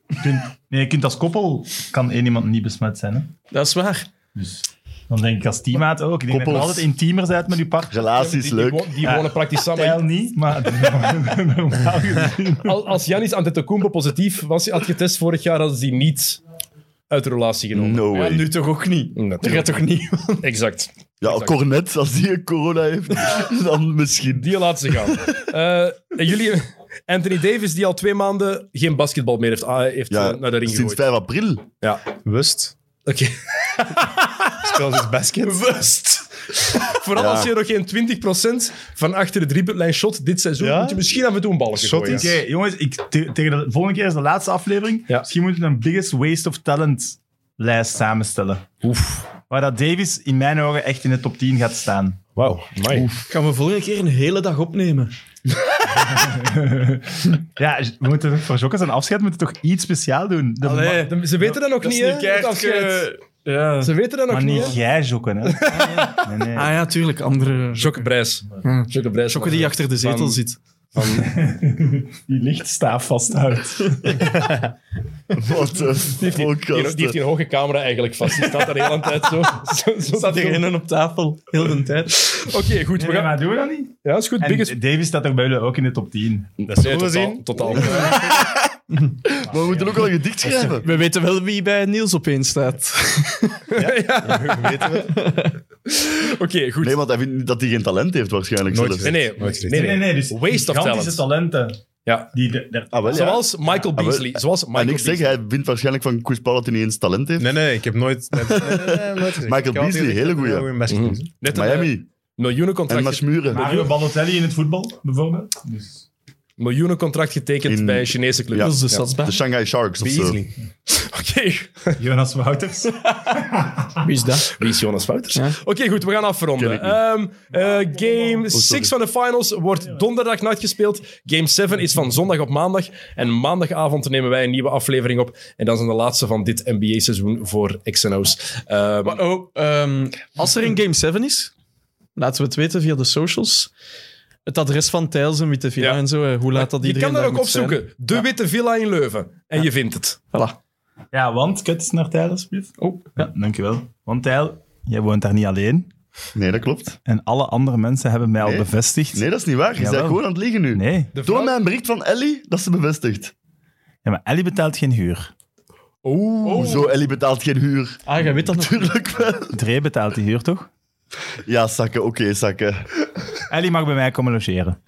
Speaker 3: Je kunt, nee, je kunt als koppel kan één iemand niet besmet zijn. Hè?
Speaker 5: Dat is waar.
Speaker 3: Dus dan denk ik als teammaat ook. Ik denk dat je
Speaker 4: Koppels.
Speaker 3: altijd intiemer bent met je partner.
Speaker 1: twee.
Speaker 4: Relaties,
Speaker 1: Die, die,
Speaker 4: leuk.
Speaker 1: wo- die
Speaker 3: Ja.
Speaker 1: wonen praktisch
Speaker 3: Stijl
Speaker 1: samen.
Speaker 3: niet, maar normaal gezien.
Speaker 1: Al- Als Janis Antetokounmpo positief was, had getest vorig jaar, hadden ze die niet uit de relatie genomen.
Speaker 4: No
Speaker 5: Ja,
Speaker 4: way.
Speaker 5: nu toch ook niet. Dat gaat toch niet?
Speaker 1: Exact.
Speaker 4: Ja, Cornet, als die een corona heeft, dan misschien.
Speaker 1: Die laten ze gaan. Eh, en jullie, Anthony Davis, die al twee maanden geen basketbal meer heeft, ah, heeft
Speaker 4: Ja,
Speaker 1: eh, naar de ring
Speaker 4: sinds
Speaker 1: gegooid.
Speaker 4: 5 april.
Speaker 1: Ja.
Speaker 2: Wust.
Speaker 1: Oké.
Speaker 2: Spel is basket.
Speaker 1: Wust. Vooral
Speaker 4: Ja.
Speaker 1: als je nog geen 20% van achter de driepuntlijn shot dit seizoen,
Speaker 2: Ja?
Speaker 1: moet je misschien af en toe een balletje
Speaker 2: Shot
Speaker 1: gooien.
Speaker 2: is-
Speaker 3: Oké, jongens, ik, te- tegen de volgende keer is de laatste aflevering.
Speaker 1: Ja.
Speaker 3: Misschien moeten we een biggest waste of talent lijst samenstellen.
Speaker 1: Oef.
Speaker 3: Waar dat Davis in mijn ogen echt in de top 10 gaat staan.
Speaker 1: Wauw. Amai.
Speaker 5: Gaan we volgende keer een hele dag opnemen.
Speaker 3: Ja, we moeten toch voor Jokkers een afscheid moeten we toch iets speciaal doen. De
Speaker 5: Allee,
Speaker 1: De- Ze weten dat nog
Speaker 5: dat is
Speaker 1: niet, hè?
Speaker 5: niet keihard,
Speaker 1: het afscheid.
Speaker 5: eh, ja.
Speaker 1: Ze weten dat nog
Speaker 3: maar
Speaker 1: niet,
Speaker 3: niet
Speaker 1: hè?
Speaker 3: jij Jokken, hè. Nee, nee.
Speaker 5: Ah ja, tuurlijk. Andere...
Speaker 1: Jocke Brijs.
Speaker 5: Ja.
Speaker 3: Hmm.
Speaker 1: Jocke Brijs.
Speaker 5: Jokke die achter de zetel
Speaker 1: Van-
Speaker 5: zit.
Speaker 3: Die lichtstaaf vasthoudt.
Speaker 4: Wat eh, de
Speaker 1: Die, die,
Speaker 4: fuck,
Speaker 1: die heeft
Speaker 4: gasten.
Speaker 1: die hoge camera eigenlijk vast. Die staat daar de hele tijd zo. zo, zo
Speaker 5: Staat
Speaker 1: te
Speaker 5: hier
Speaker 1: doen.
Speaker 5: een op tafel, heel de tijd.
Speaker 1: Oké, goed.
Speaker 3: Nee,
Speaker 1: we
Speaker 3: nee,
Speaker 1: gaan,
Speaker 3: maar doen we dat niet?
Speaker 1: ja, is goed.
Speaker 3: En
Speaker 1: Biggest...
Speaker 3: Davis staat er bij jullie ook in de top 10.
Speaker 2: Dat zullen we
Speaker 1: Nee,
Speaker 2: zien.
Speaker 1: Totaal. totaal.
Speaker 4: eh. Maar we moeten ook wel een gedicht schrijven.
Speaker 5: We weten wel wie bij Niels opeens staat.
Speaker 1: Oké, goed.
Speaker 4: Nee, want hij vindt niet dat hij geen talent heeft waarschijnlijk.
Speaker 2: Nooit
Speaker 4: zelfs.
Speaker 1: Nee, nee.
Speaker 2: Nooit
Speaker 1: nee, nee.
Speaker 3: dus
Speaker 1: Waste of
Speaker 3: gigantische talenten.
Speaker 1: Ja.
Speaker 3: Die de, de-
Speaker 4: Ah, wel, ja.
Speaker 1: Zoals Michael
Speaker 4: Ah, wel.
Speaker 1: Beasley. Zoals Michael
Speaker 4: en ik zeg,
Speaker 1: Beasley.
Speaker 4: hij vindt waarschijnlijk van Chris Paul dat hij niet eens talent heeft.
Speaker 2: Nee, nee, ik heb nooit... nee, nee, nee, nee, nooit gezien.
Speaker 4: Michael
Speaker 2: Ik heb altijd
Speaker 4: Beasley,
Speaker 2: gezegd
Speaker 4: hele
Speaker 2: dat hij
Speaker 4: goeie. Mhm.
Speaker 2: een goede basket is.
Speaker 1: Net een eh,
Speaker 4: Miami en
Speaker 1: miljoenencontract, get-
Speaker 4: Masmuren.
Speaker 3: Mario Balotelli in het voetbal, bijvoorbeeld. Dus
Speaker 1: miljoenencontract getekend
Speaker 4: In-
Speaker 1: bij een Chinese club. dus
Speaker 4: Ja. Dus-
Speaker 5: Dat is de
Speaker 4: De
Speaker 5: stadsbaan.
Speaker 4: Shanghai Sharks of zo.
Speaker 2: Beasley.
Speaker 1: Oké,
Speaker 3: Jonas Wouters.
Speaker 5: Wie is dat?
Speaker 1: Wie is Jonas Wouters?
Speaker 5: Ja.
Speaker 1: Oké, goed, we gaan afronden. Ehm, eh, game 6 van de finals wordt donderdagnacht gespeeld. Game 7 is van zondag op maandag. En maandagavond nemen wij een nieuwe aflevering op. En dat is dan de laatste van dit NBA-seizoen voor XNO's. Ehm,
Speaker 5: Oh, ehm, als er een Game 7 is, laten we het weten via de socials. Het adres van Tijls en Witte Villa
Speaker 1: Ja.
Speaker 5: en zo, hè, hoe laat dat
Speaker 1: je
Speaker 5: iedereen
Speaker 1: kan dat
Speaker 5: daar
Speaker 1: ook
Speaker 5: moet zijn.
Speaker 1: opzoeken. De Witte Villa in Leuven. En je vindt het.
Speaker 5: Voilà.
Speaker 3: Ja, want, kut eens naar Tijl, alsjeblieft.
Speaker 5: Oh.
Speaker 3: Ja, dankjewel. Want Tijl, jij woont daar niet alleen.
Speaker 4: Nee, dat klopt.
Speaker 3: En alle andere mensen hebben mij al
Speaker 4: Nee.
Speaker 3: bevestigd.
Speaker 4: Nee, dat is niet waar. Je bent
Speaker 3: Jawel.
Speaker 4: gewoon aan het liegen nu.
Speaker 3: Nee.
Speaker 1: De
Speaker 4: Toon
Speaker 1: vrouw-
Speaker 4: mij een bericht van Ellie dat ze bevestigt.
Speaker 3: Ja, maar Ellie betaalt geen huur.
Speaker 1: Oeh.
Speaker 4: Hoezo? Ellie betaalt geen huur.
Speaker 5: Ah, jij weet dat nog.
Speaker 4: Tuurlijk wel.
Speaker 3: Dre betaalt die huur, toch?
Speaker 4: Ja, zakken. Oké, zakken.
Speaker 3: Ellie mag bij mij komen logeren.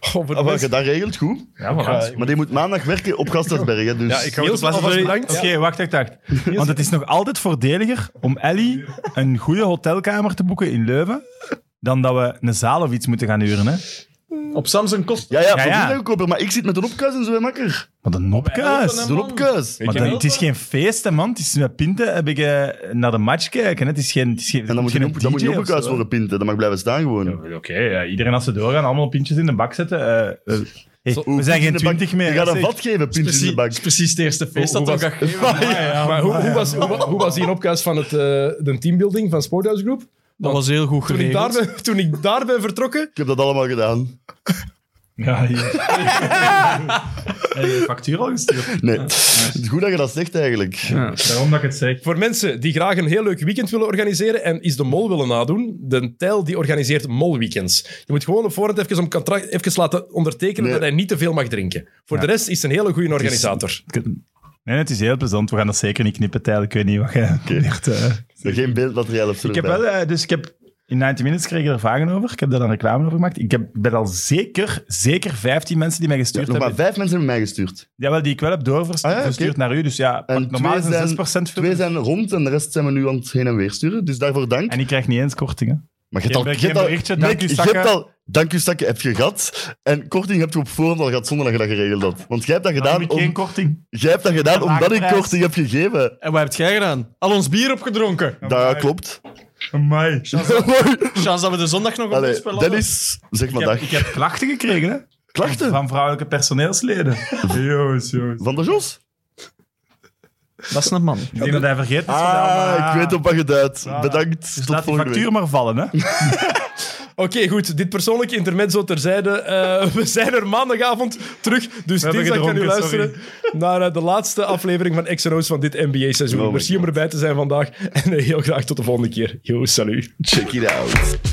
Speaker 1: Oh, voor de
Speaker 4: Maar je
Speaker 1: mensen-
Speaker 4: dat regelt, goed.
Speaker 3: Ja, maar
Speaker 4: Maar die moet maandag werken op Gasthuisberg, hè, dus...
Speaker 2: Ja, ik ga
Speaker 1: Niels,
Speaker 2: het op
Speaker 1: alvast
Speaker 2: plaatsen.
Speaker 1: bedankt.
Speaker 3: Oké, wacht, wacht, wacht. Want het is nog altijd voordeliger om Ellie een goede hotelkamer te boeken in Leuven dan dat we een zaal of iets moeten gaan huren. Hè?
Speaker 5: Op Samsung kost
Speaker 4: Ja, ja,
Speaker 3: Ja,
Speaker 4: voor
Speaker 3: ja.
Speaker 4: ja. maar ik zit met een opkuis en zo, hè, makker.
Speaker 3: Wat een nopkuis.
Speaker 4: Zo'n opkuis.
Speaker 3: Maar
Speaker 1: je
Speaker 3: dan-
Speaker 1: wel?
Speaker 3: het is geen feest, hè, man. Het is met pinten heb ik eh, naar de match kijken. Hè. Het is geen, het is geen,
Speaker 4: En dan moet je,
Speaker 3: geen
Speaker 4: op- dan moet je
Speaker 3: DJ
Speaker 4: een
Speaker 3: of zo.
Speaker 4: opkuis worden pinten. Dat mag blijven staan gewoon.
Speaker 3: Oké, ja, iedereen als ze doorgaan, allemaal pintjes in de bak zetten. eh, eh, hey, we zijn geen twintig meer.
Speaker 4: Je gaat
Speaker 3: hè,
Speaker 4: een
Speaker 3: zeg.
Speaker 4: vat geven, pintjes in de bank.
Speaker 5: precies het eerste feest
Speaker 1: Hoe-
Speaker 5: dat
Speaker 1: hoe
Speaker 5: ook gaat geven.
Speaker 1: Maar hoe, hoe, was, hoe, wa- hoe was die een opkuis van het, eh, de teambuilding van Sporthouse Group?
Speaker 5: Dat was heel goed
Speaker 1: Toen ik, daar
Speaker 5: geregeld.
Speaker 1: ben, toen ik daar ben vertrokken,
Speaker 4: Ik heb dat allemaal gedaan.
Speaker 3: Ja, hier. Heb je de factuur al gestuurd?
Speaker 4: Nee. Goed dat je dat zegt, eigenlijk.
Speaker 3: Daarom dat ik het zeg.
Speaker 1: Voor mensen die graag een heel leuk weekend willen organiseren en is de mol willen nadoen, de Tijl die organiseert molweekends. Je moet gewoon op voorhand even een contract even laten ondertekenen
Speaker 4: Nee.
Speaker 1: dat hij niet te veel mag drinken. Voor de rest is hij een hele goede organisator.
Speaker 3: Nee, het is heel plezant. We gaan dat zeker niet knippen, Tijl. Ik weet niet wat jij probeert, eh.
Speaker 4: Geen beeldmateriaal op
Speaker 3: Ik heb wel, eh, dus ik heb in 90 Minutes kreeg ik er vragen over. Ik heb daar een reclame over gemaakt. Ik heb, ik ben al zeker, zeker 15 mensen die mij gestuurd
Speaker 4: Nog maar
Speaker 3: hebben.
Speaker 4: vijf mensen hebben mij gestuurd.
Speaker 3: Jawel, die ik wel heb doorverstuurd
Speaker 4: Ah, ja, oké.
Speaker 3: verstuurd naar u. Dus ja, pak-
Speaker 4: En
Speaker 3: normaal
Speaker 4: twee
Speaker 3: is het een
Speaker 4: zijn,
Speaker 3: 6%
Speaker 4: twee
Speaker 3: film.
Speaker 4: zijn rond en de rest zijn we nu aan het heen en weer sturen. Dus daarvoor dank.
Speaker 3: En ik krijg niet eens kortingen.
Speaker 4: Maar je hebt
Speaker 3: Geen-
Speaker 4: al...
Speaker 3: geen
Speaker 4: je hebt al-
Speaker 3: berichtje, dank
Speaker 4: Nick,
Speaker 3: u,
Speaker 4: je
Speaker 3: zakken.
Speaker 4: hebt al... Dank u, Stakke, heb je gehad. En korting heb je op voorhand al gehad zonder dat je dat geregeld had. Want jij hebt dat
Speaker 3: Dan heb
Speaker 4: gedaan,
Speaker 3: ik geen
Speaker 4: om,
Speaker 3: korting.
Speaker 4: jij hebt dat gedaan
Speaker 3: Lage
Speaker 4: omdat ik
Speaker 3: prijs.
Speaker 4: korting heb gegeven.
Speaker 5: En wat heb jij gedaan? Al ons bier opgedronken.
Speaker 4: Dat klopt.
Speaker 3: Amai.
Speaker 5: Chance dat we de zondag nog op
Speaker 4: Allee,
Speaker 5: ons spel
Speaker 4: Dennis, zeg maar
Speaker 3: Ik
Speaker 4: dag.
Speaker 3: heb, ik heb klachten gekregen, hè?
Speaker 4: Klachten
Speaker 3: Van vrouwelijke personeelsleden. Jongens, jongens.
Speaker 4: van de Jos?
Speaker 5: Dat is een man.
Speaker 3: Ik denk dat hij vergeet is gedaan, maar-
Speaker 4: Ah, ik weet op wat je duidt. Bedankt.
Speaker 3: Dus
Speaker 4: Tot
Speaker 3: laat die
Speaker 4: volgende
Speaker 3: factuur
Speaker 4: week.
Speaker 3: maar vallen, hè.
Speaker 1: Oké, goed. Dit persoonlijke intermezzo terzijde. Eh, we zijn er maandagavond terug. Dus
Speaker 3: hebben
Speaker 1: dinsdag kan u
Speaker 3: gedronken,
Speaker 1: luisteren naar eh, de laatste aflevering van XNO's van dit NBA-seizoen.
Speaker 4: Oh my
Speaker 1: Merci om erbij te zijn vandaag. En eh, heel graag tot de volgende keer. Yo, salut.
Speaker 4: Check it out.